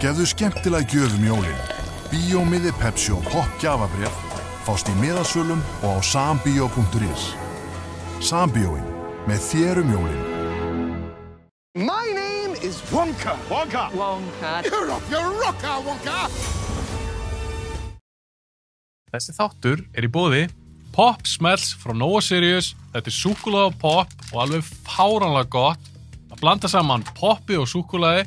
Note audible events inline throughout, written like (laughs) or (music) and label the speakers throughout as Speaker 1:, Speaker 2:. Speaker 1: Gefðu skemmtilega gjöfum jólin. Bíómiði Pepsi og Pop gjafabref fást í miðasölum og á sambíó.is. Sambíóin með þér um jólin.
Speaker 2: My name is Wonka. Wonka.
Speaker 3: Wonka.
Speaker 2: You're up your rocker, Wonka.
Speaker 4: Þessi þáttur er í bóði Pop Smells frá Nova Sirius Þetta er súkulega pop og alveg fáránlega gott að blanda saman poppi og súkulaði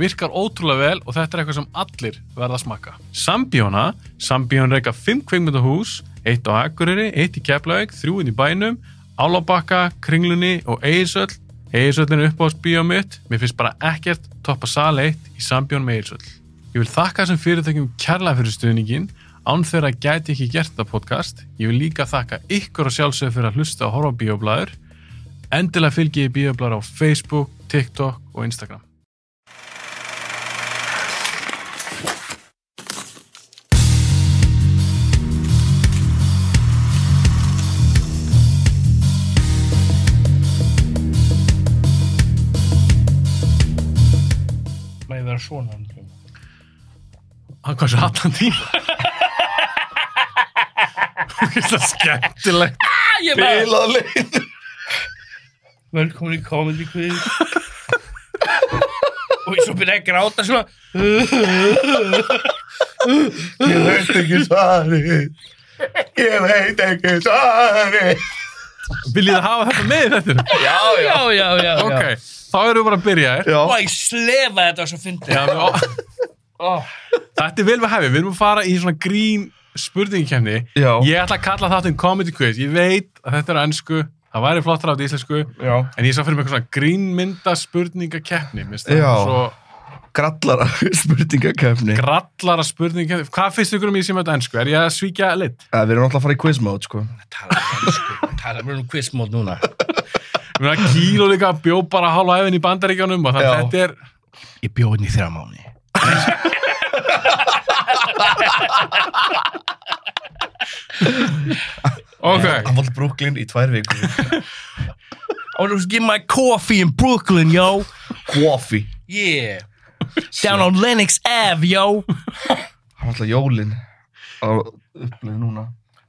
Speaker 4: virkar ótrúlega vel og þetta er eitthvað sem allir verða að smakka Sambjóna, Sambjón reyka 5 kveikmyndahús eitt á Akureyri, eitt í Keflavík, þrjúinn í bænum Álabakka, Kringlunni og Eirsöll Eirsöllin er uppáhaldsbíó mitt mér finnst bara ekkert toppa sal 1 í Sambjón með Eirsöll Ég vil þakka þessum fyrirtækjum kærlega fyrir stuðningin án þeirra gæti ég ekki gert það podcast. Ég vil líka þakka ykkur og sjálfsögur fyrir að hlusta og horfa á bíoblæður. Endilega fylgi ég bíoblæður á Facebook, TikTok og Instagram.
Speaker 5: Mæði vera svona um tíma.
Speaker 4: Hann kom svo allan tíma. Það er skemmtilegt.
Speaker 3: Ég bara,
Speaker 5: Velkomin í Comedy Quiz. og svo byrja að gráta svona.
Speaker 6: Ég veit ekki svari Ég veit ekki svari
Speaker 4: Viljið þið hafa þetta með í þetta?
Speaker 5: Já, já, já, já.
Speaker 4: Ok, þá erum við bara að byrja þér.
Speaker 5: Og ég slefa þetta svo fyndið.
Speaker 4: Já, við, ó, þetta er vel við hefði, við erum að fara í svona grín spurningkefni
Speaker 6: Já.
Speaker 4: Ég ætla að kalla þáttinn comedy quiz Ég veit að þetta er ennsku, það væri flottar á þetta íslensku
Speaker 6: Já.
Speaker 4: En ég sá fyrir mig eitthvað svona grínmynda spurningakefni Mér finnst það
Speaker 6: Já.
Speaker 4: Svo
Speaker 6: Grallara (laughs) spurningakefni
Speaker 4: grallara spurningakefni Hvað finnst ykkur um ég sem þetta ennsku? Er ég að svíkja lit?
Speaker 6: Við erum alltaf að fara í quiz mode sko
Speaker 5: Tala um ennsku, tala um quizmót núna.
Speaker 4: Ég meina kíló líka bjó bara hálfa efinn í bandaríkjónum og það
Speaker 6: Já. hérna
Speaker 4: þetta er
Speaker 5: Ég bjóði henni í þrjá mánu.
Speaker 4: Ok,
Speaker 6: Hann var Brooklyn í tvær vikur
Speaker 5: I want to get my coffee in Brooklyn, yo.
Speaker 6: Coffee
Speaker 5: Yeah. Down on Lennox Ave, yo.
Speaker 6: Hann var alltaf jólin á upplöðu núna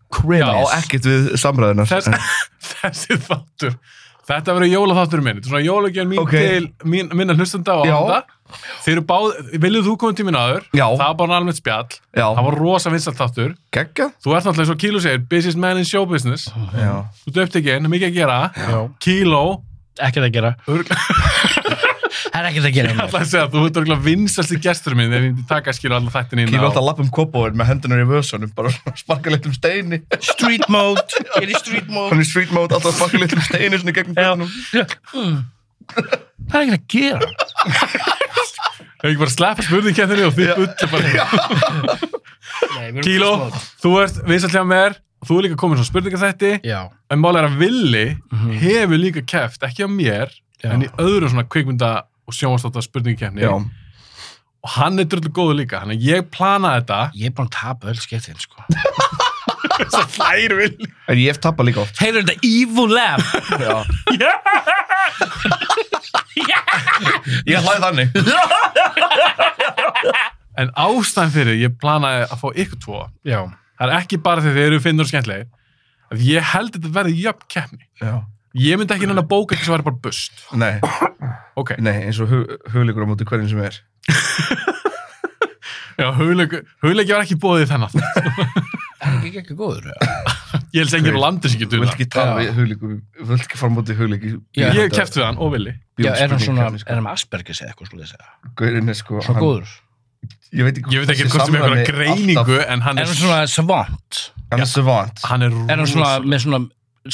Speaker 5: Krimis.
Speaker 6: Á ekkert við samræðunar
Speaker 4: Þess, þessi þáttur Þetta verður jólaþáttur minn Þetta er Svona jólagjörn mín
Speaker 6: Ok.
Speaker 4: til mín, minna hlustanda og
Speaker 6: Já.
Speaker 4: áhanda Þeir eru báð, viljið þú komið tíminn aður
Speaker 6: Já.
Speaker 4: Það var bara almennt spjall
Speaker 6: Já.
Speaker 4: Það var rosa vinsalt þáttur
Speaker 6: Kekka
Speaker 4: Þú ert náttúrulega eins og Kíló segir Busiest man in show business
Speaker 6: Já
Speaker 4: Þú döpt ekki einn, mikið að gera Já. Kíló
Speaker 5: Ekkert að gera.
Speaker 4: Það
Speaker 5: Það er ekkert að gera.
Speaker 4: er að segja, þú ert örgulega vinsalsti gestur minn Þegar ég myndi taka skil og alla þættin inn
Speaker 6: Kílu
Speaker 4: á-
Speaker 6: alltaf að lappa um kópóin með hendunar í vösunum bara sparka litlum steini
Speaker 5: Street mode. Ég er í street mode.
Speaker 6: Hann er street mode alltaf að sparka litlum steini svona í gegnum
Speaker 5: Já.
Speaker 6: björnum
Speaker 5: Mm. Það er ekkert að gera.
Speaker 4: Hefur ekki bara sleppa spurningkættinu og þið bullu bara hérna.
Speaker 5: Nei,
Speaker 4: Kíló, þú ert vinsalt hjá mér og Þú er líka komin svona spurningaþætti
Speaker 5: Já. Mhm.
Speaker 4: en mál er að Villi hefur líka keft, ekki á mér
Speaker 5: Já.
Speaker 4: en í öðru svona kvikmynda og sjónvastáta spurningkefni
Speaker 6: Já
Speaker 4: og hann er drullu góðu líka, hann er ég planaði þetta
Speaker 5: Ég er búin að tapa öll skiptin, sko.
Speaker 4: Flær Villi
Speaker 6: En ég hef tappað líka oft sko.
Speaker 5: Heyrðu þetta evil laugh.
Speaker 6: Já Ég hlæði þannig
Speaker 4: En ástæðan fyrir ég planaði að fá ykkur tvo
Speaker 5: Já.
Speaker 4: það er ekki bara þegar þeir eru finnur og skemmtlegir að ég held að þetta verði jöfn keppni
Speaker 6: Já.
Speaker 4: ég myndi ekki nann að bóka ekki sem væri bara bust
Speaker 6: Nei,
Speaker 4: ok,
Speaker 6: nei, eins og hug, hugleikur á móti hverjum sem er
Speaker 4: já, hugleiki hugleiki var ekki bóðið þennan
Speaker 5: Það er ekki góður.
Speaker 4: ég held enginn á
Speaker 6: Great.
Speaker 4: landi sem
Speaker 6: Þú
Speaker 4: getur
Speaker 6: vilt
Speaker 4: það
Speaker 6: ekki tala
Speaker 5: Já.
Speaker 6: við hugleikum Þú vilt ekki fara á móti hugleiki
Speaker 5: Já.
Speaker 4: ég hef keft við hann og Villi
Speaker 5: Já, er hann svona, er hann með Aspergers eða eitthvað slúðið segja?
Speaker 6: Gaurin Sko, er sko
Speaker 5: Svona góður.
Speaker 6: Ég veit ekki,
Speaker 4: ég veit ekki
Speaker 6: þessi
Speaker 4: hvort sem
Speaker 6: samræmi
Speaker 4: einhverja greiningu
Speaker 6: alltaf-
Speaker 4: en hann
Speaker 5: Er
Speaker 4: er,
Speaker 5: hann svona savant?
Speaker 6: Hann er savant
Speaker 4: hann er,
Speaker 5: Er hann svona
Speaker 4: rosa-
Speaker 5: með svona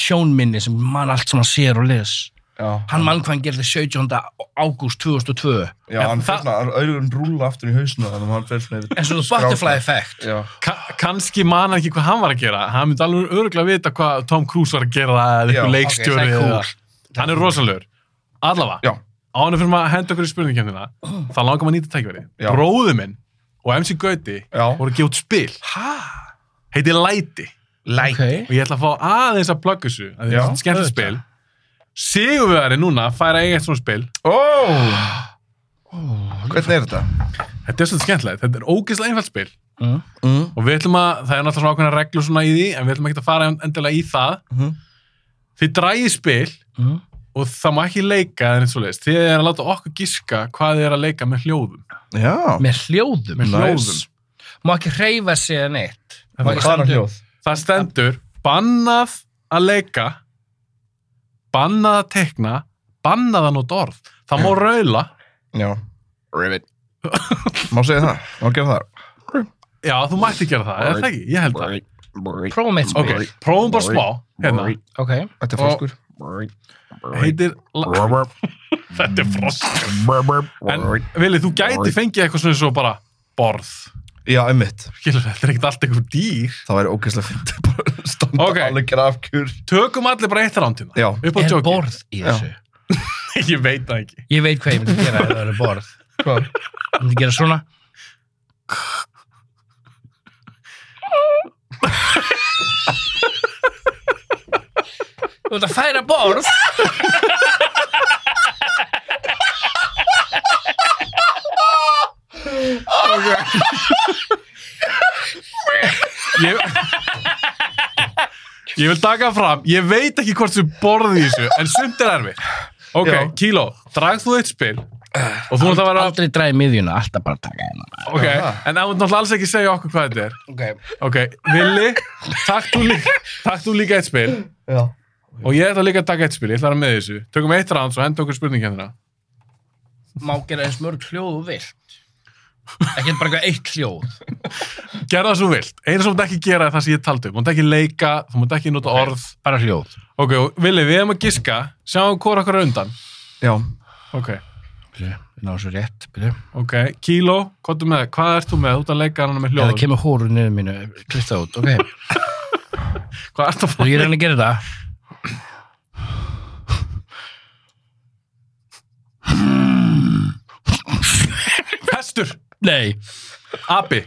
Speaker 5: sjónminni sem mann allt sem hann sér og les?
Speaker 6: Já,
Speaker 5: Hann mann hvað hann gerði 17. ágúst 2002.
Speaker 6: já hann
Speaker 4: það-
Speaker 6: fyrir svona Auðvitað rúla aftur í hausinu Þannig að hann fyrir svona yfir-
Speaker 5: En svona
Speaker 6: Skráka.
Speaker 5: butterfly effect.
Speaker 6: Já,
Speaker 4: Ka kannski man hann ekki hvað hann var að gera hann myndi alveg öruglega vita hvað Tom Cruise var að gera eða
Speaker 6: Já,
Speaker 4: eitthvað
Speaker 6: ok,
Speaker 4: leikstjóri
Speaker 5: það er
Speaker 4: eða-
Speaker 5: cool.
Speaker 4: hann er rosalögur allavega,
Speaker 6: já,
Speaker 4: á hann fyrir maður að henda okkur í spurningkjöndina þá langar maður nýta tækveri
Speaker 6: Já.
Speaker 4: bróðu minn og MC Gauti
Speaker 6: Já.
Speaker 4: voru að gefa út spil heiti Læti
Speaker 5: Læk.
Speaker 4: og ég ætla að fá aðeins að plugga þessu að því
Speaker 6: Já,
Speaker 4: þetta er skemmtilegt spil Sigurvegari núna fær að eiga eitt svona spil
Speaker 6: Ó Hvernig er þetta?
Speaker 4: Þetta er svolítið skemmtilegt, þetta er ógeðslega einfalt spil
Speaker 5: Mm. Mm.
Speaker 4: og við ætlum að, það er náttúrulega svona ákveðna reglur svona í því, en við ætlum ekki að fara endilega í það.
Speaker 5: Mhm.
Speaker 4: Þið drægið spil
Speaker 5: Mhm.
Speaker 4: og það má ekki leika eða eins og leist. Þið er að láta okkur giska hvað þið er að leika með hljóðum.
Speaker 6: Já.
Speaker 5: Með hljóðum.
Speaker 4: Með hljóðum.
Speaker 5: Má ekki hreyfa sig eða neitt. Má ekki
Speaker 6: Bara
Speaker 5: standa upp.
Speaker 6: hljóð.
Speaker 4: Það stendur bannað að leika, bannað að tekna, bannað að nota orð. Það má raula.
Speaker 6: Já. Rivet. Má segja það. Má gera það.
Speaker 4: Já, þú mætti gera það, er það ekki? Ég held það.
Speaker 5: Prófum eitt
Speaker 4: Ok,
Speaker 5: spil.
Speaker 4: prófum bara smá, hérna.
Speaker 5: Ok.
Speaker 6: Þetta er fólkur.
Speaker 4: Heitir, la- þetta er frosk. En Vilið, þú gæti fengið eitthvað svona svo bara borð.
Speaker 6: Já, einmitt.
Speaker 4: Skilur, þetta er ekkert allt eitthvað dýr.
Speaker 6: Það væri ógeðslega fint. (laughs) Bara standa
Speaker 4: Ok.
Speaker 6: alveg grafkjur.
Speaker 4: Tökum allir bara eitt rántina.
Speaker 6: Já.
Speaker 4: Upp á
Speaker 5: Er
Speaker 4: tjóki.
Speaker 5: borð í þessu?
Speaker 4: (laughs) Ég veit það ekki.
Speaker 5: Ég veit hvað ég myndi gera ef það eru borð. Sko,
Speaker 6: Hvað?
Speaker 5: Ég myndi gera svona. Þú ert að færa borð?
Speaker 4: Ég... ég vil taka fram, ég veit ekki hvort þú borðið í þessu, en sumt er erfitt. Ok,
Speaker 6: Já.
Speaker 4: Kíló, drag þú eitt spil og þú nátt að vera,
Speaker 5: Aldrei dræði miðjuna, alltaf bara taka hérna.
Speaker 4: ok, en það er náttúrulega alls ekki segja okkur hvað þetta er.
Speaker 5: Ok.
Speaker 4: Ok, Vili, takk þú líka, takk þú líka eitt spil
Speaker 6: Já.
Speaker 4: og ég ætla líka að taka eitt spil, ég ætla að vera með í þessu. Tökum eitt ránd og henda okkur spurning hérna.
Speaker 5: Má gera eins mörg hljóð og vilt. Ekki bara eitthvað eitt hljóð.
Speaker 4: Gerða það svo vilt, eins og þú mátt ekki gera er það sem ég taldi, um. þú mátt ekki leika, þú mátt ekki nota orð.
Speaker 5: Bara hljóð.
Speaker 4: Ok, og Vili, við erum að giska, sjáum hvora okkur er undan.
Speaker 6: Já.
Speaker 4: Ok.
Speaker 5: Byrju, við náðum svo rétt. Byrju.
Speaker 4: Ok, kíló, hvað er með? Hvað ert þú með? Þú ert að leika hann með
Speaker 5: Já, það
Speaker 4: hljóðum.
Speaker 5: Hérna kemur hóru niður mínu, klipp það út, ok.
Speaker 4: Hvað ert að fá?
Speaker 5: Þú ég reyna að gera það.
Speaker 4: Hestur,
Speaker 5: Nei.
Speaker 4: abi,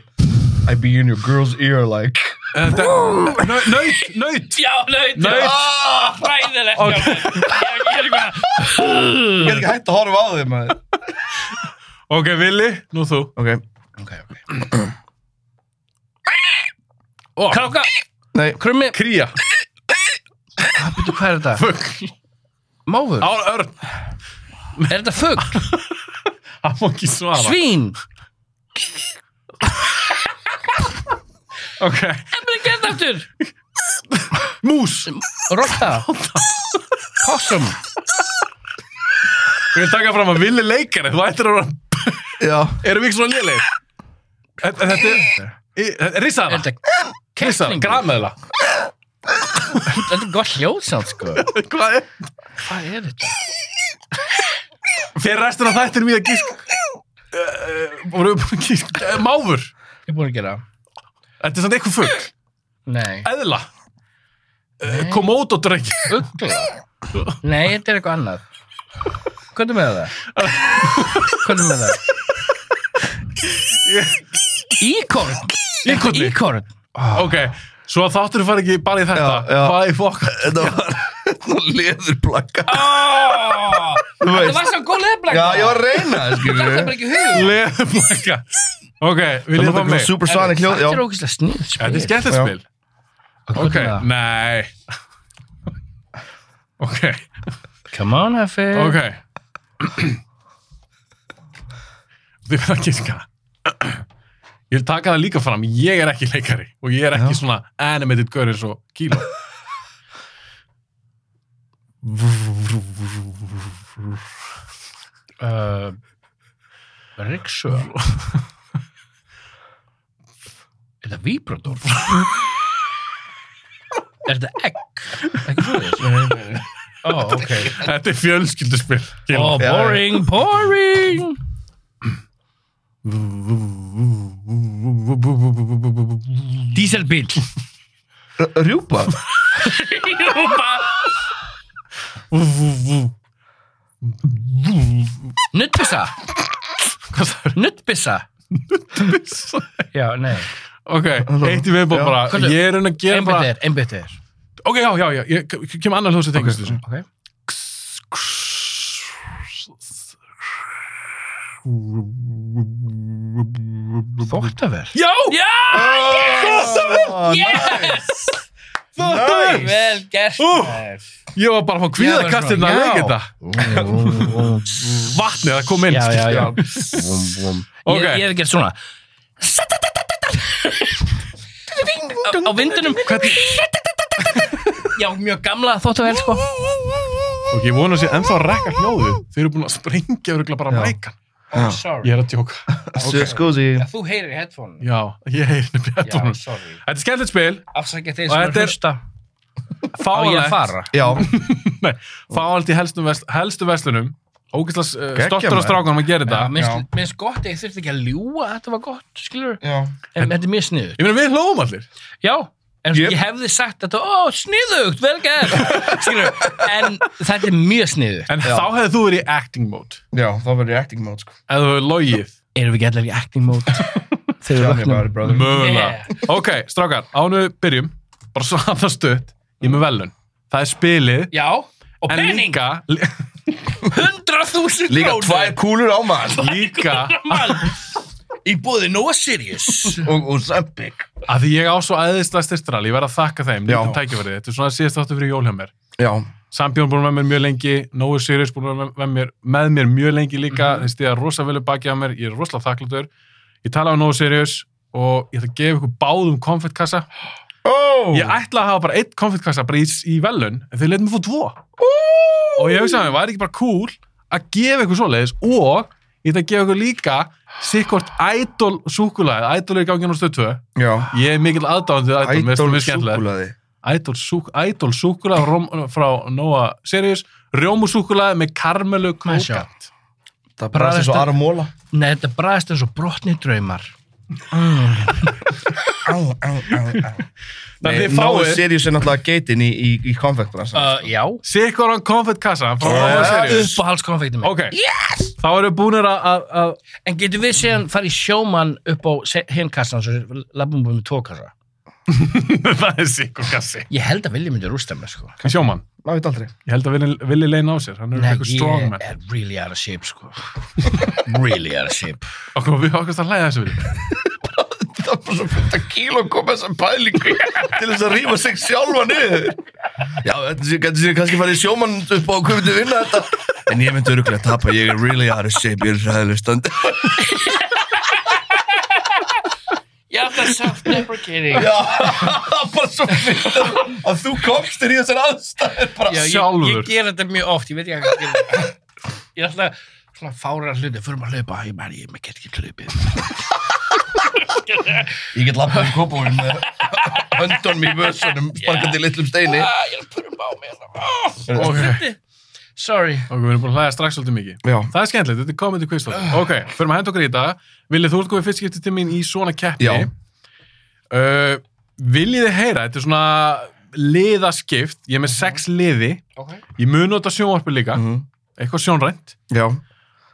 Speaker 6: I be in your girl's ear like.
Speaker 4: þetta- nau- naut, naut.
Speaker 5: Já, naut.
Speaker 4: Naut.
Speaker 5: Oh, fræðilegt.
Speaker 4: Ok.
Speaker 5: Ég er eitthvað.
Speaker 6: Ég er ekki hægt að horfa á þig, maður.
Speaker 4: Ok, Vili, nú þú.
Speaker 6: Ok.
Speaker 5: Ok, ok.
Speaker 4: Ó,
Speaker 5: Kráka,
Speaker 6: Nei.
Speaker 5: krummi.
Speaker 4: kría,
Speaker 5: Hvað byrju, hvað er þetta?
Speaker 4: fugg,
Speaker 5: Máfur.
Speaker 4: ár, örn,
Speaker 5: Er þetta fugg?
Speaker 4: hann má ekki svara.
Speaker 5: Svín.
Speaker 4: Ok,
Speaker 5: Hvað byrju, gera þetta aftur?
Speaker 4: mús,
Speaker 5: Rotta. Possum.
Speaker 4: ég vil taka fram að Vili leikari, þú ættir að vera,
Speaker 6: Já.
Speaker 4: erum við ekki svona lélegir? Þetta þetta er, í- þetta er
Speaker 5: Er
Speaker 4: risaðana,
Speaker 5: þetta
Speaker 4: risaðana,
Speaker 5: kettlingur?
Speaker 4: grameðla.
Speaker 5: Þetta er gott hljóðsátt, sko.
Speaker 4: Hvað er?
Speaker 5: Hvað er þetta?
Speaker 4: Fyrir restur af þættinum ég að gísk, voru við búin að gísk, Eh, máfur,
Speaker 5: Ég er búin að gera. það.
Speaker 4: þetta er samt eitthvað fugg,
Speaker 5: Nei.
Speaker 4: eðla, Eh, komódodrengi.
Speaker 5: Ugla? Nei, þetta er eitthvað annað. Hvað er með það? Hvað er með það? Íkorn?
Speaker 4: Íkorni.
Speaker 5: Íkorn?
Speaker 4: Ok, svo að þáttur fara ekki bara í þetta
Speaker 6: Ah. Já, já.
Speaker 4: Hvað í fokk
Speaker 6: Þetta var nú leður plakka.
Speaker 4: Ah! (laughs)
Speaker 6: Þú
Speaker 5: Það
Speaker 6: veist.
Speaker 5: var svo góð leðblæk.
Speaker 6: Já, ég var að reyna það, skilur
Speaker 5: Þetta er bara
Speaker 6: við.
Speaker 5: ekki hug.
Speaker 4: Leðblækja oh Ok, við
Speaker 6: Það
Speaker 4: lýðum
Speaker 6: var
Speaker 4: það
Speaker 6: með
Speaker 4: mig
Speaker 6: supersonic hljóð.
Speaker 5: Þetta er
Speaker 6: Já.
Speaker 5: ógeðslega snið spil.
Speaker 4: Þetta er skemmtilegt
Speaker 6: Já.
Speaker 4: spil Ok, nei Ok,
Speaker 5: Come on, Heffi.
Speaker 4: ok Þið verða að giska Ég vil taka það líka fram Ég er ekki leikari og ég er ekki svona animated gaur eins og kíló
Speaker 5: Uh, Riksu. Er það víbrador? er það egg? Ekki svo þess? Ó, ok.
Speaker 4: Þetta er fjölskylduspil
Speaker 5: Ó,
Speaker 4: Kíló.
Speaker 5: Oh, boring, boring. Dieselbíl.
Speaker 6: R- Rjúpa.
Speaker 5: Nuttbissa.
Speaker 4: Hvað það er?
Speaker 5: Nuttbissa. Já, nei.
Speaker 4: Ok, eitt í viðbóð
Speaker 6: Já.
Speaker 4: bara,
Speaker 5: Hvernig-
Speaker 4: ég er raun að gera bara...
Speaker 5: Einbyttir, einbyttir.
Speaker 4: Ok, já, já, já, ég ke- kem annar hljóðs að tengast þessu.
Speaker 5: Ok. Þóttavel
Speaker 4: Já!
Speaker 5: Yes!
Speaker 6: Þóttavél!
Speaker 5: Vel gert
Speaker 4: Ú.
Speaker 5: maður.
Speaker 4: Ég var bara að fá kvíðakastirna að
Speaker 5: Já.
Speaker 4: leika þetta. Vatnið að koma inn.
Speaker 5: Já, já, já.
Speaker 4: (laughs) Ok.
Speaker 5: Ég, ég hef gert svona Á vindunum Já, mjög gamla þóttavel sko
Speaker 4: Og ég vona að sé ennþá að rekka hljóðu. Þeir eru búin að sprengja örgulega bara
Speaker 6: Já.
Speaker 4: mækan.
Speaker 5: oh, sorry.
Speaker 4: Ég er að tjóka. (laughs)
Speaker 6: Okay. Skozi.
Speaker 5: Já, Þú heyrir í headphone
Speaker 4: Já, ég heyri henni
Speaker 5: Já,
Speaker 4: bjartunum.
Speaker 5: sorry
Speaker 4: Þetta er skemmtilegt spil.
Speaker 5: Afsækja þeir
Speaker 4: Og
Speaker 5: sem
Speaker 4: þetta
Speaker 5: er
Speaker 4: er-
Speaker 5: hlusta Á ég að
Speaker 4: Fáanlegt.
Speaker 5: fara
Speaker 6: Já,
Speaker 4: (laughs) Nei, fáanlegt í helstu, vest, helstu vestlunum. Ógæslas uh,
Speaker 6: Geggjað,
Speaker 4: stoltur á
Speaker 6: maður.
Speaker 4: strákunum að gera
Speaker 5: Já,
Speaker 4: þetta.
Speaker 6: Já.
Speaker 5: minnst, minnst gott að ég þurfti ekki að ljúa að þetta var gott, skilur
Speaker 6: já.
Speaker 5: en þetta er mjög sniðugt
Speaker 4: Ég meina, við hlóum allir.
Speaker 5: já, en
Speaker 6: Ég-
Speaker 5: ég hefði sagt þetta ó, sniðugt, vel (laughs) gert skilur, en þetta er mjög sniðugt
Speaker 4: En þá hefði þú verið í acting mode.
Speaker 6: Já, þá verður ég acting mode, sko.
Speaker 4: Ef þú hefði logið.
Speaker 5: erum við ekki allir í acting
Speaker 6: (laughs)
Speaker 5: mode þegar við
Speaker 6: Tell me
Speaker 5: vöknum
Speaker 6: about it, brother.
Speaker 4: Mögulega. Ok, strákar, ánu byrjum. Bara svona það stutt. Ég er með velun. Það er spilið.
Speaker 5: já, og
Speaker 4: En
Speaker 5: pening,
Speaker 4: líka, lí-
Speaker 5: 100.000
Speaker 6: Líka tvær kúlur á mann
Speaker 4: líka
Speaker 5: mann í búði Noah Sirius
Speaker 6: og, og Zambik.
Speaker 4: að því ég á svo æðislega styrstral, ég verð að þakka þeim,
Speaker 6: Já.
Speaker 4: líka tækifærið. Þetta er svona síðast áttu fyrir jól hjá mér.
Speaker 6: Já,
Speaker 4: Sambjón búin að vera með mér mjög lengi, Nói Sirius búin að vera með mér, með mér mjög lengi líka, þeir stíða rosa velu baki á mér, ég er rosalega þakklútur. Ég tala á Nói Sirius og ég ætla að gefa ykkur báðum konfettkassa.
Speaker 6: oh.
Speaker 4: Ég ætla að hafa bara eitt konfettkassa bara í, í velun, en þau leitum mig fór tvo. Og ég hugsaði að mér, væri ekki bara cool að gefa ykkur svoleiðis og ég ætla að gefa ykkur líka sikkort ædol súkulæði, ædol er í gangi á stöð 2.
Speaker 6: já.
Speaker 4: Ég er mikill aðdáðan til ædol, mér finnst það
Speaker 6: Ædol
Speaker 4: mjög skemmtilegt.
Speaker 6: súkulaði.
Speaker 4: Ædol súk, súkulæði frá- frá Nóa Sirius, rjómusúkulæði með karmelu krókant.
Speaker 6: Það bræðist eins og aðra móla.
Speaker 5: Nei, þetta bræðist eins og brotni draumar
Speaker 6: Á, á, á, á.
Speaker 4: Þannig þið
Speaker 6: Nói
Speaker 4: fáið-
Speaker 6: Sirius er náttúrulega geitin í, í, í konfektur.
Speaker 5: uh, Já,
Speaker 4: Sikkoran konfettkassa frá Nóa
Speaker 6: Yeah.
Speaker 4: Sirius.
Speaker 5: uppáhaldskonfektum
Speaker 4: Ok, yes! þá erum við búinir að- að að-
Speaker 5: En getur við síðan farið í sjómann upp á se- hinn kassan svo lafum við með tvo kassa?
Speaker 4: það er sikkorkassi.
Speaker 5: Ég held að Vilji myndi rústa mig, sko.
Speaker 4: Sjómann,
Speaker 6: Má veit aldrei.
Speaker 4: ég held að Villi- Villi leina á sér, hann er eitthvað
Speaker 5: ég
Speaker 4: strongman.
Speaker 5: er really out of shape, sko. (laughs) really out of shape.
Speaker 4: Okkur, við okkur að hlæða þessu við.
Speaker 6: Það er bara svo fullt að kíl og koma þessum pælingu til þess að rífa sig sjálfa niður. Já, þetta sé, þetta sé kannski farið í sjómann upp á hvað myndi vinna þetta. En ég myndi öruglega tapa, ég er really out of shape, ég er ræðileg standi.
Speaker 5: Já, það er self-deprecating.
Speaker 6: Já, (laughs) það er bara svo fyrir að þú komst þér í þessar aðstæðir bara
Speaker 5: Já, ég,
Speaker 4: Sjálfur.
Speaker 5: ég ger þetta mjög oft, ég veit ekki hvað ég ger þetta. Ég er alltaf svona fárar hluti, förum að hlaupa, ég mær, ég get ekki
Speaker 4: (laughs)
Speaker 5: hlaupið.
Speaker 6: Ég get lappað um kópóin með höndunum í vössunum, sparkandi litlum steini.
Speaker 5: Ah, ég er að purum á mig.
Speaker 4: Ok,
Speaker 5: Okay. Sorry.
Speaker 4: ok, við erum búin að hlæða strax svolítið mikið.
Speaker 6: Já.
Speaker 4: Það er skemmtilegt, þetta er komið til kvistlátt.
Speaker 6: Ah.
Speaker 4: Ok, förum að henda okkur í þetta. Viljið þú ert komið fyrst skiptið til mín í svona keppni?
Speaker 6: Já.
Speaker 4: Uh, viljið þið heyra, þetta er svona liðaskipt, ég er
Speaker 6: Mhm.
Speaker 4: með sex liði,
Speaker 5: Ok.
Speaker 4: ég mun nota sjónvarpi líka, eitthvað sjónrænt.
Speaker 6: Já,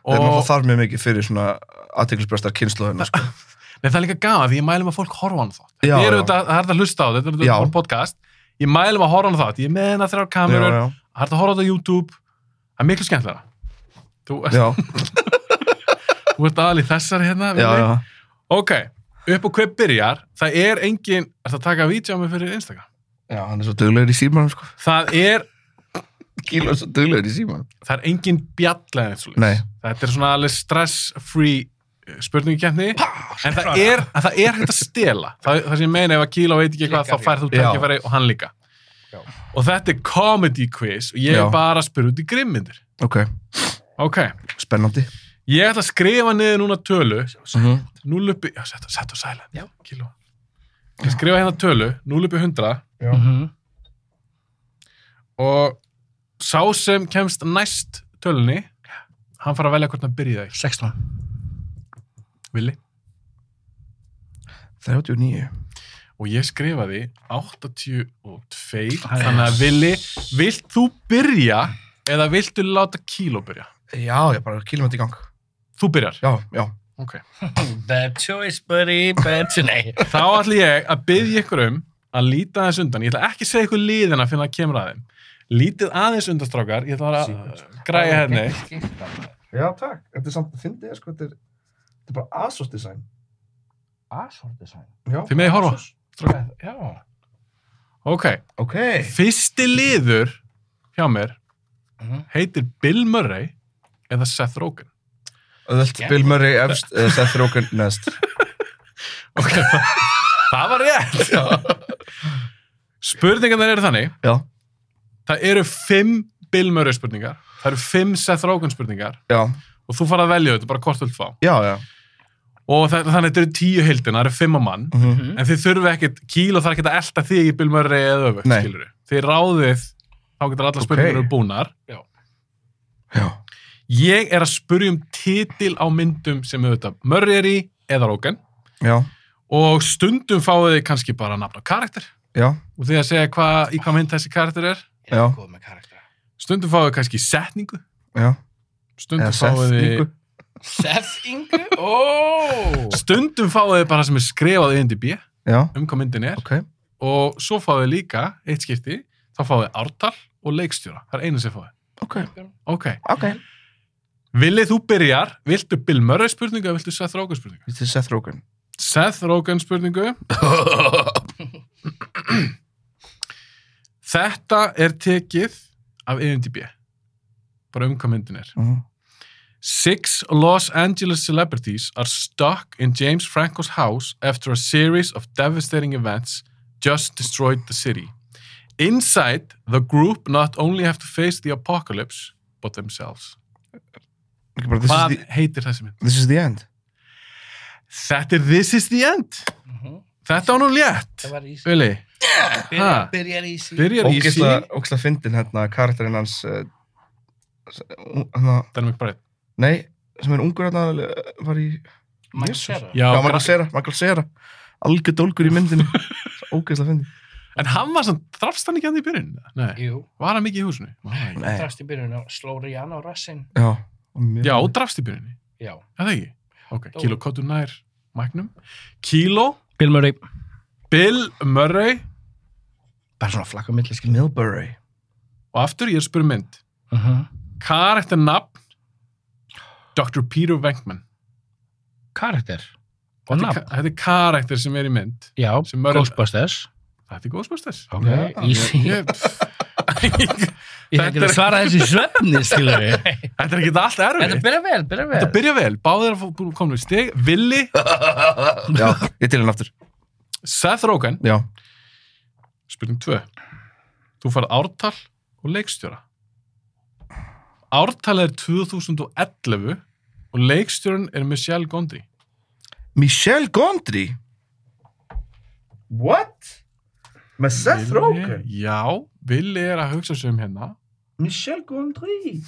Speaker 4: Og það...
Speaker 6: þarf mjög mikið fyrir svona aðteglisbrestar kynnslóðina, sko.
Speaker 4: Nei, það er líka gaman, því ég mælum að fólk horfa á hann þátt.
Speaker 6: Já,
Speaker 4: Ég er
Speaker 6: já.
Speaker 4: auðvitað, það er þetta að hlusta á þetta, þetta
Speaker 6: Já.
Speaker 4: er þetta podcast. Ég mælum að horfa á hann þátt, ég er með hennar þrjár kamerur,
Speaker 6: já.
Speaker 4: það er þetta að horfa á þetta á YouTube, það er miklu skemmtilega. Þú,
Speaker 6: Já,
Speaker 4: þú ert aðal í þessari hérna,
Speaker 6: já,
Speaker 4: Villi.
Speaker 6: já.
Speaker 4: Ok, upp á hver byrjar, það er engin, er það að taka vítjámi fyrir Instagram?
Speaker 6: Já, hann er svo duglegur í símanum, sko.
Speaker 4: Það er,
Speaker 6: Kíl er svo duglegur í símanum.
Speaker 4: það er engin bjallega eins og
Speaker 6: Nei.
Speaker 4: Þetta er svona alveg stress-free spurningikeppni, en það er, en það er hægt að stela. Það, það sem ég meina ef að Kíla veit ekki hvað,
Speaker 5: Líka
Speaker 4: þá færð þú
Speaker 6: Já.
Speaker 4: tækifæri og hann líka.
Speaker 5: Já.
Speaker 4: Og þetta er comedy quiz og ég
Speaker 6: Já.
Speaker 4: er bara að spyrja út í grimmindir.
Speaker 6: Ok,
Speaker 4: Ok,
Speaker 6: spennandi.
Speaker 4: ég ætla að skrifa niður núna tölu
Speaker 6: Mm -hmm.
Speaker 4: 0 uppi, já, settu set á silent,
Speaker 5: Já.
Speaker 4: kíló. Ég skrifa hérna tölu, 0 uppi 100
Speaker 5: Mm -hmm.
Speaker 4: Mhm. og sá sem kemst næst tölunni, hann fara að velja hvort hann byrja þig.
Speaker 5: 16.
Speaker 4: Vili.
Speaker 6: 39.
Speaker 4: Og ég skrifaði 82, þannig að Vili, vilt þú byrja eða viltu láta kíló byrja?
Speaker 6: Já, ég bara kílum þetta í gang.
Speaker 4: Þú byrjar.
Speaker 6: Já, já.
Speaker 4: Ok.
Speaker 5: Bad choice, buddy, bad choice. Nei.
Speaker 4: Þá ætlum ég að byggja ykkur um að líta aðeins undan. Ég ætla ekki að segja ykkur liðina fyrir að kemur aðeim. Lítið aðeins undan, strákar. Ég ætla bara að græja hérna. henni.
Speaker 6: Já, takk. Þetta er samt að fyndi, sko. Þetta er, þetta er bara Asos design.
Speaker 5: Asshole design.
Speaker 4: Þið megið horfa.
Speaker 5: Strax. Já.
Speaker 4: Ok,
Speaker 5: Ok.
Speaker 4: fyrsti liður hjá mér
Speaker 5: Mhm.
Speaker 4: heitir Bill Murray eða Seth Rogen.
Speaker 6: Öðvöld
Speaker 5: Gegn.
Speaker 6: Bill Murray efst eða Seth Rogen neðst.
Speaker 4: Ok, það, (laughs) það var rétt. Spurningarnar eru þannig.
Speaker 6: Já,
Speaker 4: Það eru fimm Bill Murray spurningar. Það eru fimm Seth Rogen spurningar
Speaker 6: já,
Speaker 4: og þú farað að velja þetta, bara hvort þú vilt fá.
Speaker 6: já, já.
Speaker 4: Og það, þannig þetta eru tíu hildin, það eru fimm á mann.
Speaker 6: Mhm.
Speaker 5: Mhm.
Speaker 4: En þið þurfið ekkert kíl og það er ekkert að elta þig í Bill Murray eða öfugt,
Speaker 6: Nei.
Speaker 4: skilur Þið ráðið, þá getur allar
Speaker 6: Ok.
Speaker 4: spurningar okay. búnar.
Speaker 6: já.
Speaker 4: Ég er að spurja um titil á myndum sem auðvitað Murray er í eða Rogan
Speaker 6: Já,
Speaker 4: og stundum fáið þið kannski bara nafn á karakter
Speaker 6: já,
Speaker 4: og þið að segja hva, í hvað mynd þessi karakter er.
Speaker 5: Ég
Speaker 6: Já.
Speaker 5: er góð með karaktera.
Speaker 4: Stundum fáið þið kannski setningu,
Speaker 6: já.
Speaker 4: stundum
Speaker 6: Eða
Speaker 4: fáið
Speaker 6: Seth
Speaker 4: þið...
Speaker 6: Ingu.
Speaker 5: Seth Ingu? Ó!
Speaker 4: Stundum fáið þið bara sem er skrifað í NDB
Speaker 6: Já,
Speaker 4: um hvað myndin er
Speaker 6: ok.
Speaker 4: og svo fáið þið líka eitt skipti, þá fáið þið ártal og leikstjóra. Það er einu sem fáið.
Speaker 6: Ok,
Speaker 4: Ok.
Speaker 6: ok.
Speaker 4: Villið þú byrjar, viltu Bill Murray spurningu eða viltu Seth Rogen spurningu?
Speaker 6: Þetta er Seth Rogen.
Speaker 4: Seth Rogen (laughs) spurningu. Þetta er tekið af IMDb. Bara um hvað myndin er.
Speaker 6: Mhm.
Speaker 4: Six Los Angeles celebrities are stuck in James Franco's house after a series of devastating events just destroyed the city. Inside, the group not only have to face the apocalypse, but themselves.
Speaker 6: Ekki bara, this is
Speaker 4: Hvað
Speaker 6: the-
Speaker 4: heitir þessi mynd?
Speaker 6: This is the end.
Speaker 4: Þetta er This is the End.
Speaker 5: Mhm.
Speaker 4: Þetta var nú létt.
Speaker 5: Það var í
Speaker 4: Vili, Ha?
Speaker 5: Byrjar- Byrjar í sí.
Speaker 4: byrjar í sí.
Speaker 6: Ógisla, ógisla fyndin hérna, karakterinn hans, uh, hérna,
Speaker 4: Danmik Barrett.
Speaker 6: nei, sem er ungur hérna, uh, var í...
Speaker 5: Mike
Speaker 6: Jesus.
Speaker 5: Cera.
Speaker 4: Já,
Speaker 6: Já,
Speaker 4: gra-
Speaker 6: Michael Cera, Michael Cera. Algjör dólgur í (laughs) myndinu. Ógisla fyndin.
Speaker 4: en hann var svona, þrafst hann ekki hann í byrjun? Nei,
Speaker 5: Jú.
Speaker 4: var hann mikið í húsinu? Var hann ekki?
Speaker 6: Nei.
Speaker 5: Drast í byrjun og sló Rihanna á rassinn.
Speaker 6: Já. og mjög-
Speaker 4: Já, drafst í byrjunni.
Speaker 5: Já.
Speaker 4: Er það ekki? Ok,
Speaker 5: Dó.
Speaker 4: Kilo Kottur nær Magnum. Kilo,
Speaker 5: Bill Murray.
Speaker 4: Bill Murray
Speaker 6: Bara svona flakka milli, skil. Milbury.
Speaker 4: og aftur ég er að spyrja mynd.
Speaker 5: Uh -huh.
Speaker 4: Karakter nafn Dr. Peter Venkman.
Speaker 5: Karakter. Og
Speaker 4: Þetta er
Speaker 5: nafn.
Speaker 4: ka- þetta er karakter sem er í mynd.
Speaker 5: Já,
Speaker 4: Sem Murray-
Speaker 5: Ghostbusters.
Speaker 4: Þetta er Ghostbusters.
Speaker 5: Ok,
Speaker 6: Já,
Speaker 5: easy. Ég,
Speaker 4: Ég- Þetta
Speaker 5: ég hef ekki
Speaker 4: þetta
Speaker 5: að
Speaker 4: er-
Speaker 5: svara þessu í svefni, skilur
Speaker 4: (laughs)
Speaker 5: við.
Speaker 4: er ekki allt
Speaker 5: Þetta
Speaker 4: erfitt.
Speaker 5: byrja vel, byrja vel.
Speaker 4: Þetta byrja vel. Báðir að fá- búin- komnir í stig. Willi,
Speaker 6: Já, ég til hann aftur.
Speaker 4: Seth Rogen.
Speaker 6: Já.
Speaker 4: Spurning 2. Þú farið ártal og leikstjóra. Ártal er 2011 og leikstjóran er Michelle Gondry.
Speaker 6: Michelle Gondry What? Með Seth Rogen?
Speaker 4: Já, Willi er að hugsa sig um hérna.
Speaker 6: Michelle Gondry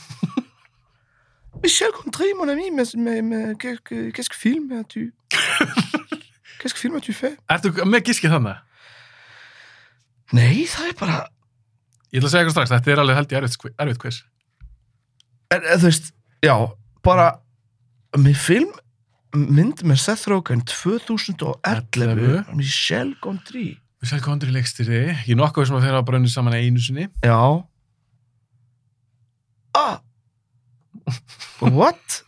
Speaker 6: Michelle Gondry, mon ami, mais, mais, mais qu'est-ce que- qu'est-ce que film as-tu Qu'est-ce que film as-tu fait
Speaker 4: Ertu með gískið þannig?
Speaker 6: Nei, það er bara
Speaker 4: Ég ætla að segja eitthvað strax, þetta er alveg held ég erfitt, skvi- erfitt quiz.
Speaker 6: er, er, Þú veist, já, bara Með film mynd með Seth Rogen 2011
Speaker 4: 11.
Speaker 6: Michelle Gondry
Speaker 4: Michelle Gondry leikstjóri, ég er nokkuð sem að þeirra bara unni saman einu sinni.
Speaker 6: Já Ah What?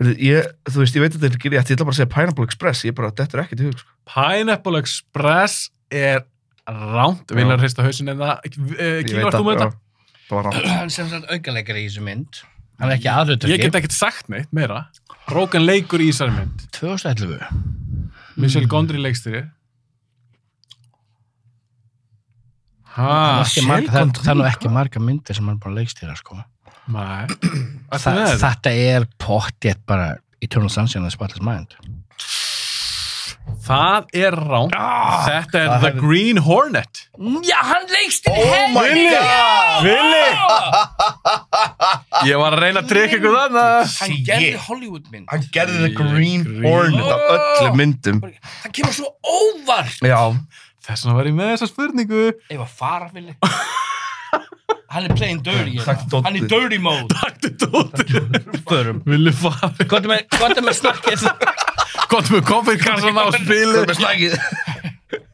Speaker 6: Heyrðu, Ég, þú veist, ég veit að þetta er ekki rétt, ég ætla bara að segja Pineapple Express, ég bara, þetta er ekkert í hug, sko.
Speaker 4: Pineapple Express er rámt, Willi er að hrista hausin en það,
Speaker 6: Ég
Speaker 4: kýlar
Speaker 6: veit
Speaker 4: þú með
Speaker 6: já,
Speaker 4: þetta?
Speaker 6: Það var rátt.
Speaker 5: Hann sem sagt aukalegri í þessu mynd. Hann er ekki aðlutur.
Speaker 4: Ég get ekkert sagt neitt meira. Rókan leikur í þessari mynd.
Speaker 5: 2011.
Speaker 4: Michelle
Speaker 5: Mm.
Speaker 4: Gondry leikstýri
Speaker 5: Ah,
Speaker 4: Ha,
Speaker 5: ekki
Speaker 6: Michelle
Speaker 5: marga, það,
Speaker 6: Gondry,
Speaker 5: það er nú ekki
Speaker 6: hvað?
Speaker 5: marga myndir sem hann er búin að leikstýra sko.
Speaker 4: mæ Ertu
Speaker 5: Þa,
Speaker 4: með þetta?
Speaker 5: þetta er pottjett bara Eternal Sunshine of the Spotless Mind
Speaker 4: Það er rán Þetta er
Speaker 5: Ah! það
Speaker 4: The
Speaker 5: hefði-
Speaker 4: Green Hornet
Speaker 5: Já, hann leikstýri oh
Speaker 6: my god!
Speaker 4: Vili Ég var að reyna að trykka ykkur þannig
Speaker 5: Hann
Speaker 6: Shit.
Speaker 5: gerði Hollywood mynd
Speaker 6: Hann gerði
Speaker 4: The Green Ah! Hornet
Speaker 6: af öllum myndum.
Speaker 5: Hann kemur svo óvart
Speaker 6: Já,
Speaker 4: Þess vegna var ég með þessa spurningu
Speaker 5: Ef að fara
Speaker 6: (laughs)
Speaker 5: villi Hann er playing dirty
Speaker 6: Takk,
Speaker 5: hérna.
Speaker 6: Doddi.
Speaker 5: Hann er dirty mode
Speaker 4: Taktu
Speaker 6: (laughs)
Speaker 4: dóttir Förum Vili farið
Speaker 5: Hvað er með, hvað er með snakkið
Speaker 4: Gott með koffirkassan á spilu
Speaker 6: það er slækið.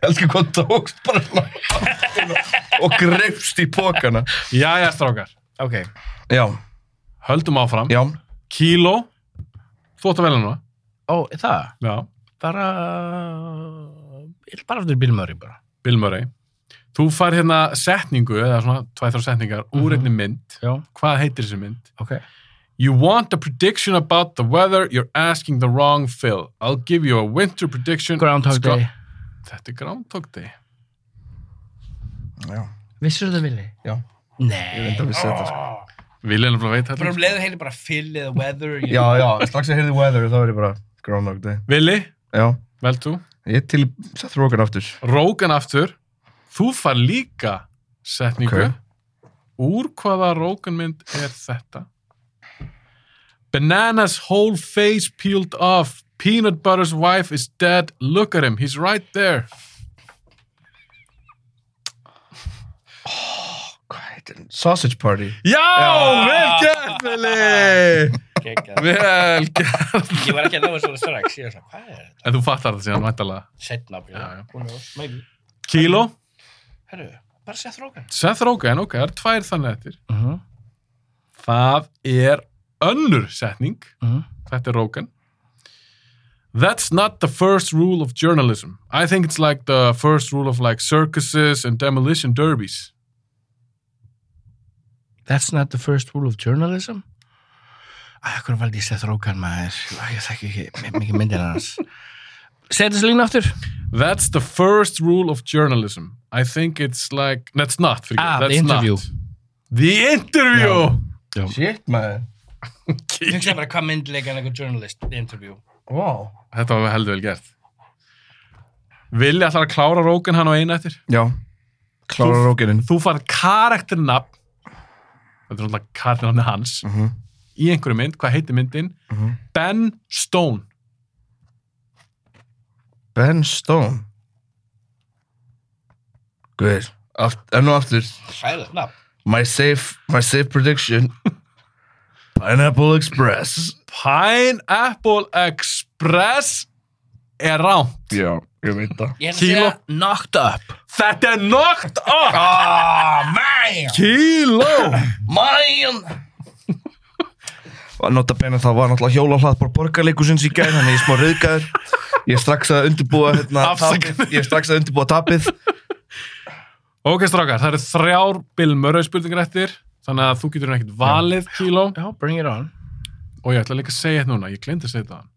Speaker 6: Elsku hvað tókst bara slækið. Og greipst í pókana.
Speaker 4: Jæja, strákar
Speaker 5: Ok
Speaker 6: Já,
Speaker 4: Höldum áfram
Speaker 6: já.
Speaker 4: Kíló Þú ætti að velja núna
Speaker 5: Ó, er það?
Speaker 4: Já
Speaker 5: bara ég vil bara aftur Bill Murray bara
Speaker 4: Bill Murray Þú fær hérna setningu, eða svona tvæð þrjá setningar,
Speaker 5: Mhm.
Speaker 4: úr einni mynd.
Speaker 5: já,
Speaker 4: Hvað heitir þessi mynd?
Speaker 5: ok
Speaker 4: You want a prediction about the weather, you're asking the wrong Phil. I'll give you a winter prediction.
Speaker 5: Groundhog
Speaker 4: Sko-
Speaker 5: Day
Speaker 4: Þetta er Groundhog Day.
Speaker 6: Já,
Speaker 5: vissur þetta villi?
Speaker 6: já, ég
Speaker 5: nei
Speaker 6: veit að vissi þetta sko.
Speaker 4: Vil ég nefnilega veit þetta.
Speaker 5: leður heilir bara um Phil eða Weather
Speaker 6: Já, já, strax að heyrði weather þá er ég bara Groundhog Day
Speaker 4: Vili,
Speaker 6: Já,
Speaker 4: vel þú.
Speaker 6: ég er til í Seth Rogen aftur
Speaker 4: Rógan aftur. Þú fær líka setningu.
Speaker 6: Ok.
Speaker 4: Úr hvaða Róganmynd er þetta? Bananas whole face peeled off. Peanut butter's wife is dead. Look at him, he's right there.
Speaker 6: Hvað heitir hann? Sausage Party
Speaker 4: Já, vel gert, Vili! Vel gert.
Speaker 5: ég var ekki (laughs) að ná þessu strax ég var svona, hvað er þetta?
Speaker 4: En þú fattar þetta síðan, væntalega.
Speaker 5: setna
Speaker 4: Já, já.
Speaker 5: maybe
Speaker 4: Kíló?
Speaker 5: herru, bara Seth Rogen
Speaker 4: Seth Rogen, ok, það er tvær þannig eftir.
Speaker 5: Mhm.
Speaker 4: Það er önnur setning,
Speaker 5: Mhm.
Speaker 4: þetta er Rogan. That's not the first rule of journalism. I think it's like the first rule of like circuses and demolition derbies.
Speaker 5: that's not the first rule of journalism að hvernig valdi ég Seth Rogen maður Æ, ég þekki ekki mi- mikið myndir hans segja þessu línu aftur
Speaker 4: That's the first rule of journalism. I think it's like, that's not, fyrir
Speaker 5: Ah, The
Speaker 4: that's
Speaker 5: Interview.
Speaker 4: Not. The interview!
Speaker 6: Shit, maður
Speaker 5: ég hugsa bara hvað myndleika en eitthvað journalist interview
Speaker 6: Wow
Speaker 4: Þetta var heldur vel gert. Vilja ætlar að klára Rogan hann á eina eftir?
Speaker 6: Já, klára Rogenin
Speaker 4: þú farið karakternafn þetta er náttúrulega karakternafni hans
Speaker 5: Mhm.
Speaker 4: í einhverju mynd, hvað heitir myndin Ben Stone
Speaker 6: Ben Stone Guður, enn og aftur
Speaker 5: hræðið nafn
Speaker 6: My safe, my safe prediction (laughs) Pineapple Express
Speaker 4: Pineapple Express er rán
Speaker 6: Já, ég veit það
Speaker 5: ég hef að
Speaker 4: Kíló.
Speaker 5: segja knocked up
Speaker 4: þetta er nokt á
Speaker 6: Ah, man
Speaker 4: kíló
Speaker 6: Mæn Og nota beina það var náttúrulega hjóla hlaðbár borgarleikusins í gær Þannig ég er smá rauðgæður Ég er strax að undirbúa hérna,
Speaker 4: Afsakið.
Speaker 6: tapið. Ég er strax að undirbúa tapið
Speaker 4: ok strákar, það eru þrjár Bill Murray spurningar eftir þannig að þú getur ekkert valið kíló
Speaker 5: já, bring it on
Speaker 4: og ég ætla líka að segja þetta núna, ég glemt að segja þetta áðan.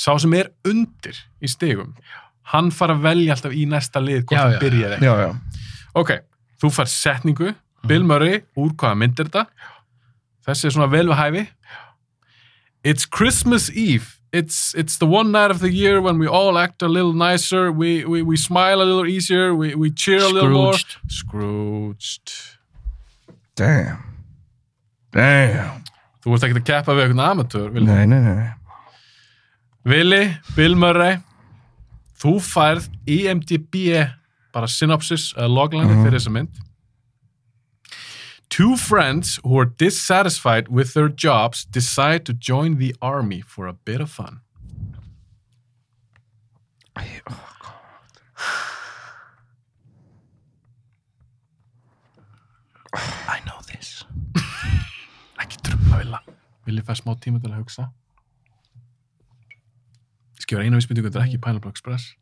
Speaker 4: sá sem er undir í stigum hann fara að velja alltaf í næsta lið hvort
Speaker 5: Já, já,
Speaker 4: hann byrjaði ekki
Speaker 6: Já, já
Speaker 4: Ok, þú fær setningu, Bill Murray, úr hvaða mynd er þetta? Þessi er svona vel við hæfi. It's Christmas Eve. It's, it's the one night of the year when we all act a little nicer, we, we, we smile a little easier, we, we cheer a little more.
Speaker 5: Scrooged.
Speaker 4: Scrooged.
Speaker 6: Damn Damn
Speaker 4: Þú vorst ekki að keppa við einhvern amatör, Vili.
Speaker 6: Nei, nei, nei
Speaker 4: Vili, Bill Murray, þú færð E IMDb bara synopsis, uh, logline
Speaker 5: Mhm.
Speaker 4: fyrir þessa mynd. Two friends who are dissatisfied with their jobs decide to join the army for a bit of fun.
Speaker 5: (sighs) I know this
Speaker 4: (laughs) Ekki trumla vilja. Vili fær smá tíma til að hugsa. Ég skifur eina vísbyndingu, þetta er ekki Pineapple Express.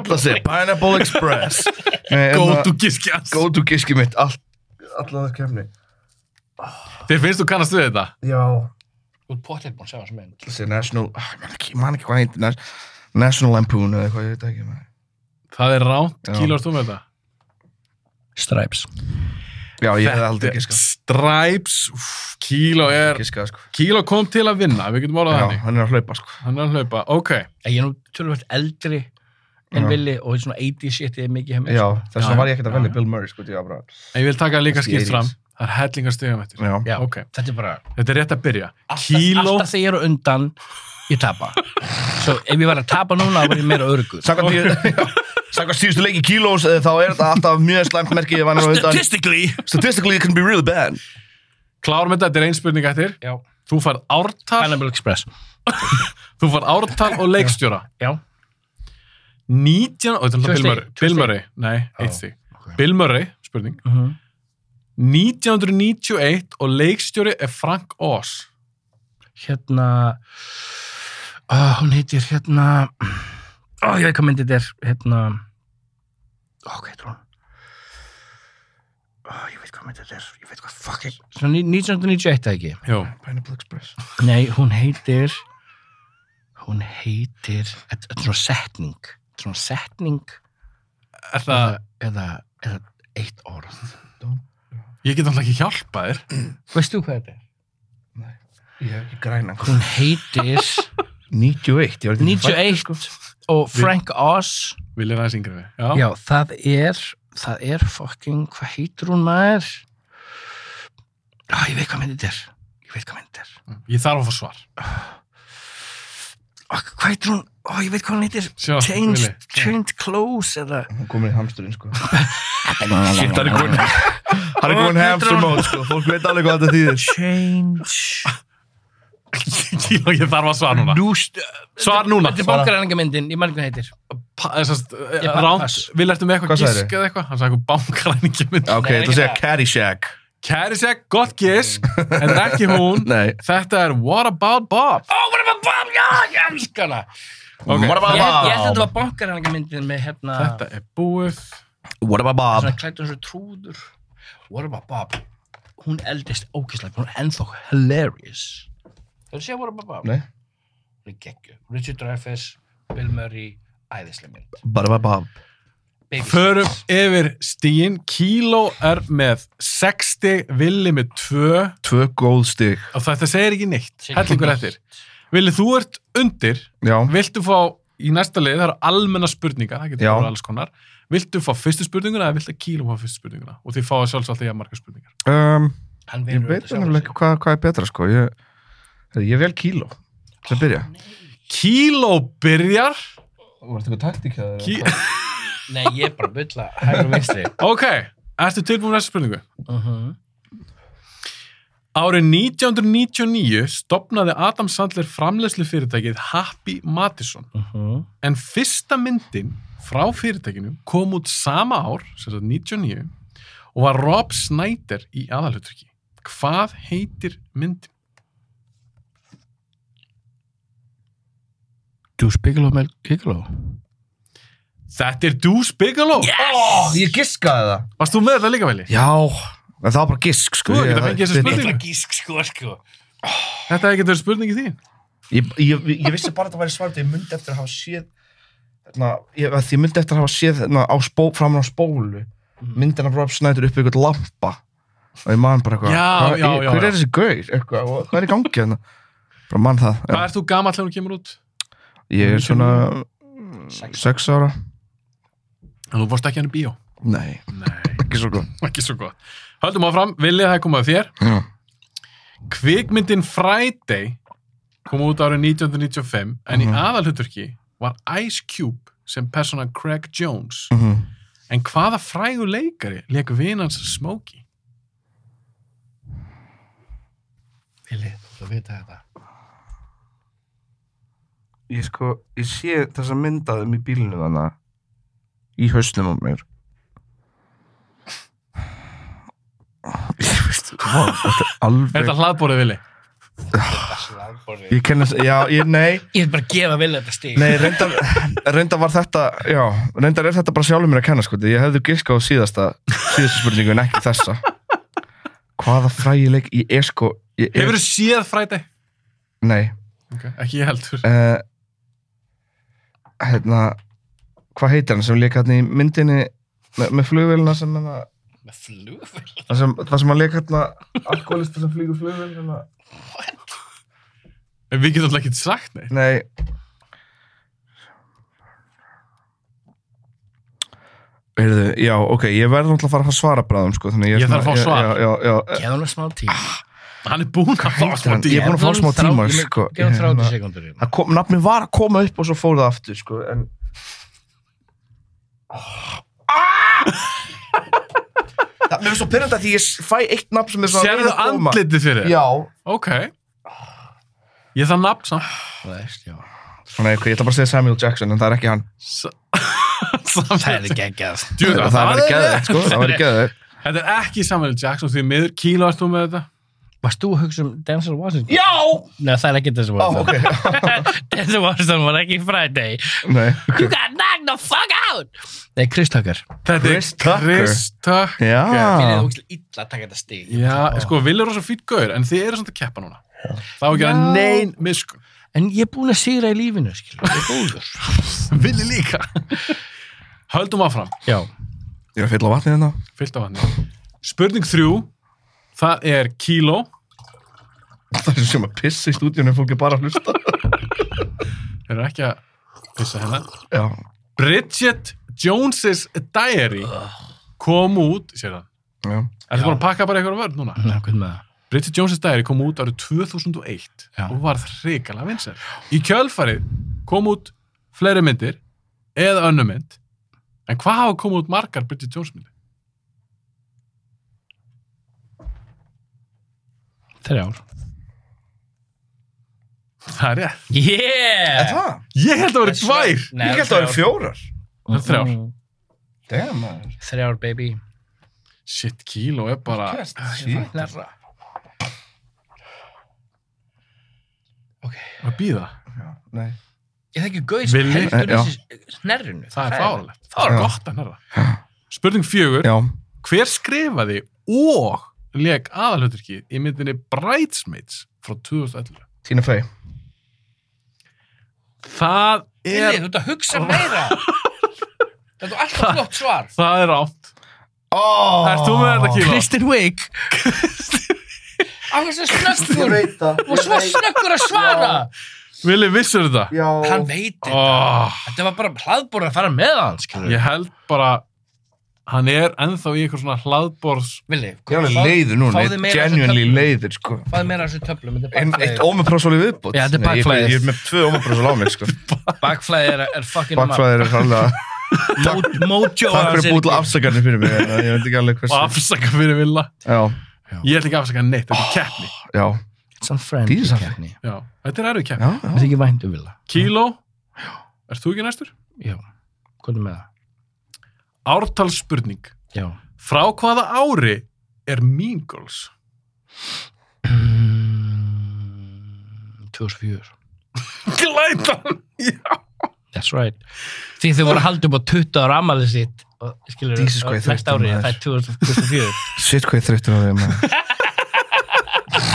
Speaker 6: Það sé Pineapple
Speaker 4: (laughs)
Speaker 6: Express nei,
Speaker 4: Go
Speaker 6: hérna,
Speaker 4: to Giskjans!
Speaker 6: Go to giski mitt all, Allan það kemni
Speaker 4: Þér finnst þú kannast við þetta?
Speaker 6: Já
Speaker 5: úr potið búin að segja þessu mynd
Speaker 6: Það sé National ah, Ég man ekki, ég man ekki hvað heitir nas- National Lampoon eða eitthvað, ég veit ekki maður.
Speaker 4: Það er ránt,
Speaker 6: Já.
Speaker 4: kílar þú með þetta?
Speaker 5: Stripes
Speaker 6: Já, ég hefði aldrei
Speaker 4: Þetta er
Speaker 6: giskað
Speaker 4: Stripes, úff, kíló er
Speaker 6: Giskað, sko
Speaker 4: Kíló kom til að vinna, við getum orðað
Speaker 6: Já,
Speaker 4: þannig.
Speaker 6: hann er að hlaupa, sko
Speaker 4: Hann er að hlaupa, ok.
Speaker 5: ég er nú tölvöld eldri en
Speaker 6: Já.
Speaker 5: villi og svona 80 shit er mikið hjá mér
Speaker 6: Já, þess
Speaker 4: Já,
Speaker 6: vegna var ég ekkert
Speaker 4: já,
Speaker 6: að velja
Speaker 4: já.
Speaker 6: Bill Murray sko, ég var bara
Speaker 4: En ég vil taka líka
Speaker 6: Kannski
Speaker 4: skipt fram.
Speaker 6: 80s.
Speaker 4: Það er hellingar stegum eftir.
Speaker 6: Já,
Speaker 5: Já,
Speaker 4: Ok.
Speaker 5: þetta er bara
Speaker 4: Þetta er rétt að byrja.
Speaker 5: alltaf,
Speaker 4: Kíló,
Speaker 5: alltaf þegar ég er á undan ég tapa svo ef ég var að tapa núna þá var ég meira örugur
Speaker 6: Samkvæmt ég- já. (laughs) Samkvæmt síðustu leiki kílós eh, þá er þetta alltaf mjög slæmt merki ef hann er á undan
Speaker 5: statistically
Speaker 6: Statistically it can be really bad
Speaker 4: klárum þetta, þetta er ein spurning eftir.
Speaker 5: já
Speaker 4: Þú far ártal,
Speaker 5: Pineapple Express
Speaker 4: þú far ártal og leikstjóra.
Speaker 5: já
Speaker 4: 19, og þetta er
Speaker 5: Tvö
Speaker 4: náttúrulega Bill
Speaker 5: stig,
Speaker 4: Murray.
Speaker 5: tvö
Speaker 4: Bill
Speaker 5: stig.
Speaker 4: Murray, nei,
Speaker 5: Já,
Speaker 4: eitt stig. Bill Murray, spurning.
Speaker 5: Mhm.
Speaker 4: 1991 og leikstjóri er Frank Oz.
Speaker 5: hérna Uh, hún heitir hérna Ó, ég veit hvað myndið er hérna Ó, hvað heitir hún Ó, ég veit hvað myndið er ég veit hvað fucking Svona ní- 1991 eða ekki
Speaker 4: Jú,
Speaker 6: Pineapple Express
Speaker 5: Nei, hún heitir hún heitir þetta er svona setning þetta er svona setning
Speaker 4: er það,
Speaker 5: eða, eða eitt orð
Speaker 4: ég get alltaf ekki hjálpa þér.
Speaker 5: Veistu hvað þetta er?
Speaker 6: Ég hef ekki sko. græna
Speaker 5: Hún heitir
Speaker 4: (laughs)
Speaker 6: 91, ég var ekki
Speaker 5: 91 og Frank Oz
Speaker 4: Vilja aðeins yngri við. Já.
Speaker 5: Já, það er það er fucking, hvað heitir hún maður? Já, ég veit hvað myndið er ég veit hvað myndið er
Speaker 4: Ég þarf að fá svar. (laughs)
Speaker 5: Ó, Hvað heitir hún? Ó, ég veit hvað hún heitir
Speaker 4: Sjá,
Speaker 5: Changed,
Speaker 4: Willi.
Speaker 5: changed Clothes eða
Speaker 6: Hún komin í hamsturinn (laughs) sko Shit, hann er komin Hann er komin hamstur mót sko Fólk veit alveg hvað þetta þýðir
Speaker 5: Change
Speaker 4: Já, ég þarf að svara núna.
Speaker 5: Lúst
Speaker 4: Svar núna. eh,
Speaker 5: Þetta er bankaræningamyndin, ég man ekki hvað hún heitir Ég bara-
Speaker 4: Ránt,
Speaker 5: pass.
Speaker 4: vil ertu með
Speaker 6: Hvað
Speaker 4: eitthvað
Speaker 6: sagðirðu?
Speaker 4: gísk eða eitthvað? Hann sagði eitthvað bankræningi mynd.
Speaker 6: Ok,
Speaker 5: Nei,
Speaker 6: þetta
Speaker 5: ekki
Speaker 6: segja
Speaker 5: það.
Speaker 6: Caddyshack
Speaker 4: Kæri seg, gott gísk, en ekki hún.
Speaker 6: Nei
Speaker 4: Þetta er What About Bob. Oh, What About Bob, já, ég elskar hana. Ok,
Speaker 6: What
Speaker 5: Ég,
Speaker 6: about
Speaker 5: ég held að þetta
Speaker 6: Bob?
Speaker 5: var bankaræningamyndin með hérna
Speaker 4: Þetta er búið.
Speaker 6: What about Bob?
Speaker 5: svona klættu eins og trúður What about Bob? Hún eldist ókíslega, hún er ennþá hilarious Þú séu What about Bob?
Speaker 6: Nei.
Speaker 5: Hún er geggju Richard Dreyfuss, Bill Murray, æðislega mynd
Speaker 6: What about Bob?
Speaker 5: Baby
Speaker 4: Förum
Speaker 5: Steps.
Speaker 4: yfir stíin. Kíló er með 60, Villi með 2
Speaker 6: Tvö góð stig
Speaker 4: og þetta segir ekki neitt. Hellingur eftir. Villi, þú ert undir.
Speaker 6: Já
Speaker 4: Viltu fá í næsta leið, það eru almenna spurningar, það getur
Speaker 6: Já.
Speaker 4: verið alls konar. Viltu fá fyrstu spurninguna eða viltu að kíló fá fyrstu spurninguna? Og þið fáið sjálfsagt þegar marga spurningar.
Speaker 6: um,
Speaker 5: Hann
Speaker 6: Ég
Speaker 5: velur
Speaker 6: veit
Speaker 5: auðvitað sjálfur
Speaker 6: nefnilega ekki hvað, hvað er betra sko Ég, Heyrðu, ég er vel kíló Til að byrja
Speaker 4: Kíló byrjar.
Speaker 6: Var þetta eitthvað taktík að
Speaker 4: Kí
Speaker 5: sig. Nei, ég er bara að bylla hægur og vinstri
Speaker 4: ok, ertu tilbúin með næsta spurningu?
Speaker 5: uh
Speaker 4: Árið 1999 stopnaði Adam Sandler framleyslu fyrirtækið Happy Madison
Speaker 5: Mhm.
Speaker 4: en fyrsta myndin frá fyrirtækinu kom út sama ár, sem sagt 99 og var Rob Snyder í aðalhuturki. Hvað heitir myndin?
Speaker 5: Juice Bigelow með Bigelow
Speaker 4: Þetta er Deuce Bigelow!
Speaker 6: Ég giskaði það
Speaker 4: Varst þú með þetta líka veli?
Speaker 6: Já En það var bara gisk sko
Speaker 4: Þú hefur
Speaker 6: Ég-
Speaker 4: getað fengið þessa
Speaker 6: ég-
Speaker 4: spurningu.
Speaker 5: Það er gísk sko, sko
Speaker 4: Þetta hefði getur verið spurningi þín.
Speaker 6: ég, ég, ég vissi bara að það væri svart Ég myndi eftir að hafa séð na, ég, að Ég myndi eftir að hafa séð na, á spó, framan á spólu Myndin af Rob Snyder upp í eitthvað lampa Og ég man bara eitthvað
Speaker 4: Já,
Speaker 6: hvað
Speaker 4: já,
Speaker 6: er-
Speaker 4: já,
Speaker 6: Hver
Speaker 4: já.
Speaker 6: er þessi gaur? Eitthvað, og hvað er í gangi hérna? Bara man það
Speaker 4: Hvað
Speaker 6: já.
Speaker 4: ert þú gamall þegar hún kemur út?
Speaker 6: Ég er svona Sex ára
Speaker 4: En þú vorst ekki hann í bíó.
Speaker 6: Nei,
Speaker 4: Nei,
Speaker 6: (laughs) ekki svo góð
Speaker 4: ekki svo gott. Höldum áfram, Vili, það er komið að þér.
Speaker 6: Já
Speaker 4: Kvikmyndin Friday kom út árið 1995 en í
Speaker 6: Mhm.
Speaker 4: aðalhuturki var Ice Cube sem persónan Craig Jones
Speaker 6: mm
Speaker 4: en hvaða frægur leikari leik vinans Smokey?
Speaker 5: Vili, þú ert að vita þetta
Speaker 6: ég sko, ég sé þess að mynda þeim í bílinu þannig í hausnum á mér ég veist wow, þetta er
Speaker 4: Er
Speaker 6: alveg
Speaker 4: þetta hlaðbórið Vili?
Speaker 6: ég kenna, já, ég, nei,
Speaker 5: Ég er bara að gefa Vili þetta stig
Speaker 6: nei reyndar, reyndar var þetta, já reyndar er þetta bara sjálfur mér að kenna sko ég hefði giskað á síðasta, síðasta spurningu en ekki þessa hvaða frægileik, ég er sko ég er,
Speaker 4: Hefur þú séð Friday?
Speaker 6: nei
Speaker 4: Okay. Ekki ég heldur.
Speaker 6: uh, hérna hvað heitir hann sem leika hérna í myndinni með, með flugvélina sem hérna
Speaker 5: Með flugvél
Speaker 6: það sem, það sem hann leika hérna alkoholista sem flýgur flugvél hérna.
Speaker 4: En við getum alltaf ekki sagt neitt.
Speaker 6: nei Heyrðu, já, ok, ég verður náttúrulega að fara að fá svara bráðum, sko, þannig
Speaker 4: Ég
Speaker 6: er
Speaker 4: þarf að fá
Speaker 6: svona-
Speaker 4: svar.
Speaker 6: Já, já, já,
Speaker 5: Geða hún að smá tíma
Speaker 4: Hann er búinn að fá
Speaker 6: heitir
Speaker 4: smá
Speaker 6: hann? Ég er
Speaker 4: tíma.
Speaker 6: búinn að fá smá tíma, sko.
Speaker 5: Geða hún
Speaker 6: Ég-
Speaker 5: 30 sekundur
Speaker 6: það kom, nafni var að koma upp og svo fór það aftur, sko, en... Ah! það, mér finnst svo pyrranda því ég fæ eitt nafn sem er svona... að
Speaker 4: Serðu
Speaker 6: reyna að koma.
Speaker 4: andlitið fyrir? þér?
Speaker 6: Já.
Speaker 4: Ok. Ég það nafn samt.
Speaker 5: Þú veist, já
Speaker 6: Nei, ok, ég ætla bara að segja Samuel Jackson, en það er ekki hann.
Speaker 4: samt.
Speaker 5: Það er geggjað.
Speaker 4: Djöfull,
Speaker 6: það
Speaker 4: það
Speaker 6: væri
Speaker 4: er
Speaker 6: geðið, sko, það væri geðið.
Speaker 4: Þetta er ekki Samuel Jackson því miður. Kíló erst þú með þetta?
Speaker 5: Varst þú að hugsa um Denzel Washington?
Speaker 6: Já!
Speaker 5: Nei, það er ekki Denzel
Speaker 6: Ó, ok.
Speaker 5: Washington. Denzel Washington var ekki Friday.
Speaker 6: (laughs) Nei.
Speaker 5: You got knocked the fuck out! Nei, Chris Tucker.
Speaker 4: Þetta er
Speaker 6: Chris Tucker.
Speaker 4: Chris Tucker.
Speaker 5: Mér er
Speaker 6: Já.
Speaker 5: ógislega illa að taka þetta stig.
Speaker 4: Já, sko, Will er rosa fýtt gaur, en þið eru samt að keppa núna. Það á ekki að
Speaker 5: Já.
Speaker 4: neyn (laughs) miskun.
Speaker 5: En ég er búin að sigra í lífinu, skil. Ég er góður.
Speaker 4: Willi líka. Höldum áfram,
Speaker 5: Já.
Speaker 6: Ég er að fylla vatnið hérna.
Speaker 4: fyllt af hann. Spurning þrjú, það er kíló.
Speaker 6: Það er sem um að pissa í stúdíunum fólk er bara að hlusta.
Speaker 4: Þeir eru ekki að pissa hennar.
Speaker 6: Já.
Speaker 4: Bridget Jones's Diary kom út, sér það.
Speaker 6: Já.
Speaker 4: Er það búin að pakka bara einhverja vörð núna?
Speaker 5: Ná, hvernig með það?
Speaker 4: Bridget Jones's Diary kom út árið 2001
Speaker 5: Já.
Speaker 4: og var hrikalega vinsar. Í kjölfarið kom út fleiri myndir eða önnu mynd en hvað hafa kom út margar Bridget Jones myndir?
Speaker 5: Þrjár.
Speaker 4: Það er rétt.
Speaker 5: Yeah!
Speaker 6: Það?
Speaker 4: Ég held að vera tvær.
Speaker 5: Nei,
Speaker 6: Ég held að það er fjórar.
Speaker 4: Það er þrjár.
Speaker 6: Damn, maður.
Speaker 5: Þrjár, baby.
Speaker 4: Shit, kíló Ah, er bara...
Speaker 6: Kjæst, shit.
Speaker 5: Þrjár. Ok.
Speaker 4: Að býða.
Speaker 6: Já, Nei.
Speaker 5: Ég þekki gauð
Speaker 4: Villi?
Speaker 5: sem heldur
Speaker 6: Já.
Speaker 5: þessi snerrinu.
Speaker 4: Það er fáralegt. Það
Speaker 6: Já.
Speaker 4: er gott að nærða. Spurning fjögur.
Speaker 6: Já.
Speaker 4: Hver skrifaði og leik aðalhuturki í myndinni Bridesmaids frá 2011?
Speaker 6: Tína Frey.
Speaker 4: Það
Speaker 5: Villi,
Speaker 4: er...
Speaker 5: þú ert að hugsa meira. Þetta er alltaf flott svar.
Speaker 4: Það er rátt.
Speaker 6: Ó!
Speaker 4: Ert þú með þetta kíló?
Speaker 5: Kristinn Wick. Á þessu
Speaker 6: Ég
Speaker 5: snöggur.
Speaker 6: veit það.
Speaker 5: Og svo snöggur að svara.
Speaker 4: Vili, vissur þetta?
Speaker 6: Já.
Speaker 5: Hann veit þetta.
Speaker 4: Oh,
Speaker 5: Þetta var bara hlaðbúr að fara með hann, skilur.
Speaker 4: ég held bara hann er ennþá í eitthvað svona hlaðbors
Speaker 5: Villi,
Speaker 6: Ég er
Speaker 5: fá-
Speaker 6: alveg leiður núna.
Speaker 5: fáðu
Speaker 6: Ég
Speaker 5: meira
Speaker 6: er
Speaker 5: af þessum
Speaker 6: genuinely
Speaker 5: töflum.
Speaker 6: leiður, sko.
Speaker 5: Fáðu meira af þessu töflum. Þetta er
Speaker 6: Ein, eitt
Speaker 5: bakflæðið.
Speaker 6: ómeprósóli viðbútt.
Speaker 5: Já, þetta er
Speaker 6: Nei, ég-
Speaker 5: bakflæðið.
Speaker 6: Ég er með tvö ómeprósóli á mig,
Speaker 5: (laughs)
Speaker 6: sko.
Speaker 5: Bakflæðið er, er fucking
Speaker 6: Bakflæðir
Speaker 5: (laughs)
Speaker 6: er hraðlega...
Speaker 5: Mó- Mojo.
Speaker 6: Takk
Speaker 5: hans
Speaker 6: fyrir
Speaker 5: er
Speaker 6: búið til
Speaker 5: ekki-
Speaker 6: afsakarnir fyrir mig. en Ég veit ekki alveg
Speaker 4: og
Speaker 6: hversu.
Speaker 4: afsaka fyrir Villa
Speaker 6: Já,
Speaker 4: ég ætla ekki að afsaka neitt, þetta er keppni
Speaker 6: já.
Speaker 5: It's on friend.
Speaker 6: Dýr samt.
Speaker 5: keppni.
Speaker 4: Já, þetta er erfið keppni
Speaker 6: Já, já.
Speaker 5: Mér þykir vænt um Villa.
Speaker 4: Kíló, ert þú ekki næstur?
Speaker 5: Já. Hvernig með það?
Speaker 4: Ártalsspurning
Speaker 5: Já.
Speaker 4: Frá hvaða ári er Mean Girls?
Speaker 5: Mm, 2004.
Speaker 4: Glætan!
Speaker 5: That's right. Því þau voru að halda upp á 20 ára amalið sitt og skilur
Speaker 6: Jesus, hvað ég
Speaker 5: og næsta
Speaker 6: þreyttur
Speaker 5: ári,
Speaker 6: maður.
Speaker 5: það er 2004.
Speaker 6: Sitt hvað ég þreyttur á þeim.
Speaker 5: (laughs)
Speaker 6: maður.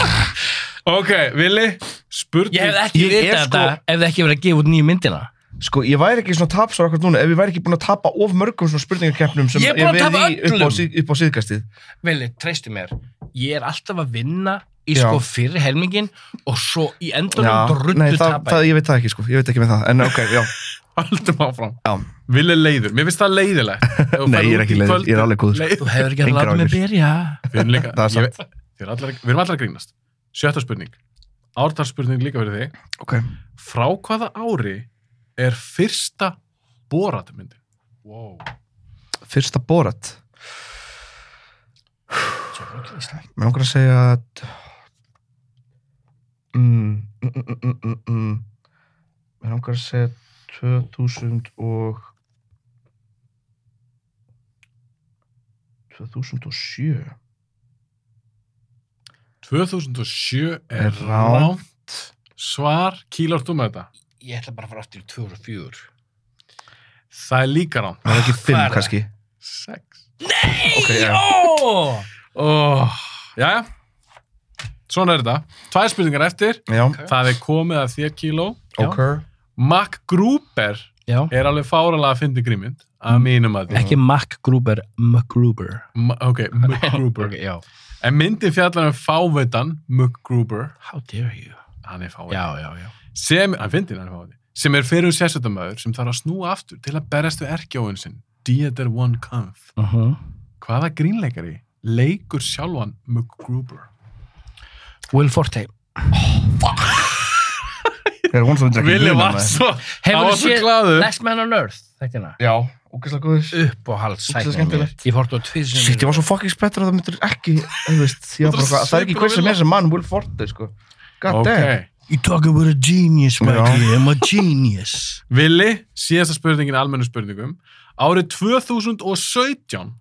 Speaker 4: Ok, Vili, spurning
Speaker 5: Ég hefði ekki
Speaker 6: (laughs) Ég er
Speaker 5: vitað þetta
Speaker 6: sko-
Speaker 5: ef þið ekki verið að gefa út nýju myndina.
Speaker 6: Sko, ég væri ekki svona tapsar akkur núna ef ég væri ekki búin að tapa of mörgum svona spurningakeppnum sem
Speaker 5: Ég er búinn að tapa
Speaker 6: verið í upp á,
Speaker 5: öllum.
Speaker 6: síð- upp á síðkastið.
Speaker 5: Vili, treystu mér. Ég er alltaf að vinna í
Speaker 6: Já.
Speaker 5: sko fyrri helmingin og svo í
Speaker 6: Já,
Speaker 5: endunum drullu
Speaker 6: nei, það,
Speaker 5: tapa.
Speaker 6: það, ég veit það ekki, sko. Ég veit ekki með það. En ok, já.
Speaker 4: Haldum áfram
Speaker 6: Já.
Speaker 4: Vili er leiður, mér finnst það
Speaker 6: (laughs)
Speaker 4: leiðilegt Ef þú
Speaker 6: Nei,
Speaker 4: ferð
Speaker 6: ég er
Speaker 4: út
Speaker 6: ekki
Speaker 4: í
Speaker 6: leiður,
Speaker 4: kvöld-
Speaker 6: ég er alveg góður.
Speaker 4: Leið-
Speaker 5: Þú hefur ekki að
Speaker 6: Engar
Speaker 5: láta mig
Speaker 6: áhyggjur.
Speaker 5: byrja.
Speaker 4: Við erum líka,
Speaker 6: (laughs) Það er
Speaker 4: ég, þið er allar, við erum allar að grínast. Sjötta spurning. Ártalsspurning líka fyrir þig.
Speaker 6: Ok.
Speaker 4: Frá hvaða ári er fyrsta boratmyndin? Wow.
Speaker 6: Fyrsta borat. Mér langar að segja að... Mm, mm, mm, mm, mm, mm. Mér langar að segja 2000 og... 2007.
Speaker 4: 2007
Speaker 6: Er
Speaker 4: er rámt svar. Kílar þú með þetta?
Speaker 5: Ég ætla bara að fara aftur í 2004.
Speaker 4: Það er líka rámt.
Speaker 6: Það er ekki
Speaker 5: Hvað er
Speaker 6: 5
Speaker 5: það?
Speaker 6: kannski.
Speaker 4: Sex.
Speaker 6: Ok, já.
Speaker 5: Jó!
Speaker 4: Oh. Jæja. Svona er þetta. Tvær spurningar eftir.
Speaker 6: Já,
Speaker 4: Það er komið að þér kíló.
Speaker 6: ok.
Speaker 4: Mac Gruber
Speaker 5: Já.
Speaker 4: er alveg fáralega að fyndi grímynd. Að mínum að því.
Speaker 5: Ekki Mac Gruber, Mac Gruber.
Speaker 4: Ok,
Speaker 6: (laughs)
Speaker 4: Mac Gruber.
Speaker 5: Ok, já.
Speaker 4: En myndin fjallar um fáveitan MacGruber,
Speaker 5: How dare you?
Speaker 4: hann er fáveitan,
Speaker 5: Já, já, já.
Speaker 4: sem, hann fyndin hann er fáveitan, sem er fyrir sérstöndamöður sem þarf að snúa aftur til að berjast við erkjáin sinn, Dieter von Kampf.
Speaker 5: Uh -huh.
Speaker 4: Hvaða grínleikari leikur sjálfan MacGruber?
Speaker 5: Will Forte.
Speaker 6: Ég er von svo að
Speaker 4: Vili var svo, hann
Speaker 5: Hefurðu
Speaker 4: var svo
Speaker 5: séð
Speaker 4: glaður.
Speaker 5: Last Man on Earth, þekkiðna.
Speaker 6: Já, ógæslega góður.
Speaker 5: Upp og hald
Speaker 6: Ógeðslega skemmtilegt.
Speaker 5: Ég fórt á tvið sem...
Speaker 6: Shit, ég var svo fucking spettur að það myndur ekki, þú veist, ég var bara, eitthvað- það er ekki hver sem er sem mann Will Forte, sko. God
Speaker 4: Ok,
Speaker 6: damn.
Speaker 5: You talk about a genius, my
Speaker 6: Já.
Speaker 5: dear. I'm a genius.
Speaker 4: Vili, síðasta spurningin í almennu spurningum. Árið 2017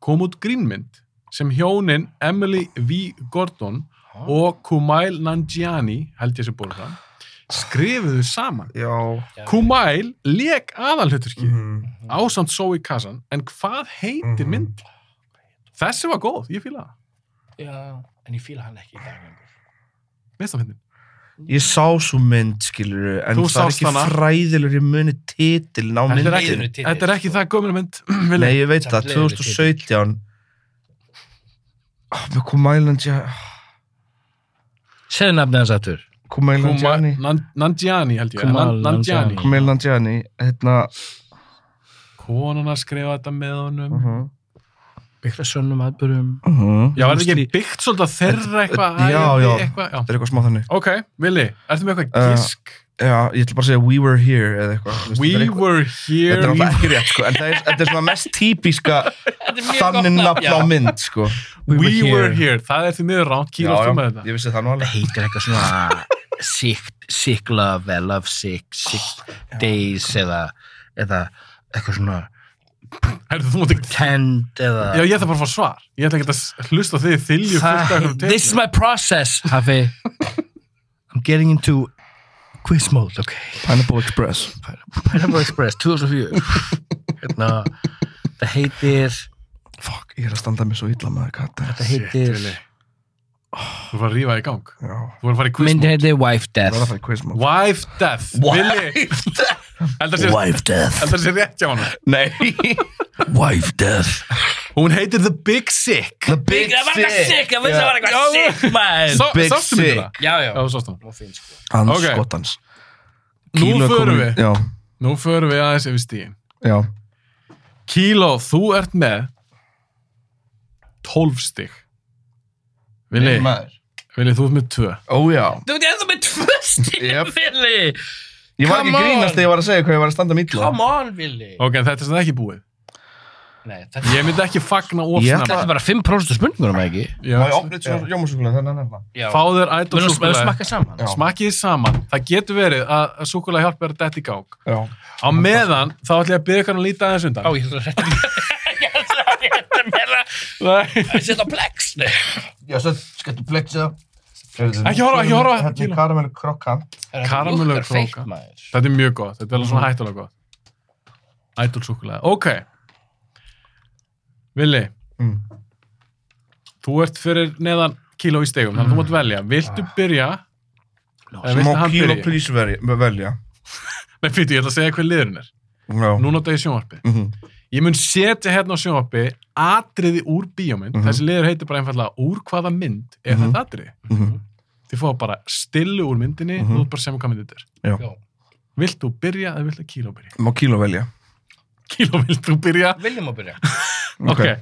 Speaker 4: kom út grínmynd sem hjónin Emily V. Gordon og Kumail Nanjiani held ég sem búið fram skrifuðu saman
Speaker 5: Já.
Speaker 4: Kumail leik aðalhuturki
Speaker 3: Mhm.
Speaker 4: ásamt Zoe Kazan en hvað heitir
Speaker 3: Mhm.
Speaker 4: mynd þessi var góð, ég fíla það
Speaker 7: Já, en ég fíla hann ekki í dag lengur.
Speaker 4: minnst að fyndin
Speaker 6: Ég sá svo mynd, skilur En
Speaker 4: Þú
Speaker 6: það er
Speaker 4: sást
Speaker 6: ekki
Speaker 4: hana.
Speaker 6: fræðilegur Ég muni titilin á
Speaker 4: Þetta er
Speaker 6: myndin
Speaker 7: Leiðinu til
Speaker 4: þetta er
Speaker 7: þess,
Speaker 4: ekki
Speaker 7: sko.
Speaker 4: það gömur mynd
Speaker 6: Nei, ég veit
Speaker 7: Samt
Speaker 6: það,
Speaker 7: leiðinlegur
Speaker 6: 2017 Ah, Með Kumailand
Speaker 5: Segðu nafnið hans aftur.
Speaker 6: Kumailand
Speaker 4: Kuma-
Speaker 6: Jani
Speaker 4: Nan- Nanjiani held ég
Speaker 5: Kumail
Speaker 4: Nan- Nanjiani
Speaker 5: Nanjiani.
Speaker 6: Kumailand Jani Hérna
Speaker 4: konan að skrifa þetta með honum
Speaker 6: mhm,
Speaker 5: Byggt að sönnum aðbörum.
Speaker 6: mhm.
Speaker 4: já, verður ekki byggt svolítið að þeirra eitthvað
Speaker 6: Já,
Speaker 4: æði,
Speaker 6: já.
Speaker 4: eitthvað,
Speaker 6: Það er eitthvað smá þannig
Speaker 4: ok, Vili, ertu með eitthvað
Speaker 6: Uh,
Speaker 4: gisk
Speaker 6: Já, ég ætla bara að segja We Were Here eða eitthvað Þú veist, þetta er
Speaker 4: we
Speaker 6: eitthvað-
Speaker 4: were here
Speaker 6: Þetta er náttúrulega ekki rétt, sko En það er, þetta er svona mest típiska Þannig nafn á mynd, sko
Speaker 4: we were here, það er því miður ránt kýra þú með þetta
Speaker 6: ég vissi það nú alveg
Speaker 5: Heitir eitthvað svona sick, sick love, I love sick, sick days eða, eða eitthvað svona
Speaker 4: Herðu, þú mátt ekki
Speaker 5: tend eða...
Speaker 4: Já, ég ætla bara að fá svar. Ég ætla ekki að s- hlusta á þig þylju fullt af einhverjum
Speaker 5: Það- This is
Speaker 4: teiknum.
Speaker 5: my process, Hafi. I'm getting into quiz mode, ok.
Speaker 6: Pineapple Express
Speaker 5: Pineapple Express, 2004. hérna, það heitir,
Speaker 6: Fuck, ég er að standa mig svo illa með kata
Speaker 5: það heitir,
Speaker 4: Vili. Þú var að rífa í gang.
Speaker 6: Já,
Speaker 4: Þú var að fara í
Speaker 5: myndin
Speaker 4: quizmót.
Speaker 5: heitir Wife
Speaker 6: það var
Speaker 5: Death.
Speaker 6: það quizmót
Speaker 4: Wife death. Vili, heldur sér,
Speaker 5: Death.
Speaker 4: heldur sér rétt hjá hann.
Speaker 6: Nei
Speaker 4: (laughs)
Speaker 5: Wife Death.
Speaker 4: Hún heitir The Big Sick.
Speaker 6: The Big
Speaker 5: Það var eitthvað sick, það vissi að það var
Speaker 4: Já.
Speaker 5: eitthvað sick, man.
Speaker 4: Sá-
Speaker 6: Big
Speaker 4: Sástu mig
Speaker 6: Sick.
Speaker 4: þetta?
Speaker 5: Já, já.
Speaker 4: Já, þú sástu hann.
Speaker 6: Hans
Speaker 4: Ok.
Speaker 6: okay. skotans
Speaker 4: Nú
Speaker 6: Kíló er
Speaker 4: förum við.
Speaker 6: komin- Já,
Speaker 4: Nú förum við aðeins yfir stíðin.
Speaker 6: já
Speaker 4: Kíló, þú ert með 12 stík. Vili,
Speaker 6: Maður.
Speaker 4: Vili, þú ert með 2.
Speaker 6: Ó já
Speaker 5: Þú veit, ég er það með tvö stíl,
Speaker 6: Yep.
Speaker 5: Vili.
Speaker 6: Ég var ekki
Speaker 5: Come
Speaker 6: að
Speaker 5: on.
Speaker 6: grínast þegar ég var að segja hvað ég var að standa mig illa
Speaker 5: Come on, Vili.
Speaker 4: Ok, en þetta er sem ekki búið.
Speaker 5: Nei, þetta
Speaker 4: Ég myndi ekki fagna of
Speaker 6: Ég
Speaker 5: þetta
Speaker 4: snemma.
Speaker 5: er bara 5% spurningunum, ekki?
Speaker 4: Já,
Speaker 6: Má ég opna eitt jómasúkulega þannig að nefna
Speaker 5: Já.
Speaker 4: Fá þér ætt
Speaker 5: Við
Speaker 4: og
Speaker 5: erum að
Speaker 4: súkulega.
Speaker 5: smakka saman.
Speaker 6: Já.
Speaker 4: Smakkið þið saman. Það getur verið að súkulega hjálpa þér að detta í gang.
Speaker 6: Já
Speaker 4: Á meðan þá ætlum ég að byrja ykkur að líta
Speaker 5: Á,
Speaker 4: aðeins undan.
Speaker 5: ég ætla að rétta mér. (laughs) Ég ætla að rétta mér að
Speaker 4: Nei.
Speaker 5: að setja á plex.
Speaker 6: Já, svo skættu plexja
Speaker 4: Ekki horfa,
Speaker 6: hérna
Speaker 4: ekki horfa.
Speaker 6: Þetta er karamellu krokkant
Speaker 4: Karamellur króka. Þetta er mjög gott. Þetta er alveg svona hættulega gott. Ætul súkulega. Ok. Vili.
Speaker 6: Mm.
Speaker 4: Þú ert fyrir neðan kíló í stegum, þannig að þú mátt velja. Viltu
Speaker 6: Ah.
Speaker 4: byrja? Eða viltu
Speaker 6: Má
Speaker 4: hann
Speaker 6: kíl og
Speaker 4: byrja?
Speaker 6: plís velja
Speaker 4: Nei, fyrir, ég ætla að segja hver liðurinn er.
Speaker 6: Já
Speaker 4: Nú nota ég sjónvarpið.
Speaker 6: Mhm.
Speaker 4: Ég mun setja hérna á sjónvarpi atriði úr bíómynd.
Speaker 6: Mhm.
Speaker 4: Þessi liður heitir bara einfallega úr hvaða mynd er
Speaker 6: Mhm.
Speaker 4: þetta atriði.
Speaker 6: Mhm.
Speaker 4: Þið fá bara stillu úr myndinni
Speaker 6: Mhm.
Speaker 4: og þú bara sem hvað mynd þetta er.
Speaker 6: Já.
Speaker 7: Já.
Speaker 4: Vilt þú byrja eða vilt þú kíló byrja?
Speaker 6: Má kíl og velja
Speaker 4: Kíló vilt þú byrja?
Speaker 7: Viljum að byrja.
Speaker 4: Ok. okay.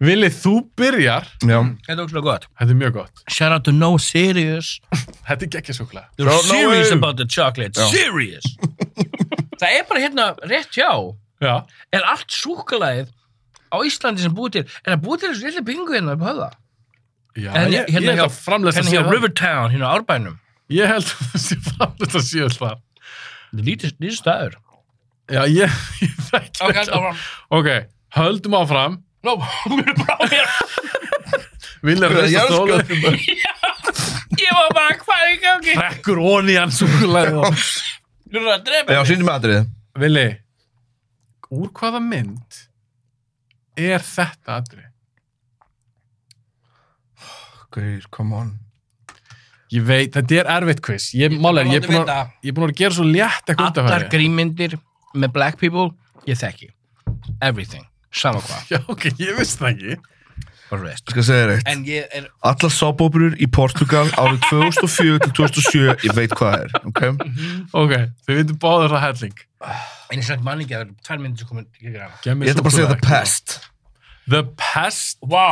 Speaker 4: Vilið þú byrjar?
Speaker 6: Já
Speaker 5: Þetta er ógslag gott.
Speaker 4: Þetta er mjög gott.
Speaker 5: Shout out to No Serious.
Speaker 4: Þetta um er geggjasúkulega.
Speaker 5: They're
Speaker 6: Don't know
Speaker 5: serious
Speaker 6: you.
Speaker 5: about the chocolate. Serious. Það er bara hérna rétt hjá.
Speaker 4: Já.
Speaker 5: Er allt súkulæðið á Íslandi sem búið til, er það búið til þessu lille bingu hérna upp höfða?
Speaker 4: Já,
Speaker 5: En hérna
Speaker 4: ég, ég held
Speaker 5: hjá-
Speaker 4: að framlega
Speaker 5: Hérna hjá Rivertown, hérna á Árbænum.
Speaker 4: Ég held að það sé framlega að síðan það.
Speaker 5: Þetta er lítið lítið staður.
Speaker 4: Já, ég, ég þekki
Speaker 5: Ok,
Speaker 4: þetta.
Speaker 5: áfram.
Speaker 4: Ok, höldum áfram.
Speaker 5: Nó, mér er brá mér.
Speaker 4: Vilja reysta þólu.
Speaker 5: Ég var bara, hvað er í gangi?
Speaker 4: Rekkur onni hann súkulega og...
Speaker 5: Þú eru að drepa
Speaker 6: Já,
Speaker 5: mig.
Speaker 6: sýndum aðrið
Speaker 4: Vili, úr hvaða mynd er þetta aðri?
Speaker 6: Gauir, come on
Speaker 4: Ég veit, þetta er erfitt quiz. Ég, málega, ég er búin að- ég er búin að gera svo létt eitthvað út af
Speaker 5: Allar
Speaker 4: hæði.
Speaker 5: grímyndir með black people, ég þekki. Everything. Sama hvað,
Speaker 4: Já, ok, ég vissi það ekki.
Speaker 5: bara veist.
Speaker 6: Skal segja þér eitt
Speaker 5: En ég er
Speaker 6: Allar sábóbrur í Portugal árið 2004 til 2007 Ég veit hvað það er, ok?
Speaker 4: Ok, þið veitum báður það helling.
Speaker 5: einu svona manningi að það eru tvær myndir sem komin í grann.
Speaker 4: Gef mér
Speaker 6: Ég ætla bara að segja
Speaker 4: súkkulaði.
Speaker 6: það pest
Speaker 4: The Pest,
Speaker 5: Vá,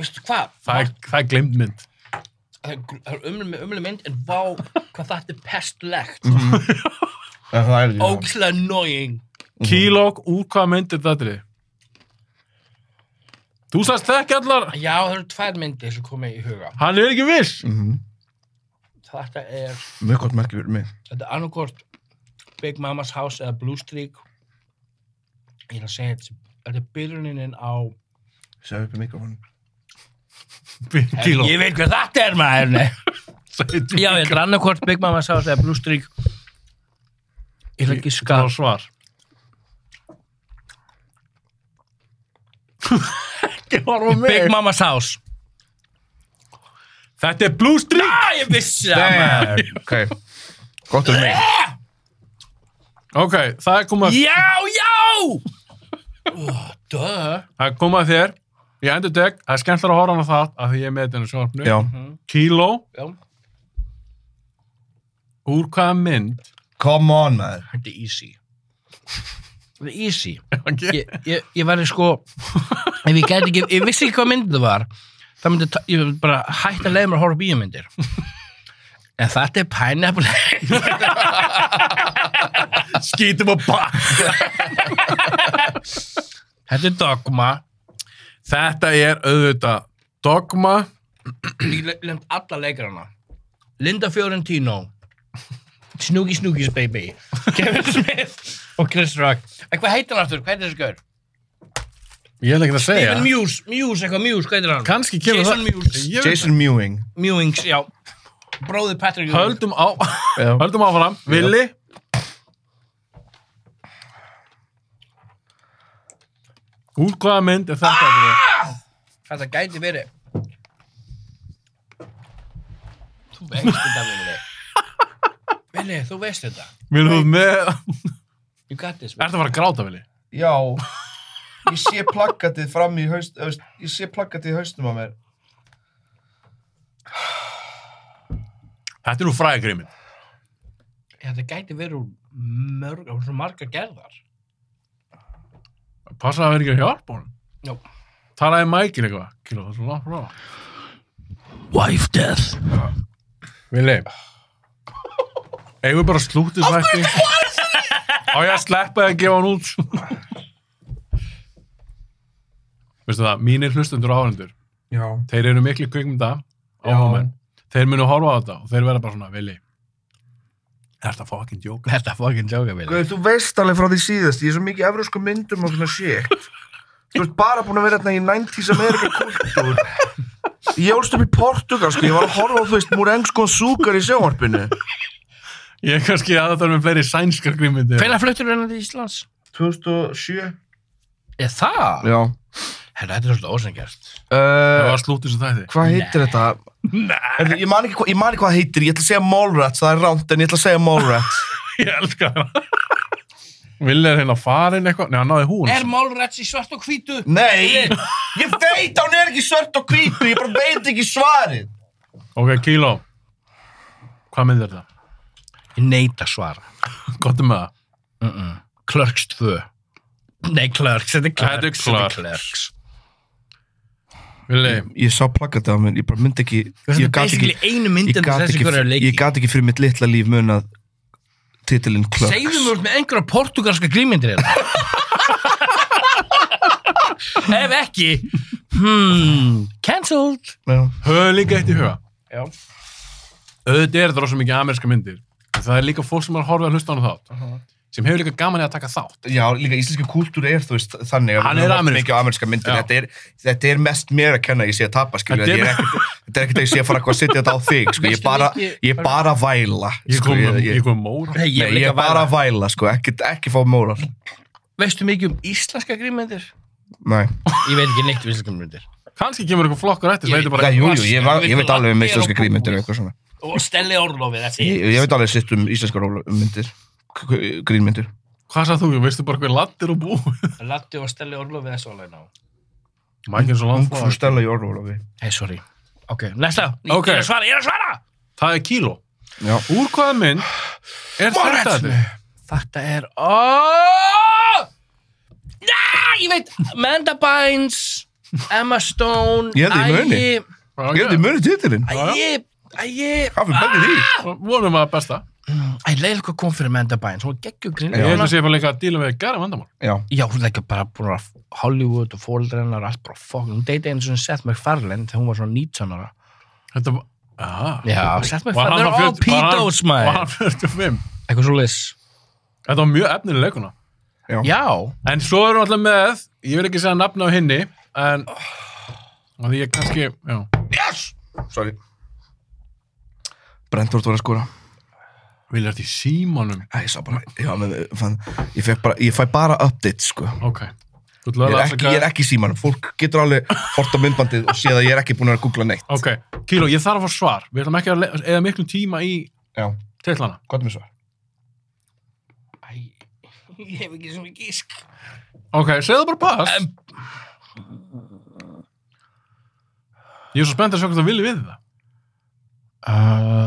Speaker 5: veistu hvað?
Speaker 4: það er, það er glemt mynd.
Speaker 6: Mhm.
Speaker 5: Það er- það er umlega umlega mynd, en vá, hvað þetta er pestlegt.
Speaker 4: Mhm.
Speaker 6: Það er ég
Speaker 5: Ógislega annoying.
Speaker 4: Kílók, úr hvaða mynd er þetta aðri? Þú sagðist þekki allar,
Speaker 5: Já, það eru tvær myndir sem komið í huga.
Speaker 4: hann er ekki viss.
Speaker 6: Mhm.
Speaker 5: Þetta er,
Speaker 6: Mjög gott merkið fyrir mig
Speaker 5: þetta er annarkort Big Mama's House eða Blue Streak. Ég er að segja þetta, þetta er byrjunin á
Speaker 6: Segðu upp í mikrofónu
Speaker 4: kíló.
Speaker 5: Ég veit hvað þetta er maður
Speaker 4: (laughs)
Speaker 5: nei. Já, ég er annarkvort Big Mama sá þetta Brústrík Ég ætla ekki
Speaker 4: Það
Speaker 5: ská
Speaker 4: var
Speaker 5: (laughs)
Speaker 4: svar. Ekki horfa á
Speaker 5: Big
Speaker 4: mig.
Speaker 5: Mama sás
Speaker 4: Þetta er Blue Streak.
Speaker 5: Já, ég vissi það maður
Speaker 6: Ok, gott um mig
Speaker 4: Ok, það er komað
Speaker 5: Já, já Döð
Speaker 4: yeah. koma að þér. Ég endur deg. Það er skemmtilega að horfa á hana það af því ég er með þetta í sjónarpnu.
Speaker 6: Já,
Speaker 4: Kíló.
Speaker 5: Já.
Speaker 4: Úr hvaða mynd?
Speaker 6: come on maður
Speaker 5: Þetta er easy Þetta er easy
Speaker 4: Okay.
Speaker 5: Ég, ég, ég væri sko Ef ég gæti ekki, ég vissi ekki hvað mynd það var Það myndi, ta- ég myndi bara hætt að leiða mér að horfa á bíómyndir En þetta er Pineapple
Speaker 4: Skítum og bá.
Speaker 5: Þetta er dogma
Speaker 4: Þetta er auðvitað dogma.
Speaker 5: Ég le- lemt alla leikarana Linda Fiorentino Snooki Snooki's Baby Kevin Smith og Chris Rock En hvað heitir hann aftur? Hvað heitir þessi gaur?
Speaker 4: Ég hef ekki að segja.
Speaker 5: Steven Muse, Muse, eitthvað Muse, hvað heitir hann?
Speaker 4: Kanski kemur
Speaker 5: Jason
Speaker 4: það.
Speaker 5: Mewes.
Speaker 4: Ég veit
Speaker 6: Jason Mewing
Speaker 5: Mewings, já Bróði Patrick Ewing.
Speaker 4: Höldum á
Speaker 6: Já.
Speaker 4: (laughs) Höldum áfram Villi Úr hvaða mynd er þetta? Ah!
Speaker 5: Þetta gæti verið Þú veist þetta, Vili Vili, þú veist þetta
Speaker 4: Vil þú með
Speaker 5: You got this,
Speaker 4: Ertu að fara að gráta, Villi?
Speaker 6: Já Ég sé plakatið fram í haust öst, Ég sé plakatið í haustum á mér
Speaker 4: Þetta er nú fræðigrimin
Speaker 5: Þetta gæti verið úr mörg, úr svo margar gerðar
Speaker 4: Passa að vera ekki að hjálpa honum
Speaker 5: Já.
Speaker 4: Talaði Michael eitthvað Kilo, það er svo langt frá
Speaker 5: Wife Death
Speaker 4: Villi Eigum við bara slútið svætti Á ég að sleppa þið að gefa hann út Veistu það, mínir hlustendur og áhendur
Speaker 6: Já
Speaker 4: þeir eru miklu kvikmynda áhugumenn, þeir munu horfa á þetta og þeir verða bara svona, Vili er þetta fucking joke?
Speaker 5: Þetta fokkin sjóka, Vili
Speaker 6: Guð, þú veist alveg frá því síðast Ég er svo mikið evrósku myndum og svona shit Þú ert bara búin að vera þarna í 90s Amerika kultúr Ég ólst upp í Portugal sko Ég var að horfa á þú veist Murengo Súkar í sjónvarpinu
Speaker 4: Ég er kannski aðeins með fleiri sænskar kvikmyndir
Speaker 5: Hvenær fluttur hennar til Íslands?
Speaker 6: 2007
Speaker 5: Er það?
Speaker 6: Já
Speaker 5: Herra, þetta er svolítið ósengjast.
Speaker 4: Það
Speaker 6: uh,
Speaker 4: var slútið sem þætti
Speaker 6: Hvað heitir þetta? Nei Ég man ekki, hva- ég man ekki hvað það heitir Ég ætla að segja Mallrats Það er rámt en ég ætla að segja
Speaker 4: (laughs)
Speaker 6: Mallrats
Speaker 4: Ég elska það Vili er hérna farin eitthvað Nei, hann náði hún
Speaker 5: Er Málræts í svart og hvítu?
Speaker 6: Nei Ég veit að hún er ekki svört og hvítu Ég bara veit ekki svarið
Speaker 4: Ok, Kíló Hvað myndir þetta? (laughs)
Speaker 5: Ég neita að svara.
Speaker 4: Gott um það
Speaker 5: Clerks 2. Nei, Clerks, þetta er
Speaker 4: Þetta er
Speaker 5: Clerks. þetta er
Speaker 4: Clerks. Vili,
Speaker 6: Ég sá plakatið á mér Ég bara myndi ekki
Speaker 5: Þetta
Speaker 6: Ég
Speaker 5: er
Speaker 6: gat ekki
Speaker 5: basically einu
Speaker 6: Ég
Speaker 5: myndin
Speaker 6: gat
Speaker 5: þessi
Speaker 6: ekki,
Speaker 5: hverju er
Speaker 6: ég
Speaker 5: leiki.
Speaker 6: gat ekki fyrir mitt litla líf munað titilinn Clerks
Speaker 5: Segðu mér út með einhverja portugalska grímyndir (laughs) hérna. Ef ekki, hmm, cancelled.
Speaker 6: Já.
Speaker 4: höfðu líka eitt í huga
Speaker 5: Já.
Speaker 4: Auðvitað er þetta rosa mikið ameríska myndir en Það er líka fólk sem er að horfa að hlusta á hana þátt sem hefur líka gaman í að taka þátt
Speaker 6: Já, líka íslenska kultúr er þú veist þannig að
Speaker 4: Hann
Speaker 6: við
Speaker 4: er
Speaker 6: höfum
Speaker 4: amerískur.
Speaker 6: mikið á ameríska myndin
Speaker 4: Já.
Speaker 6: þetta er, þetta er mest mér að kenna að ég sé að tapa skilju
Speaker 4: Þetta
Speaker 6: þetta
Speaker 4: er-
Speaker 6: er ekkert þetta er ekkert að ég sé að fara eitthvað að setja þetta á þig sko. ég,
Speaker 5: Veistu
Speaker 6: bara,
Speaker 5: mikið-
Speaker 6: ég er bara að væla
Speaker 4: Ég
Speaker 6: sko.
Speaker 4: kom, um-
Speaker 6: ég,
Speaker 4: ég
Speaker 6: ég,
Speaker 4: kom móra
Speaker 5: Nei,
Speaker 6: ég,
Speaker 5: ég vil
Speaker 6: ég
Speaker 5: ekki
Speaker 6: er bara að væla sko. ekki, ekki fá móral
Speaker 5: Veistu mikið um íslenska grímyndir?
Speaker 6: Nei.
Speaker 5: Ég veit ekki neitt um íslenska grímyndir.
Speaker 4: Kannski kemur eitthvað flokkur eftir sem
Speaker 5: Ég-
Speaker 4: heitir
Speaker 6: Já,
Speaker 4: bara
Speaker 6: jú, jú, ég, var,
Speaker 5: Ég
Speaker 6: ég
Speaker 5: vil
Speaker 6: veit alveg um
Speaker 5: latte
Speaker 6: íslenska
Speaker 5: og
Speaker 6: grímyndir og
Speaker 5: búbús.
Speaker 6: eitthvað svona.
Speaker 5: Og Stelli Orlofið, þessi.
Speaker 6: ég, ég veit alveg sitt um íslenska myndir k- k- grínmyndir
Speaker 4: Hvað sagði þú? Veistu bara hver lattir og bú? (laughs)
Speaker 5: Latti og Stelli Orlofið, þessi alveg ná.
Speaker 4: Mækir svo langt
Speaker 6: Ungfrú
Speaker 4: frá þér.
Speaker 6: Stella Jórlófi
Speaker 5: Hey, sorry. Ok, næsta.
Speaker 4: Ok.
Speaker 5: Ég er að svara, ég er að svara!
Speaker 4: Það er kíló
Speaker 6: Já.
Speaker 4: Úr hvaða mynd er þetta þig?
Speaker 5: Þetta er... Oh! Já, ég veit. Amanda Bynes, Emma Stone,
Speaker 6: Ég held ég muni.
Speaker 5: Ægi-
Speaker 6: Ég hefði munið titilinn
Speaker 5: Ægi, Ægi...
Speaker 6: Hvað fyrir bæðið því?
Speaker 4: Vonum að besta
Speaker 5: Æ, leið hvað kom fyrir Amanda Bynes. Hún geggjur
Speaker 6: Já.
Speaker 4: Ég held að
Speaker 5: grínlega.
Speaker 4: sé bara líka að díla við gæra vandamál
Speaker 6: Já
Speaker 5: Já, hún er ekki bara búin að Hollywood og fóreldra hennar og allt bara fokk. Hún deyti einu svona Seth MacFarlane þegar hún var svona 19 ára.
Speaker 4: Þetta var Ah.
Speaker 5: Já, Seth
Speaker 4: Var hann
Speaker 5: MacFarlane er
Speaker 4: þá
Speaker 5: all
Speaker 4: 40 var hann-
Speaker 5: pedos,
Speaker 4: var
Speaker 5: maður.
Speaker 4: hann 45
Speaker 5: Eitthvað svo liss.
Speaker 4: Þetta var mjög efnileg leikuna
Speaker 5: Já.
Speaker 4: En svo erum við alltaf með Ég vil ekki segja nafna á henni En Og því ég kannski Já
Speaker 6: Yes! Sorry. Brentford var að skora.
Speaker 4: Vilja þetta í símanum?
Speaker 6: Æ, ég sá bara, já, menn, fann, ég, fekk bara, ég fæ bara update, sko.
Speaker 4: Ok. Þú
Speaker 6: Ég
Speaker 4: ætlaðir
Speaker 6: er,
Speaker 4: að
Speaker 6: ekki, ég er
Speaker 4: afsaka-
Speaker 6: ekki í símanum. Fólk getur alveg hort á myndbandið og séð að ég er ekki búin að googla neitt.
Speaker 4: Ok, Kíló, ég þarf að fá svar. Við ætlum ekki að le- eða miklum tíma í
Speaker 6: Já,
Speaker 4: teitlana.
Speaker 6: hvað er mér svar?
Speaker 5: Æ, ég hef ekki sem ekki ísk.
Speaker 4: Ok, segðu bara pass. Ég er svo spennt að sjá hvað það vilji við það.
Speaker 6: uh,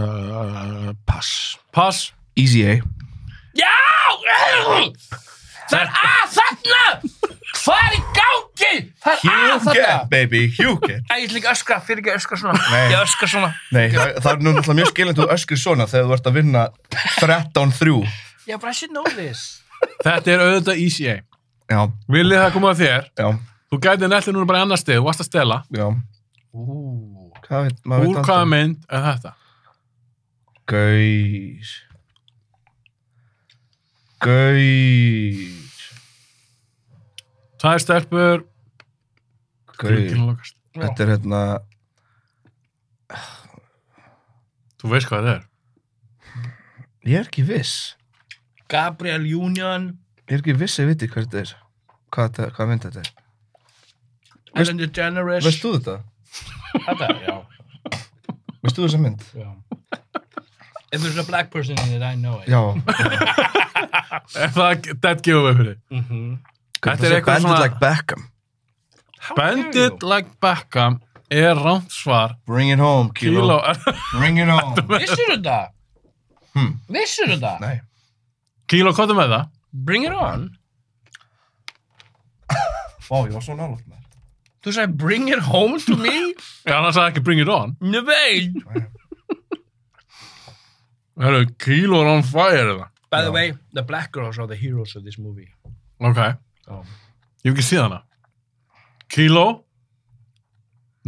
Speaker 5: Uh, pass.
Speaker 4: Pass.
Speaker 6: Easy A.
Speaker 5: Það er að þarna! Hvað er í gangi? Það er að
Speaker 6: Hugh
Speaker 5: þarna!
Speaker 6: Get, baby, Hugh Get.
Speaker 5: Æ, ég ætla ekki að öskra, fyrir ekki að öskra svona.
Speaker 6: Nei.
Speaker 5: Ég öskra svona.
Speaker 6: Nei, það, það er nú náttúrulega mjög skiljandu öskri svona þegar þú ert að vinna 13-3.
Speaker 5: Já, bara I should know this.
Speaker 4: Þetta er auðvitað ECA.
Speaker 6: Já,
Speaker 4: Viljið það koma að þér?
Speaker 6: já,
Speaker 4: Þú gætið nættið núna bara í annar stið, þú varst að stela.
Speaker 6: já.
Speaker 4: Ú,
Speaker 6: Hvað veit, maður veit
Speaker 4: úr hvaða mynd er þetta?
Speaker 6: Gauð. Gauð.
Speaker 4: Tvær stelpur.
Speaker 6: Gauð.
Speaker 4: Glugginn lokast.
Speaker 6: Þetta er hérna...
Speaker 4: Þú veist hvað það er.
Speaker 6: Ég er ekki viss.
Speaker 5: Gabriel Union,
Speaker 6: Ég er ekki viss að viti hvað þetta er. Hvað, þetta, hvað mynd þetta er.
Speaker 5: Ellen DeGeneres.
Speaker 6: Veist þú þetta?
Speaker 7: Þetta, já.
Speaker 6: Veist þú þessa mynd?
Speaker 7: já.
Speaker 5: If there's a black person in it, I know it.
Speaker 6: Já.
Speaker 4: Er það dead giveaway fyrir? þig?
Speaker 5: Mhm.
Speaker 4: Þetta er eitthvað
Speaker 6: Bandit
Speaker 4: svona-
Speaker 6: like Beckham.
Speaker 5: How dare you?
Speaker 4: Bandit like Beckham er rámt svar.
Speaker 6: Bring it home, Kilo.
Speaker 4: Kíló, er
Speaker 6: Bring it home.
Speaker 5: Vissirðu það?
Speaker 6: Hmm.
Speaker 5: Vissirðu það?
Speaker 6: Nei.
Speaker 4: Kíló, hvað er með það?
Speaker 5: Bring it on.
Speaker 6: Vá, ég var svo nálátt með þetta.
Speaker 5: Þú sagði bring it home to me?
Speaker 4: Já, hann sagði ekki bring it on.
Speaker 5: Nei, veit.
Speaker 4: Herru, Kíló er on fire eða?
Speaker 5: By the way, the black girls are the heroes of this movie.
Speaker 4: Ok.
Speaker 5: Já.
Speaker 4: Ég hef ekki séð hana. Kíló,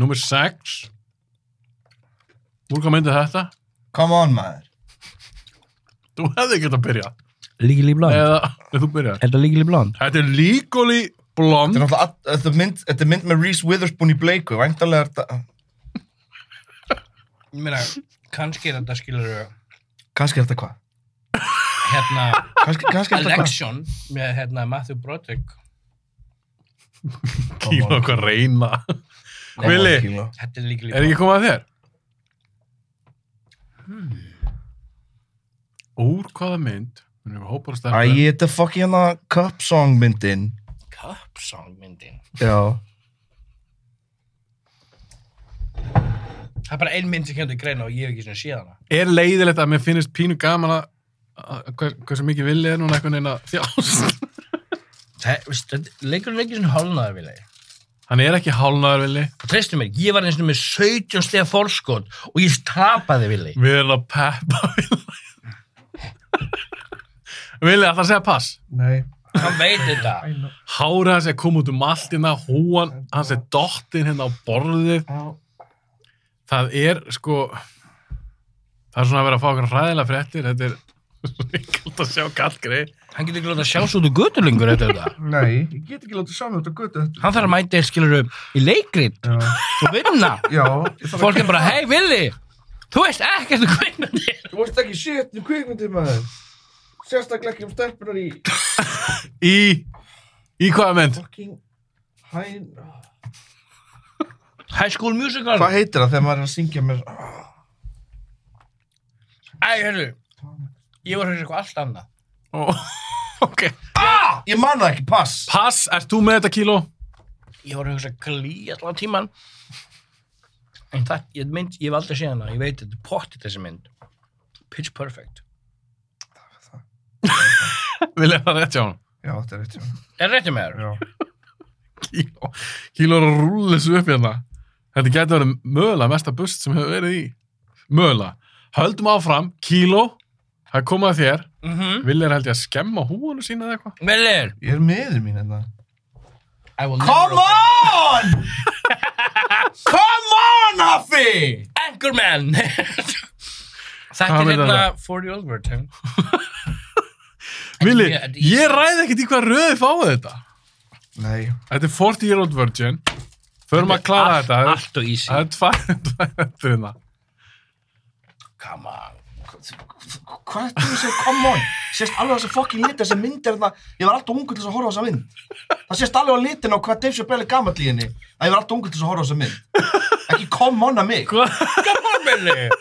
Speaker 4: nummer 6. Úr hvað myndið þetta?
Speaker 6: Come on, maður.
Speaker 4: Þú hefði ekki að byrja.
Speaker 5: Legally blonde.
Speaker 4: Eða, eða þú byrjar.
Speaker 5: Er það legally blonde?
Speaker 4: Þetta er líkóli blond.
Speaker 6: Þetta er náttúrulega, all- þetta er mynd, þetta er mynd með Reese Witherspoon í bleiku. Væntalega er þetta...
Speaker 5: Ég meina, kannski er þetta skilur
Speaker 6: Kannski er þetta hvað?
Speaker 5: hérna
Speaker 6: Kannski, kannski er þetta hvað?
Speaker 5: election með hérna Matthew Broderick.
Speaker 4: Kíló, hvað reyna.
Speaker 6: Come on,
Speaker 4: Willi.
Speaker 6: Kilo.
Speaker 5: Þetta er legally
Speaker 4: Er
Speaker 5: blonde.
Speaker 4: ekki komað að þér?
Speaker 6: Hmm.
Speaker 4: Úr hvaða mynd? Mér hefur hópar að
Speaker 6: Æ,
Speaker 4: stefna.
Speaker 6: þetta er fucking hérna cup song myndin.
Speaker 5: Cup song myndin.
Speaker 6: Já.
Speaker 5: Það er bara ein mynd sem kemur til greina og ég hef ekki svona séð hana.
Speaker 4: Er leiðilegt að mér finnist pínu gaman að að- hvers- hversu mikið villi er núna einhvern veginn að (laughs) þjást?
Speaker 5: Það, veist, leikur er ekki svona hálnaður vilja.
Speaker 4: Hann er ekki hálnaður villi.
Speaker 5: Og treystu mér, ég var eins og með 17 stega fórskot og ég tapaði vilji.
Speaker 4: Við erum að peppa villi. villi, ætla að segja pass.
Speaker 6: Nei.
Speaker 5: Hann veit þetta.
Speaker 4: Hárið hans er komið út um allt hérna, húan, hans er dottinn hérna á borðið. Það er sko það er svona að vera að fá okkur hræðilega fréttir þetta er ríkald að sjá kallgrei
Speaker 5: Hann getur ekki láta sjá svo út úr götulingur eftir þetta.
Speaker 6: Nei, ég get ekki látið saman þetta götu þetta.
Speaker 5: Hann þarf að mæta, skilur, í leikrit
Speaker 6: Já.
Speaker 5: og vinna.
Speaker 6: Já. ég þarf að-
Speaker 5: Fólk er bara, hei Vili, þú veist ekkert um kvikmyndir.
Speaker 6: Þú vorst ekki shit um kvikmyndir maður. Sérstaklega ekki um stelpunar í
Speaker 4: í, í hvaða mynd?
Speaker 6: fucking hæn...
Speaker 5: High School Musical.
Speaker 6: Hvað heitir það þegar maður er að syngja með...
Speaker 5: Æ, hérru, ég var að hugsa eitthvað allt annað.
Speaker 4: Ó, ok,
Speaker 6: Ég man það ekki, pass.
Speaker 4: pass, ert þú með þetta kíló?
Speaker 5: Ég var að hugsa glý allan tíman. En það, ég mynd, ég hef aldrei séð hana, ég veit þetta er pottið þessi mynd. Pitch Perfect.
Speaker 4: Vil ég það rétt hjá hann?
Speaker 6: Já, þetta er rétt hjá.
Speaker 5: Er réttið með þér?
Speaker 6: Já.
Speaker 4: Kíló, kíló er að rúla þessu upp hérna þetta getur verið mögulega mesta bust sem hefur verið í mögulega, höldum áfram kíló, það er komið að þér
Speaker 5: Mhm.
Speaker 4: vil er held ég að skemma húanu sína eða eitthvað
Speaker 5: Vili,
Speaker 6: Ég er meður mín hérna.
Speaker 5: I will never
Speaker 6: Come
Speaker 5: open
Speaker 6: on! Come on, Hafi!
Speaker 5: Anchorman. (laughs) Þetta
Speaker 4: Hvað
Speaker 5: er
Speaker 4: myndi
Speaker 5: hérna
Speaker 4: það?
Speaker 5: 40 Old Word. hein?
Speaker 4: Vili,
Speaker 5: Ég- ég-
Speaker 4: ég ræði ekkert í hvað röði fáið þetta
Speaker 6: Nei.
Speaker 4: Þetta er 40 Year Old Virgin Förum að klara
Speaker 7: Allt-
Speaker 4: þetta.
Speaker 7: Allt og easy.
Speaker 4: Það er tvær, (laughs) tvær hendur hérna.
Speaker 7: Come on. Hvað er þetta sem, come on? Sérst alveg þessi fokkin lit, þessi mynd er þarna, ég var alltaf ungur til þess að horfa á þessa mynd. Það sérst alveg á litin á hvað Dave Chappelle er gamall í henni, að ég var alltaf ungur til þess að horfa á þessa mynd. Ekki come on að mig. Come on, minni.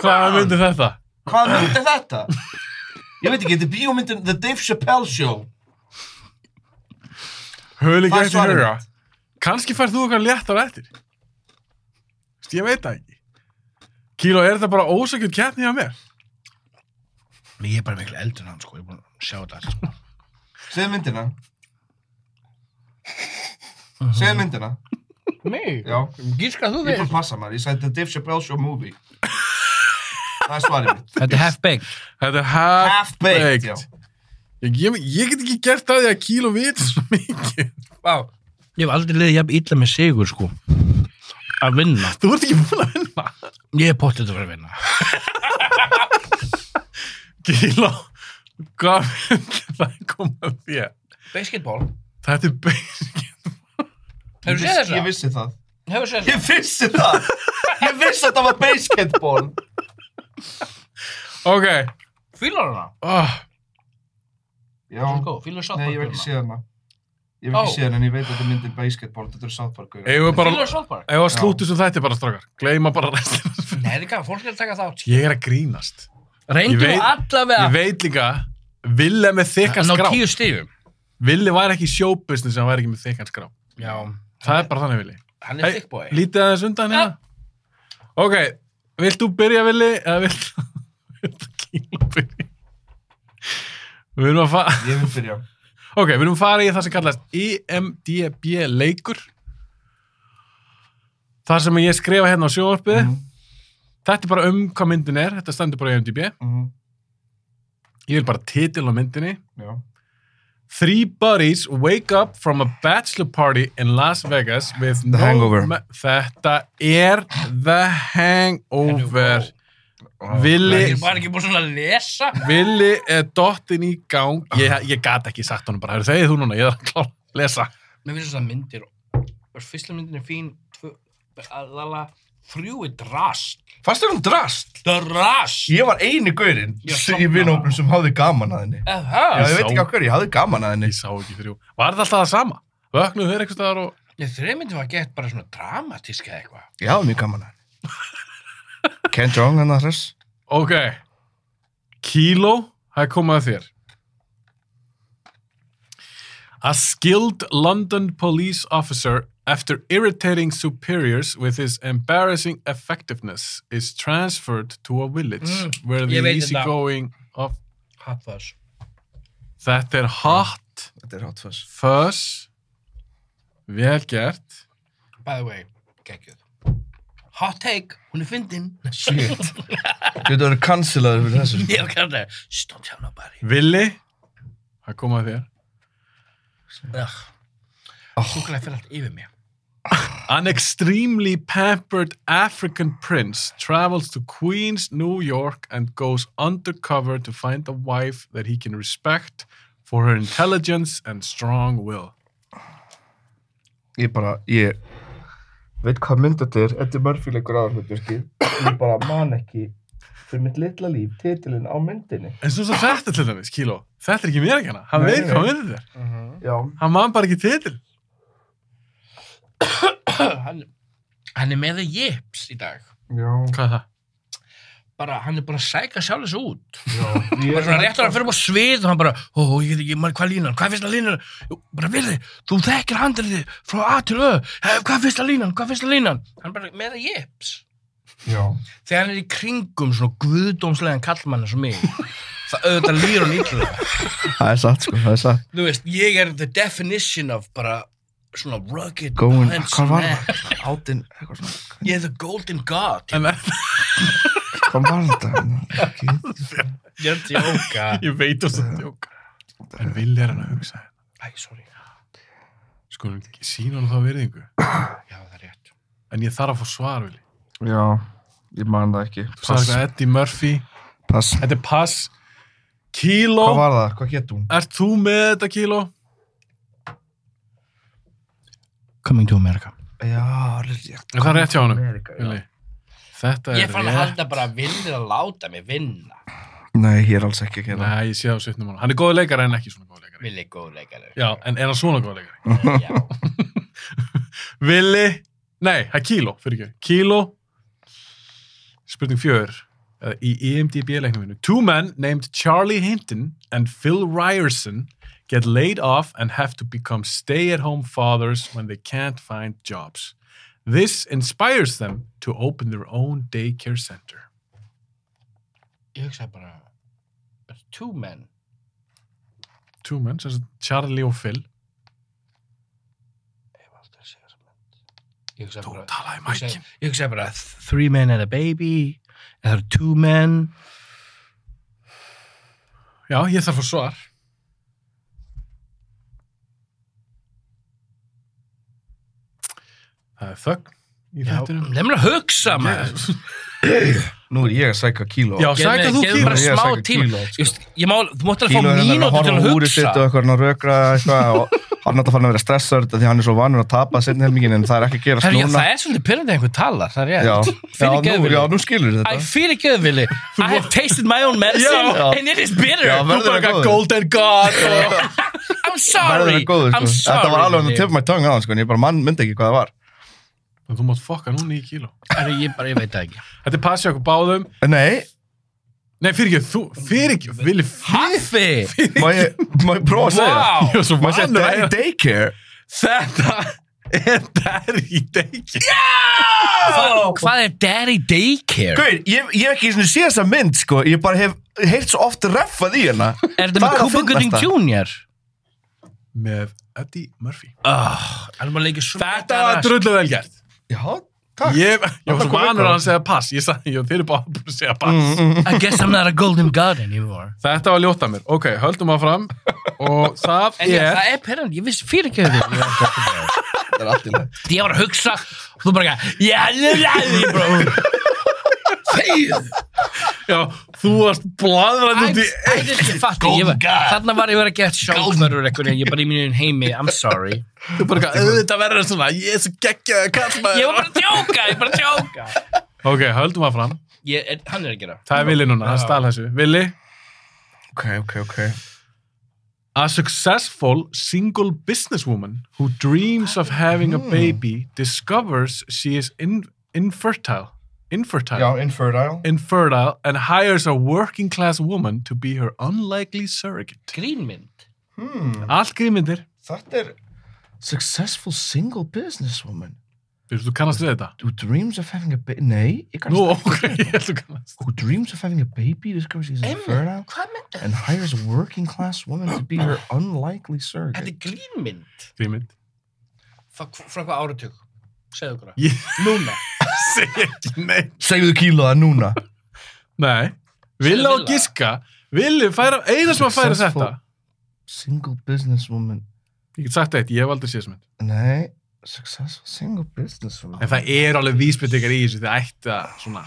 Speaker 4: Hvaða myndi þetta?
Speaker 7: Hvaða mynd er þetta? Ég veit ekki, þetta er bíómyndin The Dave Chappelle Show.
Speaker 4: Höfðin
Speaker 7: Það er
Speaker 4: gæti
Speaker 7: svarið
Speaker 4: huga.
Speaker 7: mitt.
Speaker 4: Kanski færð þú eitthvað létt á eftir. Vist, ég veit það ekki. Kíló, er þetta bara ósökjum keppni hjá mér?
Speaker 5: Ég er bara miklu eldur en hann, sko. Ég er búin að sjá þetta. allt, Sko.
Speaker 7: Segðu myndina. Segðu myndina.
Speaker 5: Mig?
Speaker 7: Já.
Speaker 5: Gíska þú
Speaker 7: Ég er bara að passa maður, ég sagði The Dave Chappelle Show Movie. Það er svarið mitt.
Speaker 5: Þetta er half-baked.
Speaker 4: Þetta er half,
Speaker 7: Half-baked, já.
Speaker 4: Ég, ég, ég get ekki gert að því að kíló viti svo mikið.
Speaker 5: Vá. Ég hef aldrei liðið jafn illa með sigur, sko. Að vinna.
Speaker 4: Þú ert ekki búin að vinna.
Speaker 5: Ég er pottið að vera að vinna.
Speaker 4: Kíló, hvað myndi það koma þér?
Speaker 5: Basketball?
Speaker 4: Þetta er basic.
Speaker 5: Hefur séð þessa?
Speaker 7: Ég vissi það.
Speaker 5: Hefur séð
Speaker 7: Ég vissi það Ég vissi að það var basketball
Speaker 4: Ok.
Speaker 5: Fýlar hana?
Speaker 4: Oh,
Speaker 7: Já,
Speaker 5: Fýlar
Speaker 7: nei, ég hef ekki séð hana Ég hef
Speaker 5: Ó.
Speaker 7: ekki séð hana en ég veit að þetta myndir basketball Þetta eru South Park
Speaker 4: Eigum við bara...
Speaker 5: South Park?
Speaker 4: Ef að slútu sem þetta er bara strákar. Gleima bara restina.
Speaker 5: Nei, þetta er hvað, fólk er að taka þátt.
Speaker 4: Ég er að grínast. Ég
Speaker 5: Reyndu
Speaker 4: veit-
Speaker 5: allavega.
Speaker 4: Ég veit líka, Ville er með þykkan
Speaker 5: Ná
Speaker 4: skrá.
Speaker 5: tíu stífum.
Speaker 4: Ville var ekki í showbusiness en hann væri ekki með þykkan skrá.
Speaker 5: Já.
Speaker 4: Það er bara þannig, Ville.
Speaker 5: Hann
Speaker 4: Hey, Lítið aðeins undan hérna. Ok, vilt þú byrja, Vili? Eða vilt (laughs) vilt Kíló byrja? Við erum að fara...
Speaker 7: Ég vil byrja
Speaker 4: Ok, við erum að fara í það sem kallast E IMDB leikur. Það sem ég skrifa hérna á sjóvarpið.
Speaker 7: Mhm.
Speaker 4: Þetta er bara um hvað myndin er. Þetta stendur bara í E IMDB.
Speaker 7: Mhm,
Speaker 4: Ég vil bara titil á myndinni.
Speaker 7: Já,
Speaker 4: Three buddies wake up from a bachelor party in Las Vegas with no...
Speaker 6: Hangover.
Speaker 4: me- Þetta er The Hangover.
Speaker 7: Vá.
Speaker 4: Vili
Speaker 5: Ég var ekki búin svona að lesa.
Speaker 4: Vili er dottin í gang ég, ég gat ekki sagt honum bara, þegar þú núna ég er að klára að lesa
Speaker 5: Mér finnst þess að myndir. Fyrsta myndin er fín. tvö- Lala. Þrjú er drast.
Speaker 6: Fast er hún drast
Speaker 5: Drast.
Speaker 6: Ég var eini gaurinn
Speaker 5: Ég
Speaker 6: í
Speaker 5: sofnaði.
Speaker 6: vinahópnum sem hafði gaman að henni Já,
Speaker 5: Það.
Speaker 6: ég veit
Speaker 4: sá-
Speaker 6: ekki á hverju, ég hafði gaman að henni
Speaker 4: ég sá ekki þrjú, var þetta alltaf það sama? vöknuðu þeir eitthvað staðar og
Speaker 5: Þrjum myndin var gett bara svona dramatíska eitthvað.
Speaker 6: Ég hafði mjög gaman að henni Ken hérna, Jong hann að þess
Speaker 4: ok, kíló það er komið að þér A skilled London police officer after irritating superiors with his embarrassing effectiveness is transferred to a village
Speaker 5: Mm,
Speaker 4: where the
Speaker 5: ég veit þetta.
Speaker 4: easygoing of
Speaker 5: Hot Fuzz.
Speaker 4: Þetta er hot
Speaker 6: Þetta er hot fuzz
Speaker 4: fuzz vel gert
Speaker 5: By the way, geggjöð. Hot take, hún er fyndin.
Speaker 6: Shit Þetta verður cancelaður fyrir þessu
Speaker 5: (laughs) Ég hef kannan það. Shh, don't tell nobody.
Speaker 4: Villi það kom að þér
Speaker 5: Ugh.
Speaker 6: Oh.
Speaker 5: Súkulega fyrir allt yfir mig.
Speaker 4: An extremely pampered African prince travels to Queens, New York and goes undercover to find a wife that he can respect for her intelligence and strong will
Speaker 6: Ég bara, ég veit hvað mynd þetta er Þetta er Murphy leikur aðalhutverki Ég bara man ekki fyrir mitt litla líf titilinn á myndinni
Speaker 4: En svo svo þetta til dæmis, Kíló Þetta er ekki mér ekki hana, hann
Speaker 6: Nei,
Speaker 4: veit
Speaker 6: nei.
Speaker 4: hvað hann veit þér
Speaker 6: Já
Speaker 4: Hann man bara ekki titil
Speaker 5: hann, hann er með það jips í dag.
Speaker 6: Já,
Speaker 4: Hvað er það?
Speaker 5: Bara, hann er búin að sæka sjálf þessu út. (laughs)
Speaker 6: já
Speaker 5: Bara svona rétt að hann fyrir á svið og hann bara, ó, ég veit ekki, maður, hvað línan, hvað finnst að línan? Jú, bara virði, þú þekkir handriðið frá A til Ö, Eh, hvað finnst að línan, hvað finnst að línan? Hann er bara með það jips.
Speaker 6: Já
Speaker 5: Þegar hann er í kringum svona guðdómslegan kallmann eins og mig, það auðvitað lýr hann ítlulega.
Speaker 6: Það er satt sko, það er satt
Speaker 5: þú veist, ég er the definition of bara svona rugged
Speaker 6: Góin,
Speaker 5: man's
Speaker 6: hvað var
Speaker 5: man.
Speaker 6: það? Átinn, eitthvað svona
Speaker 5: Ég er the golden god
Speaker 4: En
Speaker 6: Hvað var þetta? hérna?
Speaker 5: Ég er djóka
Speaker 4: ég veit þess að djóka En Villi er hann að hugsa
Speaker 5: Æ, sorry,
Speaker 4: Skulum ekki sína hann þá virðingu.
Speaker 5: já það er rétt
Speaker 4: En ég þarf að fá svar, Vili.
Speaker 6: Já, ég man það ekki
Speaker 4: Þú sagði eitthvað Eddie Murphy.
Speaker 6: pass
Speaker 4: Þetta er pass. Kíló.
Speaker 6: Hvað var það? Hvað hétt hún?
Speaker 4: Ert þú með þetta kíló?
Speaker 5: Coming to America
Speaker 7: Já, rétt.
Speaker 4: Er það rétt hjá honum?
Speaker 7: Amerika, já.
Speaker 4: Vili? Þetta
Speaker 3: Ég
Speaker 4: er
Speaker 3: fann að halda bara að vinnir að láta mig vinna.
Speaker 7: Nei, ég er alls ekki að gera.
Speaker 4: Nei, ég sé það á sittnum hann. Hann er góð leikari en ekki svona góð leikari.
Speaker 3: Villi góð leikari.
Speaker 4: Já, en er hann svona góð leikari?
Speaker 3: Já.
Speaker 4: Vili, nei, það er kíló, fyrir ekki. Kíló, spurning fjör, uh, í IMDb-leiknuminu. Two men named Charlie Hinton and Phil Ryerson get laid off and have to become stay-at-home fathers when they can't find jobs. This inspires them to open their own daycare center.
Speaker 3: Ég hugsaði bara, two men.
Speaker 4: Two men, sem sagt Charlie og Phil.
Speaker 3: Ég hef aldrei séð þessa mynd. Ég hugsaði
Speaker 4: Þú
Speaker 3: bara,
Speaker 4: talaði
Speaker 3: ég hugsaði-
Speaker 4: mækin.
Speaker 3: ég hugsaði bara,
Speaker 5: Three men and a baby eða það eru two men
Speaker 4: Já, ég þarf að svar. Það er þögn í
Speaker 5: Já,
Speaker 4: þettinum.
Speaker 5: nefnilega hugsa maður
Speaker 7: Nú er ég að sækja kíló.
Speaker 4: Já,
Speaker 5: Gefðu-
Speaker 4: sækja þú
Speaker 5: gefðu
Speaker 4: kíló.
Speaker 5: bara
Speaker 7: Ég er að
Speaker 5: smá
Speaker 7: sækja
Speaker 5: tíma
Speaker 7: kíló,
Speaker 5: Ég veist, ég má, þú mátt alveg
Speaker 7: Kíló
Speaker 5: fá
Speaker 7: er hérna að
Speaker 5: mínútu til
Speaker 7: horfa á
Speaker 5: að
Speaker 7: úrið sitt og
Speaker 5: hugsa
Speaker 7: eitthvað að rökra eitthvað og hann er náttúrulega farin að vera stressaður þetta því hann er svo vanur að tapa setni helmingin en það er ekki að gerast
Speaker 5: Herri, já,
Speaker 7: núna.
Speaker 5: það er svolítið pyrrandi að einhver talar, það er
Speaker 7: Já,
Speaker 5: rétt.
Speaker 7: já,
Speaker 5: Fyrir
Speaker 7: nú, já,
Speaker 5: geðvili.
Speaker 7: nú skilur
Speaker 5: Æ,
Speaker 6: þetta
Speaker 5: fyrir geðvili. I
Speaker 6: (laughs)
Speaker 5: have tasted my own medicine
Speaker 7: Já.
Speaker 5: and it is bitter.
Speaker 7: Já,
Speaker 5: Þú
Speaker 7: verður
Speaker 5: bara
Speaker 7: að
Speaker 5: got
Speaker 7: góður.
Speaker 5: golden god. I'm
Speaker 6: Verður
Speaker 5: sorry.
Speaker 6: að góður, sko.
Speaker 5: I'm sorry.
Speaker 6: Þetta var alveg hann að
Speaker 5: Lilli.
Speaker 6: tifa mætt tongue á hann sko, en ég bara mann myndi ekki hvað það var
Speaker 4: En Þú mátt fokka nú nýju kíló.
Speaker 5: Herri, ég bara, ég veit það ekki.
Speaker 4: Þetta er passið okkur báðum.
Speaker 6: Nei,
Speaker 4: Nei, fyrir ekki, þú, fyrir ekki, vilja fyrir.
Speaker 5: Haffi!
Speaker 6: má ég, má ég prófa að segja það?
Speaker 5: Wow!
Speaker 4: Ég var svo
Speaker 6: Má ég segja
Speaker 4: vanur að
Speaker 6: Daddy
Speaker 4: heyra-
Speaker 6: Daycare?
Speaker 5: Þetta...
Speaker 4: er Derry Daycare.
Speaker 5: Hvað er daddy daycare?
Speaker 6: Gauð, ég ég hef ekki einu sinni séð þessa mynd sko, ég bara hef heyrt svo oft reffað í hérna
Speaker 5: Er þetta með
Speaker 6: Það er að
Speaker 5: Cooper Gooding
Speaker 6: fyndnasta.
Speaker 5: Jr.?
Speaker 4: Með Eddie Murphy.
Speaker 6: Ah.
Speaker 5: Alveg að leikja svona...
Speaker 4: Þetta var drullu vel gert.
Speaker 6: Já, takk
Speaker 4: Ég, ég var
Speaker 6: Þetta
Speaker 4: svo
Speaker 6: kom
Speaker 4: vanur
Speaker 6: eitthvað.
Speaker 4: að hann segja pass. Ég sagði, ég þeir eru bara búin að segja pass.
Speaker 6: Mm, (laughs)
Speaker 5: I guess I'm not a golden god anymore.
Speaker 4: Þetta var ljótt af mér. Ok, höldum áfram.
Speaker 5: (laughs)
Speaker 4: Og það
Speaker 5: En yeah.
Speaker 4: er...
Speaker 5: það er pyrrandi, ég vissi fyrir geðvili.
Speaker 6: Það er allt í lagi.
Speaker 5: Því ég var að hugsa þú bara ekki, já, ég bara
Speaker 4: Já, þú varst bladrað út í
Speaker 5: ég fatti, ég var, þarna var ég verið að geta sjókverður einhvern veginn, ég bara í mínum heimi I'm sorry,
Speaker 4: Þú bara eitthvað, auðvitað verður svona, ég er svo geggjaði kallmaður.
Speaker 5: ég var bara að djóka ég bara að djóka
Speaker 4: Ok, höldum að fram.
Speaker 3: ég, er- hann er að gera.
Speaker 4: Það er Vili núna, það stál þessu. Vili,
Speaker 6: Ok, ok, ok
Speaker 4: a successful single businesswoman who dreams of having a
Speaker 6: Hmm.
Speaker 4: baby discovers she is in, infertile. Infertile.
Speaker 6: Já, infertile
Speaker 4: Infertile and hires a working class woman to be her unlikely surrogate.
Speaker 5: grínmynd,
Speaker 6: Hmm.
Speaker 4: Allt grímyndir.
Speaker 6: Þetta er Successful single businesswoman
Speaker 4: Byrðu, þú kannast við þetta?
Speaker 6: Who dreams of having a baby Nei, ég kannast
Speaker 4: Nú, ok, ég held þú kannast.
Speaker 6: Who oh, dreams of having a baby discovers she's infertile
Speaker 5: hvað mynd
Speaker 6: and hires a working class woman to be her unlikely
Speaker 3: Þetta
Speaker 6: surrogate
Speaker 3: er grínmynd.
Speaker 4: Grímynd.
Speaker 3: Frá, frá hvað áratug? Segðu okkur það.
Speaker 4: Ég
Speaker 3: Núna.
Speaker 4: segi ekki neitt.
Speaker 6: Segðu kílóða núna
Speaker 4: Nei, Vili
Speaker 3: Segðu
Speaker 4: og
Speaker 3: Villa.
Speaker 4: Giska Vili færa, eina sem að færa
Speaker 6: Successful.
Speaker 4: þetta
Speaker 6: Single businesswoman
Speaker 4: Ég get sagt eitt, ég hef aldrei séð sem þetta
Speaker 6: Nei Successful single businesswoman
Speaker 4: En það eru alveg vísbyttingar í þessu Þið ætti að svona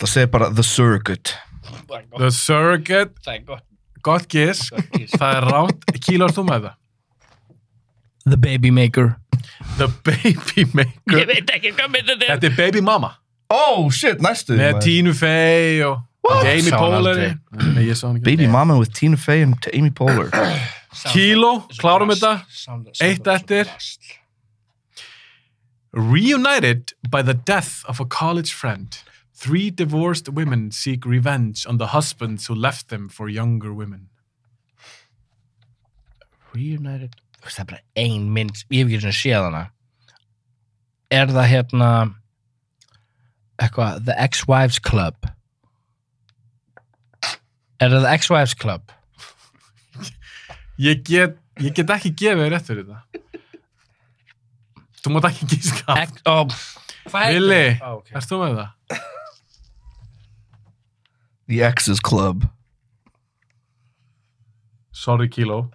Speaker 6: Það segir bara the surrogate
Speaker 3: Það er gott.
Speaker 4: The Surrogate,
Speaker 3: Það er gott.
Speaker 4: gott gisk
Speaker 3: gisk.
Speaker 4: Það er ránt, kíló er þú með það
Speaker 5: The Baby Maker
Speaker 4: The Baby
Speaker 3: Ég
Speaker 4: Maker
Speaker 3: veit ekki hvað mynd þetta er.
Speaker 4: Þetta er Baby Mama
Speaker 6: Oh shit, næstu
Speaker 4: Með
Speaker 6: maður.
Speaker 4: Tínu Fey og Amy
Speaker 5: Sá hann
Speaker 4: Poehler
Speaker 5: aldrei.
Speaker 4: Nei, ég sá hann ekki
Speaker 6: Baby Mama with Tina Fey and Amy Poehler
Speaker 4: Kíló, klárum þetta
Speaker 3: Sound- sound-
Speaker 4: Eitt eftir Reunited by the death of a college friend Three divorced women seek revenge on the husbands who left them for younger women
Speaker 5: Reunited Þú veist, það er bara ein mynd, ég hef ekki svona séð hana er það hérna eitthvað The Ex-Wives Club er það The Ex-Wives Club
Speaker 4: Ég get, ég get ekki gefið þér rétt fyrir þetta. Þú mátt ekki gíska.
Speaker 5: Ex oh, hvað heitir-
Speaker 4: Vili,
Speaker 5: Ó, ok.
Speaker 4: ert þú með það?
Speaker 6: The X's Club
Speaker 4: Sorry Kilo,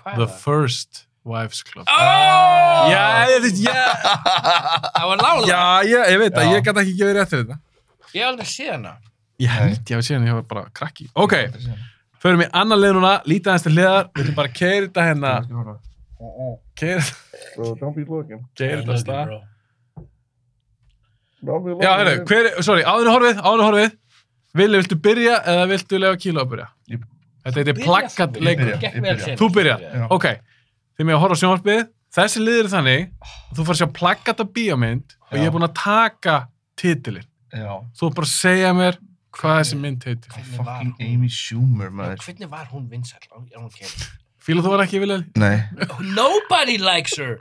Speaker 3: Hvað
Speaker 4: The
Speaker 3: er það?
Speaker 4: First Wives Club.
Speaker 3: Ó!
Speaker 4: Já, ég, veit- já,
Speaker 3: Það var lála.
Speaker 4: já, já, ég veit að ég get ekki gefið þér rétt fyrir þetta.
Speaker 3: Ég hef aldrei séð hana.
Speaker 4: Ég held ég að sé hann, ég var bara krakki. Ok, Förum í annan lið núna, lítið aðeins til hliðar. Við ætlum bara að keira þetta hérna. Keira
Speaker 8: So Oh, don't be looking.
Speaker 4: keira þetta af stað.
Speaker 8: Don't be looking.
Speaker 4: Já, hérna, hver, sorry, áður en horfið, áður en horfið. Vili, viltu byrja eða viltu lefa kíla að byrja?
Speaker 6: Ég-
Speaker 4: Þetta heitir plakkat leikur.
Speaker 6: byrja.
Speaker 5: Gekk
Speaker 6: ég
Speaker 5: vel
Speaker 6: byrja.
Speaker 5: seinast.
Speaker 4: Þú byrjar.
Speaker 5: Já.
Speaker 4: Ok, þið með að horfa á sjónvarpið Þessi lið er þannig að Þú fær að sjá plaggata bíómynd Og ég er búinn að taka titilin
Speaker 6: Já.
Speaker 4: Þú er bara að segja mér hvað þessi mynd heitir
Speaker 5: Hvernig var
Speaker 6: Fucking
Speaker 5: hún?
Speaker 6: Amy Schumer,
Speaker 5: Já,
Speaker 6: maður.
Speaker 5: Hvernig var hún vinsæl? Er hún fyrir?
Speaker 4: Fíla þú var ekki vilja
Speaker 6: Nei,
Speaker 5: Nobody likes her.